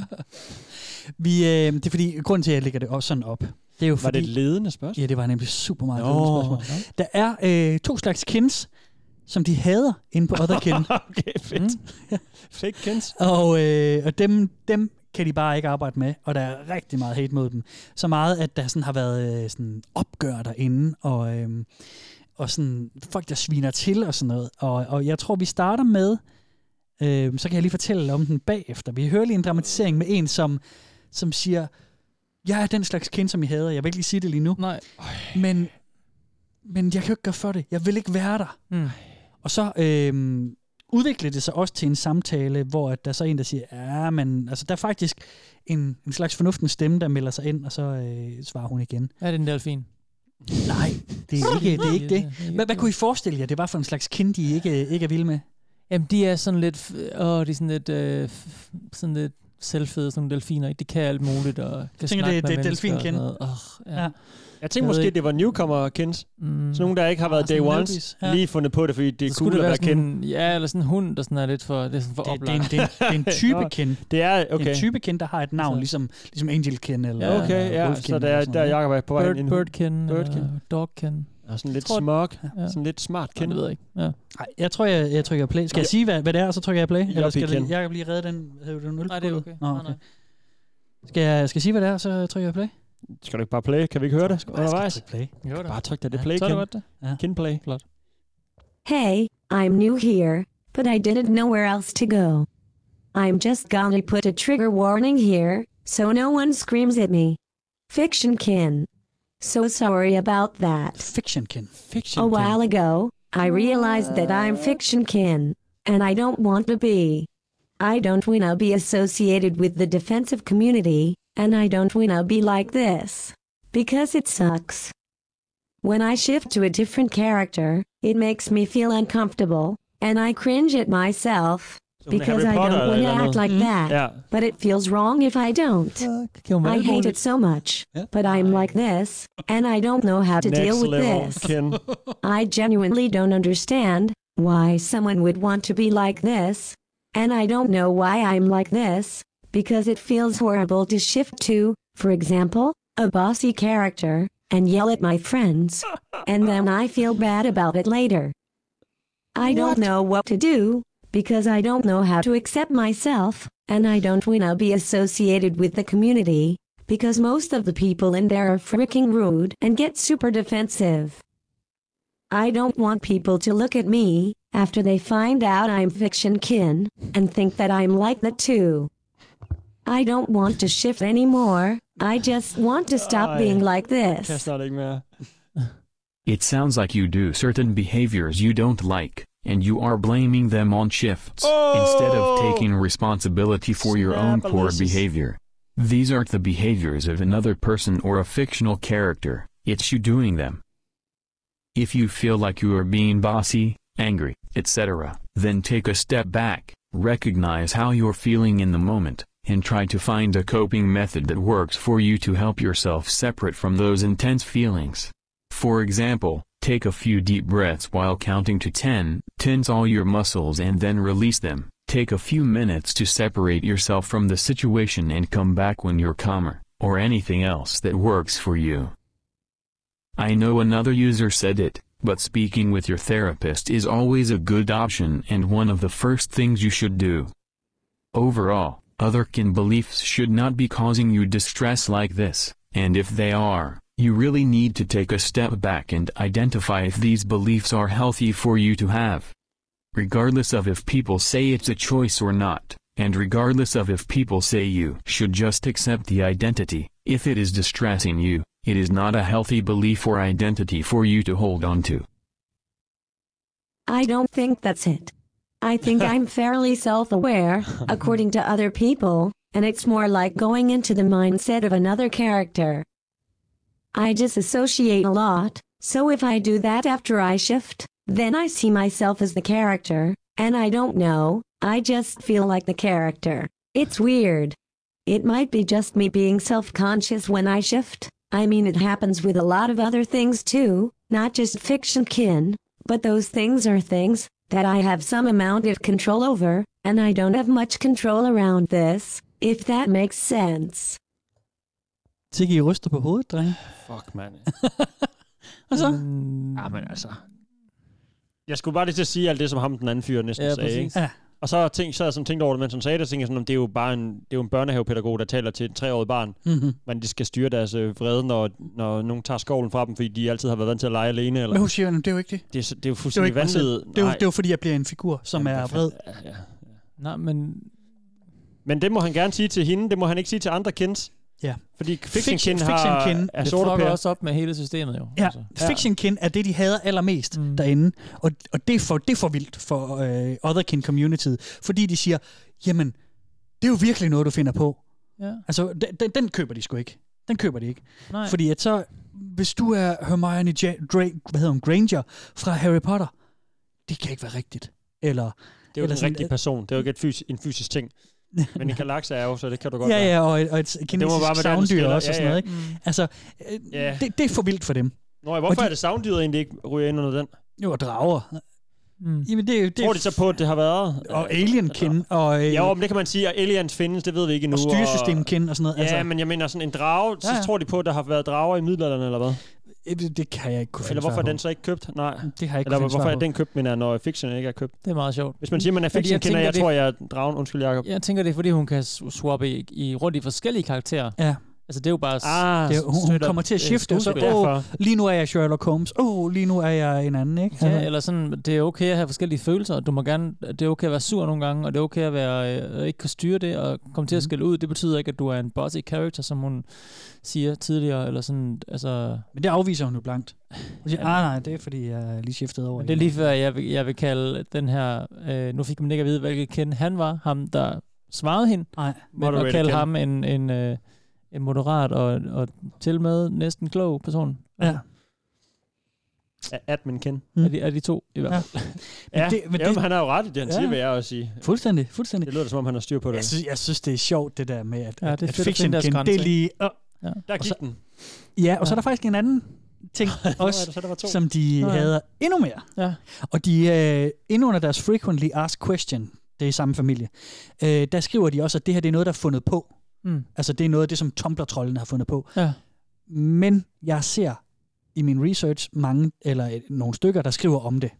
Vi, øh, det er fordi, grunden til, at jeg lægger det også sådan op, det er jo
Var
fordi,
det et ledende spørgsmål?
Ja, det var nemlig super meget
Nå,
ledende spørgsmål. Der er øh, to slags kins, som de hader inde på Otherkin.
*laughs* okay, fedt. Mm. Fake kins.
Og, øh, og dem, dem kan de bare ikke arbejde med, og der er rigtig meget hate mod dem. Så meget, at der sådan har været øh, sådan opgør derinde, og, øh, og sådan folk, der sviner til og sådan noget. Og, og jeg tror, vi starter med, øh, så kan jeg lige fortælle om den bagefter. Vi hører lige en dramatisering med en, som, som siger, jeg er den slags kind, som I hader. Jeg vil ikke lige sige det lige nu.
Nej.
Men, men jeg kan jo ikke gøre for det. Jeg vil ikke være der.
Mm.
Og så øh, udviklede det sig også til en samtale, hvor at der så er en, der siger, ja, men altså, der er faktisk en, en slags fornuftens stemme, der melder sig ind, og så øh, svarer hun igen.
Er det en delfin?
Nej, det er ikke det. Er ikke det. Hvad, hvad kunne I forestille jer, det var for en slags kind, I ikke, ikke er vilde med?
Jamen, de er sådan lidt, f- åh, de er sådan lidt, øh, f- sådan lidt selvfede, sådan nogle delfiner, ikke? De kan alt muligt, og kan
tænker,
snakke
det- det
med
er
mennesker og
delfinkind.
sådan noget. Åh, ja.
Ja.
Jeg tænkte
ved
måske,
ikke.
det var newcomer kins.
Mm.
Mm. Sådan nogen, der ikke har været
Ah,
day
sådan
ones,
newbies, ja.
lige fundet på det, fordi det er
Så
cool
skulle
at
det
være
være
kendt.
sådan, ja, eller sådan en hund, der sådan er lidt for, det er sådan for
Det, det, er en, det, er en, det er
*laughs*
*laughs*
en type kind.
Det er,
Det er
okay. Altså-
en type kind, der har et navn, ligesom, ligesom angel kind eller
Ja, okay, ja,
wolf
så
kind
der, er-
eller sådan
der er
noget.
Jacob er på vej
Bird-
ind i en
birdkin,
Birdkin.
eller dogkin.
Og sådan lidt
Tror-
smuk,
Ja.
sådan lidt smart kendt.
det ved jeg ikke. Ja.
Nej, jeg tror, jeg, jeg trykker play. Skal jeg sige, hvad, hvad det er, og så trykker jeg play? Eller
Yuppie
skal jeg,
Ken.
jeg kan lige redde den, hedder du den øl? Nej,
det er okay.
Nå, okay. Skal, jeg, skal jeg sige, hvad det er, og så trykker jeg play?
Skal du ikke bare play? Kan vi ikke høre det undervejs?
play.
Jo,
Bare tryk da det
Ja,
play,
så er det
Ken.
godt, det.
Ken play. Flot.
Hey, I'm new here, but I didn't know where else to go. I'm just gonna put a trigger warning here, so no one screams at me. Fiction kin. So sorry about that.
Fiction kin. Uh.
Fiction
A while ago, I realized that I'm fiction kin, and I don't want to be. I don't wanna be associated with the defensive community, and I don't wanna be like this. Because it sucks. When I shift to a different character, it makes me feel uncomfortable, and I cringe at myself
So when
because
Harry
I
Potter
don't want to
eller
act
noget.
Mm-hmm.
like
Mm.
that.
Yeah.
But it feels wrong if I don't.
Uh,
hun være
I
alt
hate
muligt?
it so much, but I'm like this, and I don't know how to
Next
deal with
level,
this.
Ken.
I genuinely don't understand why someone would want to be like this, and I don't know why I'm like this, because it feels horrible to shift to, for example, a bossy character, and yell at my friends, and then I feel bad about it later. I don't know what to do, because I don't know how to accept myself, and I don't wanna be associated with the community, because most of the people in there are freaking rude and get super defensive. I don't want people to look at me after they find out I'm fiction kin and think that I'm like that too. I don't want to shift anymore. I just want to stop
Ej.
being like this.
Kan jeg snart ikke mere.
It sounds like you do certain behaviors you don't like, and you are blaming them on shifts instead of taking responsibility for your own poor
Snapalicious.
behavior. These aren't the behaviors of another person or a fictional character, it's you doing them. If you feel like you are being bossy, angry, etc., then take a step back, recognize how you're feeling in the moment, and try to find a coping method that works for you to help yourself separate from those intense feelings. For example, take a few deep breaths while counting to 10, tense all your muscles and then release them. Take a few minutes to separate yourself from the situation and come back when you're calmer. or anything else that works for you. I know another user said it, but speaking with your therapist is always a good option and one of the first things you should do. Overall, other kin beliefs should not be causing you distress like this, and if they are, you really need to take a step back and identify if these beliefs are healthy for you to have. Regardless of if people say it's a choice or not, and regardless of if people say you should just accept the identity, if it is distressing you, it is not a healthy belief or identity for you to hold on to.
I don't think that's it. I think I'm fairly self aware, according to other people, and it's more like going into the mindset of another character. I disassociate a lot, so if I do that after I shift, then I see myself as the character, and I don't know, I just feel like the character. It's weird. It might be just me being self conscious when I shift. I mean, it happens with a lot of other things too, not just fiction kin, but those things are things that I have some amount of control over, and I don't have much control around this, if that makes sense.
Tiki, I ryster på hovedet, drenge.
Fuck, mand.
Og så?
Ja, men altså. Jeg skulle bare lige til at sige alt det, som ham den anden fyr næsten
Ja,
sagde.
præcis.
ikke?
Ja.
Og så tænkte så jeg sådan, tænkte over det, mens han sagde det, så tænkte jeg sådan, om det er jo bare en, det er jo en børnehavepædagog, der taler til et treårigt barn,
Mhm.
hvordan de skal styre deres øh, vrede, når, når nogen tager skovlen fra dem, fordi de altid har været vant til at lege alene. Eller?
Men hun siger, at det er jo ikke det.
Det er, så- det
Det er
er jo
jo
fuldstændig
ikke mig selv.
vanvittigt.
Det er jo, det er jo fordi, jeg bliver en figur, som er vred.
Nej, men...
Men det må han gerne sige til hende, det må han ikke sige til andre kids.
Ja.
Fordi
Fiction-
fiction, kin
fiction
har,
kin.
er
Det
sorte
fucker
pærer.
også
op med hele systemet jo.
Ja,
altså,
fiction kin er det, de hader allermest mm. derinde. Og, og det, er for, det er for vildt for øh, otherkin communityet. Fordi de siger, jamen, det er jo virkelig noget, du finder på.
Ja.
Altså, den, den, den køber de sgu ikke. Den køber de ikke.
Nej.
Fordi at så, hvis du er Hermione ja- Dra- hvad hedder hun, Granger fra Harry Potter, det kan ikke være rigtigt. Eller,
Det er jo
eller øh,
en rigtig person. Det er jo ikke et fys- en
*laughs*
fysisk ting. Men en galakse er jo, så det kan du godt
Ja,
være.
ja, og et, og et
Det må
kinesisk
bare være der, den
savndyr
skiller.
også, og sådan noget. Ikke?
Mm.
Altså, øh,
Ja.
det, det er for vildt for dem.
Mm. Nå, ja, hvorfor
Og
de... er det savndyret egentlig ikke ryger ind under den?
Jo, og drager. Mm. Jamen, det, er jo- det,
Tror de så på, at det har været? øh,
Og alien kin og, øh,
Ja, jo, men det kan man sige, at aliens findes, det ved vi ikke endnu.
og styresystem kin og sådan noget.
Ja, altså. men jeg mener sådan en drage, så
Ja, ja.
tror de på, at der har været drager i middelalderen, eller hvad?
øh, Det, det kan jeg ikke kunne finde
Eller hvorfor
svar
er
på.
den så ikke købt? Nej.
Det har jeg ikke
Eller
kunne finde
hvorfor
svar
er
på.
den købt, mener jeg, når fiction ikke er købt?
Det er meget sjovt.
Hvis man siger, man er
Fordi jeg
fiction kender,
tænker,
jeg
det-
tror, jeg er dragen. Undskyld, Jacob.
Jeg tænker, det er, fordi hun kan s- swappe i, i rundt i forskellige karakterer.
Ja.
Altså, det er jo bare... s-
Ah,
Det, er- hun, hun
straight up,
kommer til at
øh,
skifte. Hun så,
skuespil.
oh, lige nu er jeg Sherlock Holmes. Oh, lige nu er jeg en anden, ikke? Altså-
Ja, eller sådan, det er okay at have forskellige følelser. Du må gerne, det er okay at være sur nogle gange, og det er okay at være, øh, ikke kan styre det, og komme
Mhm.
til at skille ud. Det betyder ikke, at du er en bossy character, som hun siger tidligere, eller sådan, altså...
Men det afviser hun jo blankt. Hun siger, ah, nej, det er fordi, jeg er lige skiftet over.
Men det er lige før, jeg vil, jeg vil kalde den her... Øh, nu fik man ikke at vide, hvilket kend han var, ham der svarede hende.
Nej.
Men at
Moderated
kalde
Ken.
ham en, en, øh, en moderat og, og til med næsten klog person.
Ja.
Admin Ken.
Mm. Er, de, er de to i hvert
Ja.
fald.
Ja, men det, men det, han har jo ret i det, han ja. siger, vil jeg også sige.
Fuldstændig, fuldstændig.
Det lyder da, som om han har styr på det.
Jeg synes, jeg synes, det er sjovt, det der med, at,
Ja, det er
at,
fedt
at
at finde
fiction
deres
kin,
grænse,
det er
ikke?
lige... Oh.
Ja.
Der
Og
gik
så-
den.
Ja, og så er der faktisk en anden *laughs* ting
der-
også,
så der var to.
som de
Nå ja.
hader endnu mere.
Ja.
Og de øh, inde under deres frequently asked question, det er i samme familie, øh, der skriver de også, at det her det er noget, der er fundet på.
Mm.
Altså det er noget af det, som Tumblr-trollen har fundet på.
Ja.
Men jeg ser i min research mange, eller øh, nogle stykker, der skriver om det.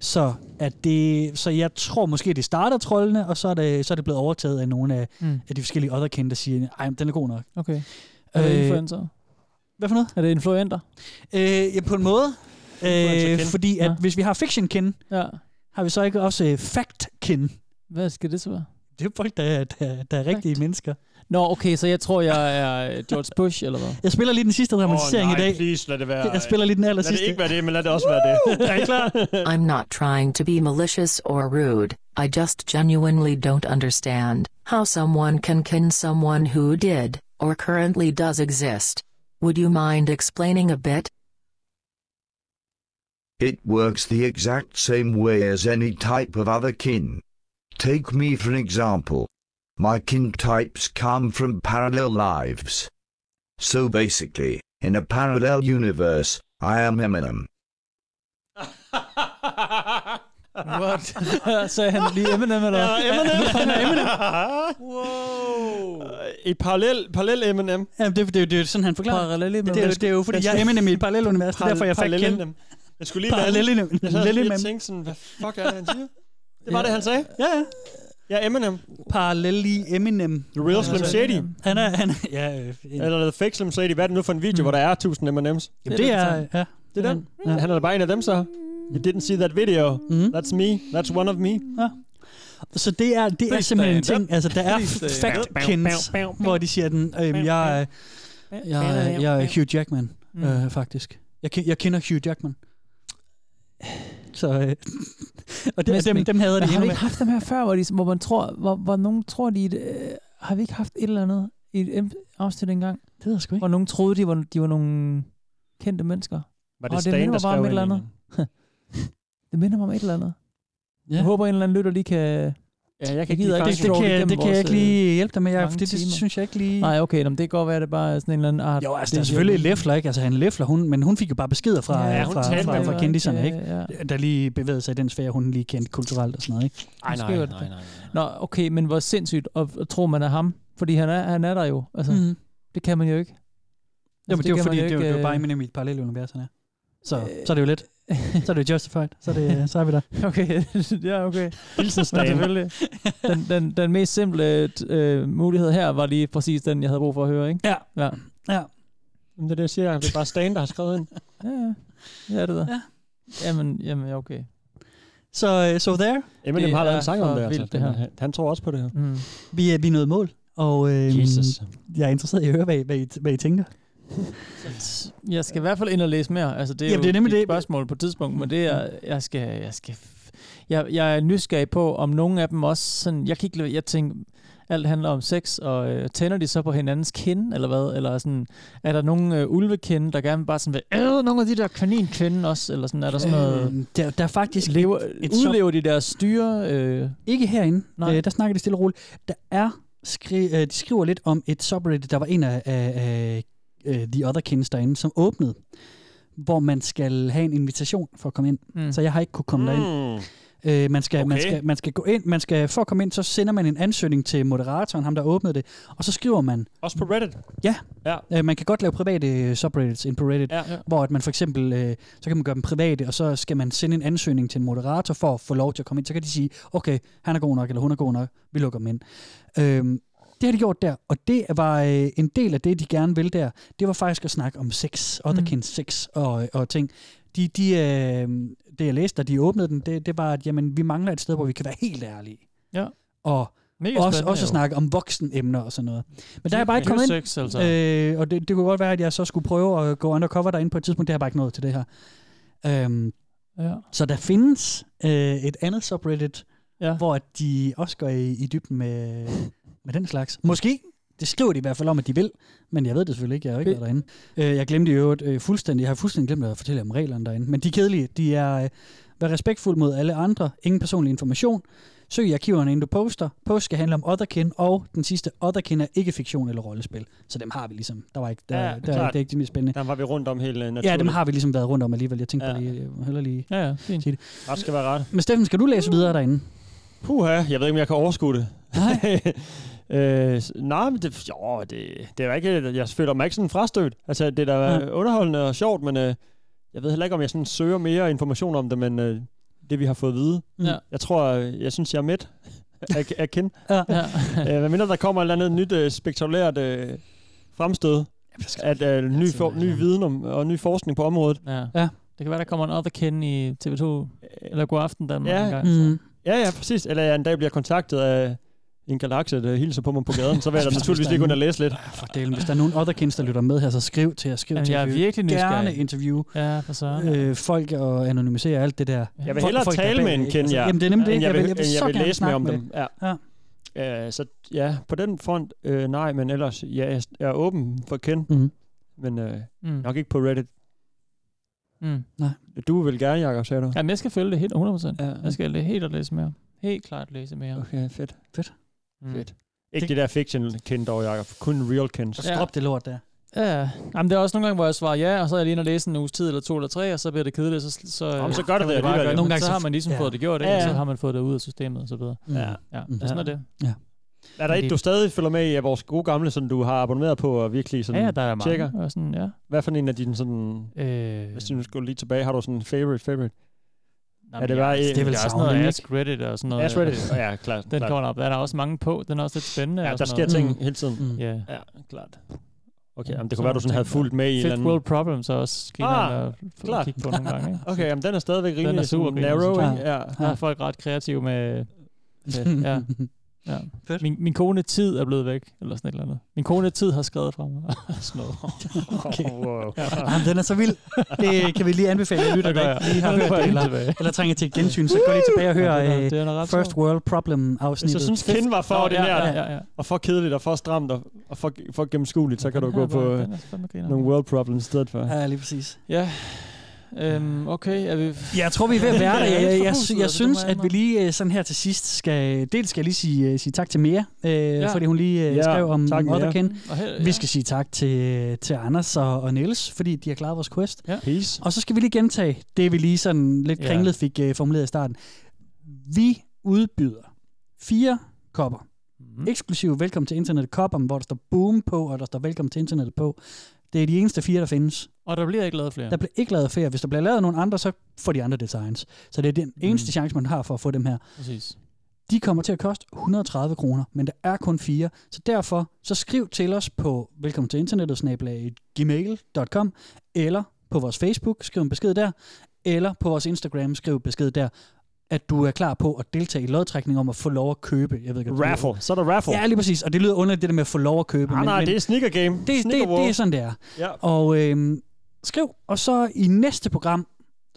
Så, at det, så jeg tror måske, det starter trollene, og så er det, så er det blevet overtaget af nogle af,
Mm.
mm. af de forskellige other kin, der siger, ej, men den er god nok.
Okay. Er det
Øh,
influencer?
Hvad for noget?
Er det influenter?
Øh, ja, på en måde. Øh,
Influencer-kin.
fordi at
Ja.
ja. hvis vi har fiction-kin,
ja.
har vi så ikke også øh, fact-kin?
Hvad skal det så være?
Det er folk, der, er- der, der er rigtige mennesker.
Nå, okay, så jeg tror, jeg er George Bush, eller hvad?
Jeg spiller lige den sidste dramatisering
Åh, nej,
i dag.
please, lad det være.
Jeg spiller lige den aller
Lad det
sidste.
ikke være det, men lad det også være det.
Er I
*laughs*
klar?
I'm not trying to be malicious or rude, I just genuinely don't understand how someone can kin someone who did, or currently does exist. Would you mind explaining a bit?
It works the exact same way as any type of other kin. Take me for an example. My kin types come from parallel lives. So basically, in a parallel universe, I am Eminem.
What? *laughs* Sagde *laughs* han lige Eminem, eller hvad?
Ja, Eminem.
Nu er han Eminem.
Wow. et parallel, parallel M&M. Eminem.
Jamen, det, det, det er sådan, han forklarer.
Parallel
det,
Eminem.
er, jo- det er jo, fordi M&M. jeg er Eminem i et parallelt univers. Det er
Parallel-
derfor, jeg fik
parallel
kendt.
Eminem. Jeg skulle lige lade-
Parallel M&M. Eminem.
Jeg sad lige
Eminem.
og tænkte sådan, hvad fuck er det, han siger? Det var
Ja.
det, han sagde.
Ja, ja.
Ja, Eminem.
Parallel Eminem.
The Real Slim Shady.
Han er, han er, Altså, ja, øh, en-
Eller The Fake Slim Shady. Hvad er det nu for en video, hvor der er 1000 M&M's?
Jamen, det er, ja. Mm-hmm.
Det er den. Ja. Han er da bare en af dem, så. You didn't see that video. Mm. That's me. That's one of me.
Ja. Så det er, det er
Please
simpelthen en
stand
ting.
up.
Altså, der er
Please stand up.
fact kins,
Bow, bow, bow.
hvor de siger, den, øh, jeg, er- jeg, er- jeg er Hugh Jackman,
Mm.
øh, faktisk. Jeg, ke- jeg kender Hugh Jackman. Så, øh, *laughs* og dem, dem, dem hader de
Men har
endnu
vi
mere.
ikke haft dem her før, hvor, de, hvor man tror, hvor, hvor nogen tror, de... Øh, har vi ikke haft et eller andet i et em- afsnit engang?
Det ved jeg sgu ikke.
Hvor nogen troede, de var, de var nogle kendte mennesker.
Var det
Og
Stan,
minder
der
mig bare om
skrev
et eller
ind i
andet. *laughs* det minder mig om et eller andet.
Ja.
Jeg håber, en eller anden lytter lige kan... Ja,
jeg
ikke lige fange det. Det kan jeg- det kan jeg ikke lige hjælpe dig med, Jacob. Det- det synes jeg ikke lige...
øh, Nej, okay, nå, men det kan godt være, at det bare er sådan en eller anden art...
Jo, altså, der er selvfølgelig Lefler, ikke? Altså, han Lefler, hun, men hun fik jo bare beskeder fra,
Ja,
ja,
hun
fra,
talte
fra,
med
fra,
hende,
kendiserne,
ikke?
ikke?
Ja, Altså,
Der lige bevægede sig i den sfære, hun lige kendte kulturelt og sådan noget, ikke?
Ej, nej, nej, nej, nej. Nå, okay, men hvor sindssygt at, at tro, man er ham. Fordi han er, han er der jo. Altså,
Mhm.
mm. Det kan man jo ikke.
Jo, men det, er jo
kan man
fordi, det, er jo- det er
øh,
jo bare Eminem i et parallelt univers, han er. Så, så er det jo lidt.
øh,
Så er det jo
*laughs*
justified. Så er, det, så er vi *laughs* der.
Okay, ja, okay.
Hilsensdagen.
Ja, selvfølgelig. Den, den, den mest simple øh, mulighed her var lige præcis den, jeg havde brug for at høre, ikke?
Ja.
Ja,
Ja.
Jamen, det er det, jeg siger. Det er bare Stan, der har
*laughs*
skrevet ind.
ja, ja. ja det der. Ja. Jamen, jamen, ja, okay.
Så øh, so there.
Eminem
Det
har lavet
er
en sang om
for
det, altså.
vildt, det her.
Han, han tror også på det her.
Mm.
Vi er, vi er nået mål, og øh,
Jesus.
jeg er interesseret i at høre, hvad, I- hvad, I, hvad I tænker.
Jeg skal i hvert fald ind og læse mere. Altså, det er
Jamen,
jo
det Mm. er nemlig
et spørgsmål på et tidspunkt, men det er, jeg skal... Jeg, skal jeg, jeg er nysgerrig på, om nogen af dem også... Sådan, jeg kan ikke lade- jeg tænker, alt handler om sex, og øh, tænder de så på hinandens kind, eller hvad? Eller sådan, er der nogen øh, ulvekinde, der gerne bare sådan vil æde nogle af de der kaninkinde også? Eller sådan, er der sådan noget...
Øh, der, der er faktisk
lever,
et,
et
et sub-
udlever de deres styre? Øh,
Ikke herinde.
Nej.
Nej. Øh, der snakker de stille og roligt. Der er skri- øh, de skriver lidt om et subreddit, der var en af, af, af øh, The Other Kings derinde, som åbnede, hvor man skal have en invitation for at komme ind.
Mm.
Så jeg har ikke kunne komme
Mm.
mm. derind. Øh, man, skal, okay. man,
Okay.
skal, man skal gå ind, man skal, for at komme ind, så sender man en ansøgning til moderatoren, ham der åbnede det, og så skriver man,
Også på Reddit.
Ja.
Ja.
Øh, man kan godt lave private øh, subreddits ind på Reddit,
Ja, ja.
hvor at man for eksempel, øh, så kan man gøre dem private, og så skal man sende en ansøgning til en moderator for at få lov til at komme ind. Så kan de sige, okay, han er god nok, eller hun er god nok, vi lukker dem ind. Øhm, det har de gjort der, og det var øh, en del af det, de gerne ville der. Det var faktisk at snakke om sex, otherkin mm. sex og, og ting. De, de, øh, det jeg læste, da de åbnede den, det, det var, at jamen, vi mangler et sted, hvor vi kan være helt ærlige.
Ja.
Og
Mega
også,
spændende
også at
jo.
snakke om voksenemner og sådan noget. Men der er jeg bare ikke
Ja.
kommet ind.
Sex, altså.
Øh, og det, det kunne godt være, at jeg så skulle prøve at gå undercover derinde på et tidspunkt. Det har jeg bare ikke nået til det her. Øhm,
ja.
Så der findes øh, et andet subreddit,
ja.
hvor de også går i, i dybden med, med den slags. Måske. Det skriver de i hvert fald om, at de vil, men jeg ved det selvfølgelig ikke. Jeg har jo ikke
Det-
været derinde. Øh, jeg glemte i øvrigt øh, fuldstændig. Jeg har fuldstændig glemt at fortælle om reglerne derinde. Men de er kedelige. De er øh, vær respektfuld mod alle andre. Ingen personlig information. Søg i arkiverne, inden du poster. Post skal handle om otherkin, og den sidste otherkin er ikke fiktion eller rollespil. Så dem har vi ligesom. Der var ikke, der,
Ja,
ja, der, der,
klart.
det er ikke det mest spændende.
Der var vi rundt om øh, hele naturen.
Ja, dem har vi ligesom været rundt om alligevel. Jeg tænkte ja. bare lige, jeg heller lige
ja, ja, sige
det.
Ret skal være ret.
Men Steffen, skal du læse videre derinde?
Puha, jeg ved ikke, om jeg kan overskue det. Nej. *laughs* øh, s- nej, men det, jo, det, det er da ikke, jeg føler mig ikke sådan frastødt. Altså, det er da
Ja.
underholdende og sjovt, men øh, jeg ved heller ikke, om jeg sådan søger mere information om det, men øh, det, vi har fået at vide.
Ja.
Jeg tror, øh, jeg synes, jeg er midt
*laughs*
af, af kind.
ja.
*laughs* øh, hvad mindre der kommer et eller andet nyt øh, spektakulært øh, fremstød, at øh, ny, for, ny viden om, og ny forskning på området. Øh.
Ja.
ja.
Det kan være, der kommer en other kin i TV2, eller God Aften Danmark
Ja.
en gang. Så.
Ja, ja, præcis. Eller jeg en dag bliver kontaktet af en galakse, der hilser på mig på gaden, så vil
*laughs*
jeg da
Hvis der-
naturligvis
hvis der
lige
er
gå ind og
nogen-
læse lidt.
For delen, hvis der er nogen otherkins, der lytter med her, så skriv til os. Skriv
Jamen,
til
jeg er
os. Vi vil
virkelig nysgerrig.
Gerne interview
ja, for så.
øh, folk og anonymisere alt det der.
Jeg vil
Folk-
hellere
folk, der er
tale med
bag,
en
ikke?
kende
Altså,
jer,
Jamen, det er nemlig det.
end
Jeg, vil, jeg vil,
end
så
jeg vil
gerne
læse mere
snakke
om
med
dem.
det.
Ja. Øh, så ja, på den front, øh, nej, men ellers, ja, jeg er åben for kende,
mm.
men øh,
Mm.
mm. nok ikke på Reddit.
Mm.
Nej.
Du vil gerne, Jacob, sagde du.
Jamen, jeg skal følge det helt 100%.
Ja.
Jeg skal det helt og læse mere. Helt klart læse mere.
Okay, fedt.
Fedt.
Mm.
Fedt. Ikke det der fiction kendt dog, Jacob. Kun real kendt.
Ja. Drop
det lort der.
Ja, Jamen, det er også nogle gange, hvor jeg svarer ja, og så er jeg lige inde og læse en uges tid, eller to eller tre, og så bliver det kedeligt, så, så,
Jamen, så gør
kan man
det det
jo bare
alligevel.
gøre det.
Nogle
Men
gange
så
så-
har man ligesom
ja.
fået det gjort, ikke?
Ja,
og
ja.
så har man fået det ud af systemet og så videre.
Ja.
ja. Sådan er det.
Mm. Ja.
Er der
Men
et,
det-
du stadig følger med i af vores gode gamle, som du har abonneret på og virkelig sådan
Ja, ja, der er mange,
tjekker?
og sådan, ja.
Hvad for en af dine sådan... Øh... Hvis du nu skulle lige tilbage, har du sådan en favorite, favorite?
Nå, men ja, altså, det er vel sådan noget Ask Reddit og sådan noget. altså.
Ask Reddit, ja, klart.
Den
klart.
kommer op. Der er der også mange på. Den er også lidt spændende.
Ja,
og
der
sådan
sker
noget.
ting hele tiden.
Mm. Ja.
Ja, klart. Okay, jamen, det kunne være, du sådan havde fulgt med i en
Fifth
eller anden-
World Problems er også
Ah,
genial ah,
klart.
at kigge på nogle gange. Ikke?
*laughs* Okay, jamen, den er stadigvæk rimelig
Den er super
sådan
grineren,
narrow,
synes jeg.
ikke? Ja.
Der er folk ret kreative med...
Fedt.
ja. ja. Min, min kone tid er blevet væk, eller sådan et eller andet. Min kone tid har skrevet fra mig. *laughs* sådan
*laughs*
noget. *laughs*
Okay.
Wow.
Jamen, den er så vild. Det kan vi lige anbefale at lytter,
Det gør
der
jeg.
ikke lige
*laughs*
har
Den
hørt
får
det,
jeg
eller,
tilbage.
eller trænger til et gensyn, så gå lige tilbage og hør
Ja, det er-
øh,
det er da ret
First World Problem
Hvis
afsnittet.
du synes, Kin var for
Nå, ja,
ordinært,
ja, ja, ja.
og for kedeligt, og for stramt, og, og for, for gennemskueligt, så kan du
den
gå
her
på
var-
øh,
den er fandme grineren.
nogle world problems i stedet for. Ah,
Ja, lige præcis.
Ja. Øhm, okay, er vi...
Jeg tror, vi er ved at
*laughs*
være der. Jeg, jeg, jeg,
forpustet,
jeg
altså,
synes,
det må jeg
at vi lige øh, sådan her til sidst skal... Dels skal jeg lige sige, øh, sige tak til Mia, øh, ja. fordi hun lige øh,
Ja,
skrev om
tak, Mia.
Motherkin.
Og her-
Vi skal sige tak til, til Anders og, og Niels, fordi de har klaret vores quest.
Ja.
Peace.
Og så skal vi lige gentage det, vi lige sådan lidt
Ja.
kringlet fik øh, formuleret i starten. Vi udbyder fire kopper. Mm.
Mhm.
Eksklusiv velkommen til internettet kopper, hvor der står boom på, og der står velkommen til internettet på. Det er de eneste fire, der findes.
Og der bliver ikke lavet flere.
Der bliver ikke lavet færre. Hvis der bliver lavet nogle andre, så får de andre designs. Så det er den
Mm.
eneste chance, man har for at få dem her.
Præcis.
De kommer til at koste 130 kroner, men der er kun fire. Så derfor, så skriv til os på velkommen til internettet, snablag gmail.com, eller på vores Facebook, skriv en besked der, eller på vores Instagram, skriv en besked der, at du er klar på at deltage i lodtrækning om at få lov at købe. Jeg ved ikke, hvad det lyder.
Raffle. Så er der raffle.
Ja, lige præcis. Og det lyder underligt, det der med at få lov at købe.
Nej, nej, det er sneaker game.
Det, det,
Sneaker
det,
war.
det er sådan, det er.
Ja.
Og øhm, skriv, og så i næste program,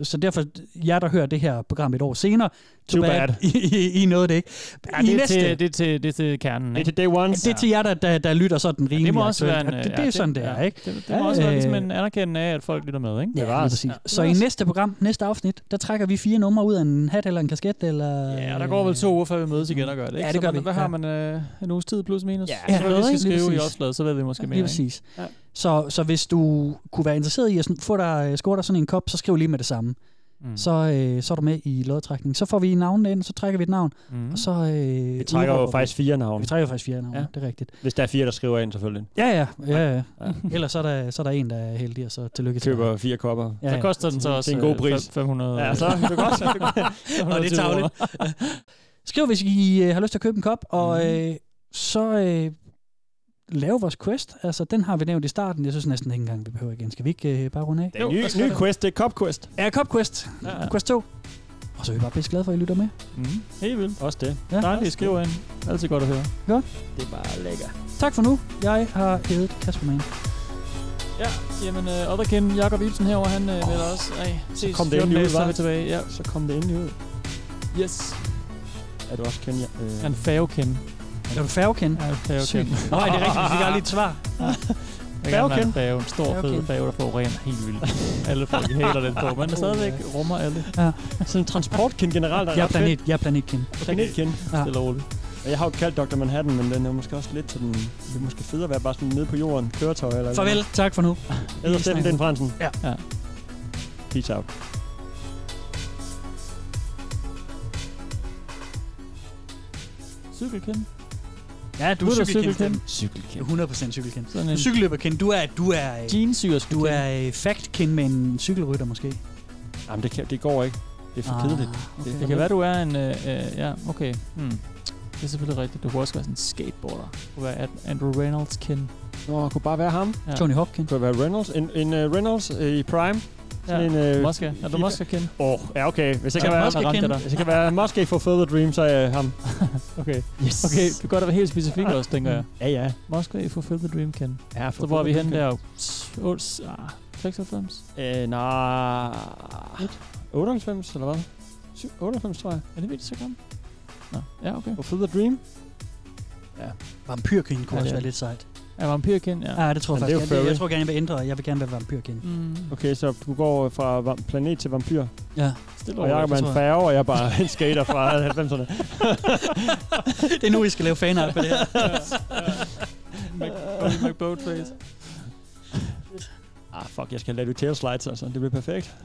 så derfor jer, der hører det her program et år senere, too,
Too bad.
I, *laughs* I, I nåede det ikke.
Ja,
I
det, er
næste,
til, det, er til, det er til kernen.
Det er
ikke?
til day one. Det er til jer, der, der, der lytter sådan rimelig.
det må også være
aktuelt. Og
en... øh,
det, det er sådan, det, er,
ja,
ikke?
Det, det må også være ligesom en anerkendelse af, at folk lytter med, ikke?
Ja, lige præcis. Så i næste program, næste afsnit, der trækker vi fire numre ud af en hat eller en kasket, eller...
Ja, der går vel to uger, før vi mødes igen og gør det, ikke?
Ja, det
Så
gør
man-
vi.
Hvad har
Ja.
man øh, en uges tid plus minus? Ja,
Ja,
så vi
noget,
skal
ikke? Lige
skrive i
præcis.
opslaget, så ved vi måske
Ja,
mere.
Lige
ikke?
præcis.
Ja.
Så, så hvis du kunne være interesseret i at sådan få dig, øh, score dig sådan en kop, så skriv lige med det samme.
Mm.
Så, øh, så er du med i lodtrækningen. Så får vi navnene ind, så trækker vi et navn.
Mm.
Og så, øh,
Vi trækker jo
udråber
faktisk fire navne.
Vi trækker faktisk fire navne, ja. det er rigtigt.
Hvis der er fire, der skriver ind, selvfølgelig.
Ja, ja. ja, ja. Ellers så er, der, så er der en, der er heldig, og så tillykke til
Køber
dig.
fire kopper.
Ja,
Så
ja.
koster den så også
Til en god
øh,
pris.
fem- 500. *laughs*
Ja, så er det godt.
og det er
120 kroner.
tavligt. Skriv, hvis I øh, har lyst til at købe en kop,
Mhm.
og øh, så øh, lave vores quest. Altså, den har vi nævnt i starten. Jeg synes næsten ikke engang, vi behøver igen. Skal vi ikke øh, bare runde af?
Den nye, nye quest, det er Cop Quest.
Ja, Cop Quest.
Ja.
Quest 2. Og så er vi bare pisse glade for, at I lytter med.
Mm. Helt vildt.
Også det.
Ja.
Dejligt, I skriver ind. Altid godt at høre.
Godt.
Det er bare lækker.
Tak for nu. Jeg har hævet Kasper Mann.
Ja, jamen, øh, Other Ken, Jakob Ibsen herover, han øh, melder også. Ej, ses
Kom det
14
endelig ud,
dage, så er
hva'?
vi tilbage. Ja.
Så kom det endelig ud.
Yes.
Er du også kender? Øh...
Han færgekend.
Er du færgekend?
Ja, færgekend.
Sygt. Nå, ja, det er rigtigt, vi fik aldrig et svar.
Jeg kan
Færgekend.
en færge, en stor fed
Færgekend.
færge, der forurener helt vildt. Alle folk hater den på,
*laughs*
men der stadigvæk rummer alle.
Ja.
Sådan en transportkind generelt er
Jeg er
ret
planet-
fedt.
jeg er planetkind.
Planetkind.
Ja.
Stille og roligt.
Og jeg har jo kaldt Dr. Manhattan, men den er måske også lidt sådan... Det er måske federe at være bare sådan nede på jorden, køretøj
*laughs*
eller...
Farvel. Tak for nu.
Edder Steffen Den Fransen.
Ja.
ja.
Peace out.
Cykelkend.
Ja, du
Nu
er
er der
cykelkendt.
cykelkendt.
Cykelkendt. 100% cykelkendt.
Sådan
Sådan
en-
en... Cykelløberkendt. Du er... Du er øh,
Jeansyerske
Du er øh, factkendt med en cykelrytter måske.
Jamen, det, kan, det går ikke. Det er for
Ah,
kedeligt.
okay.
for
Det kan være, du er en... Øh, øh, ja, okay. Hmm. Det er selvfølgelig rigtigt. Du kunne også være sådan en skateboarder. Du kunne være Ad- Andrew Reynolds kin.
Nå, kunne bare være ham.
Ja.
Tony Hopkins.
Kunne være Reynolds. En, en uh, Reynolds uh, i Prime. Sådan
Ja.
en, uh,
Mosca. Er du Mosca-kin?
Åh, oh, ja, okay. Hvis jeg
Er
kan
du
være,
Mosca-kin?
hvis jeg kan være Mosca for Further Dream, så er jeg ham.
*laughs* Okay.
Yes.
Okay, du kan godt være helt specifik også, tænker jeg.
Ja, ja.
Mosca i Fulfill the Dream Ken.
Ja,
Så hvor er vi henne der? Ols, ah, 96?
Øh, nej. 98, eller hvad? Syv- 98, tror jeg.
Er det vildt så gammel? Nå, ja, okay.
For Further Dream? Ja. Ah,
Vampyrkind kunne
Ja,
ja, også
ja.
være lidt sejt.
Er vampyrkind? Ja.
Ja, det tror jeg
Men det er jo
faktisk. Jeg, jeg,
furry.
jeg tror gerne, jeg vil ændre. Jeg vil gerne være vampyrkind.
Mm.
Okay, så du går fra vam- planet til vampyr.
Ja.
og jeg er en færge, og jeg er bare en skater
*laughs*
fra 90'erne.
det er nu, I skal lave fanart på det her.
Mac- McBoatface.
*laughs* Ah, fuck, jeg skal lade det tail slides, altså. Det bliver
*laughs*
perfekt.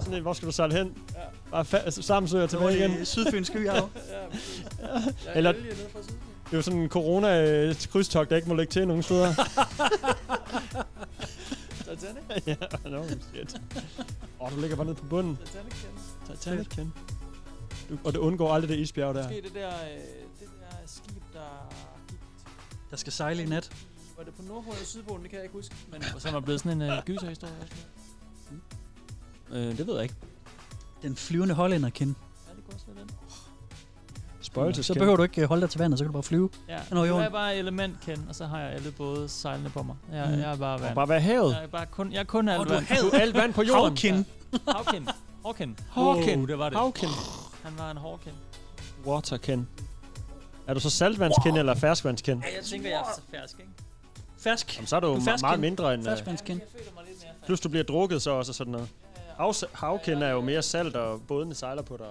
Sådan et, hvor skal du sejle hen? Ja. Bare fa- altså, samsøger tilbage igen.
Sydfynsk ø,
ja. *laughs* Eller, det er jo sådan en corona-krydstogt, der ikke må lægge til nogen steder.
*laughs* Titanic?
*laughs* ja, no, shit. Åh, oh, du ligger bare nede på bunden.
Titanic kendt.
Titanic, Ken. Du, og du undgår aldrig det isbjerg der.
Måske det der, øh, det der skib, der gik
Der skal sejle i nat.
Var det på Nordpolen eller Sydpolen? Det kan jeg ikke huske. Men som er blevet sådan en øh, gyserhistorie. eller sådan noget.
Øh, det ved jeg ikke. Den flyvende hollænder, Ken.
Ja, det kunne også være den.
Så
Spøgelsesken.
behøver du ikke øh, holde dig til vandet, så kan du bare flyve.
Ja,
Nå,
nu
jo.
er jeg bare element, Ken, og så har jeg alle både sejlende på mig. Jeg,
Mm.
jeg er bare
Og
vand.
bare være havet.
Jeg er, bare kun, jeg er kun alt
du er
vand.
havet. Du er alt vand på jorden. Havkin.
Ja. Havkin. Hawkin.
Hawkin.
Wow, det Uh, var det.
Hawkin.
Han var en Hawkin.
Waterken. Er du så saltvandsken wow. eller ferskvandsken?
Ja, jeg tænker, jeg er så fersk, ikke?
Fersk.
Jamen, så er du,
Du er
ma-
fersk
meget
kin.
mindre end... øh,
Ferskvandskin.
Plus du bliver drukket så også og sådan noget. Havs- havkind er jo mere salt, og bådene sejler på dig.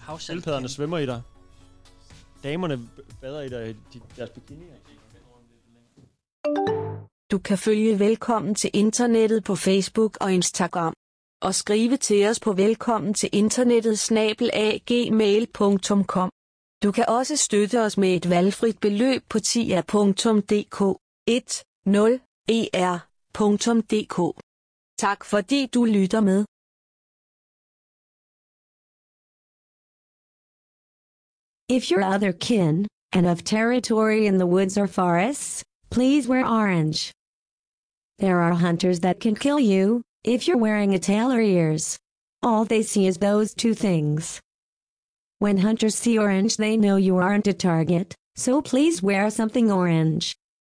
Havsaltkind.
Ildpadderne svømmer i dig. Damerne bader i dig i de- deres bikinier.
Du kan følge Velkommen til Internettet på Facebook og Instagram. Og skrive til os på velkommen til internettet snabelagmail.com. Du kan også støtte os med et valgfrit beløb på tia.dk E 10er.dk. Tak fordi du lytter med.
If you're other kin and of territory in the woods or forests, please wear orange. There are hunters that can kill you if you're wearing a tail or ears. All they see is those two things. When hunters see orange, they know you aren't a target, so please wear something orange.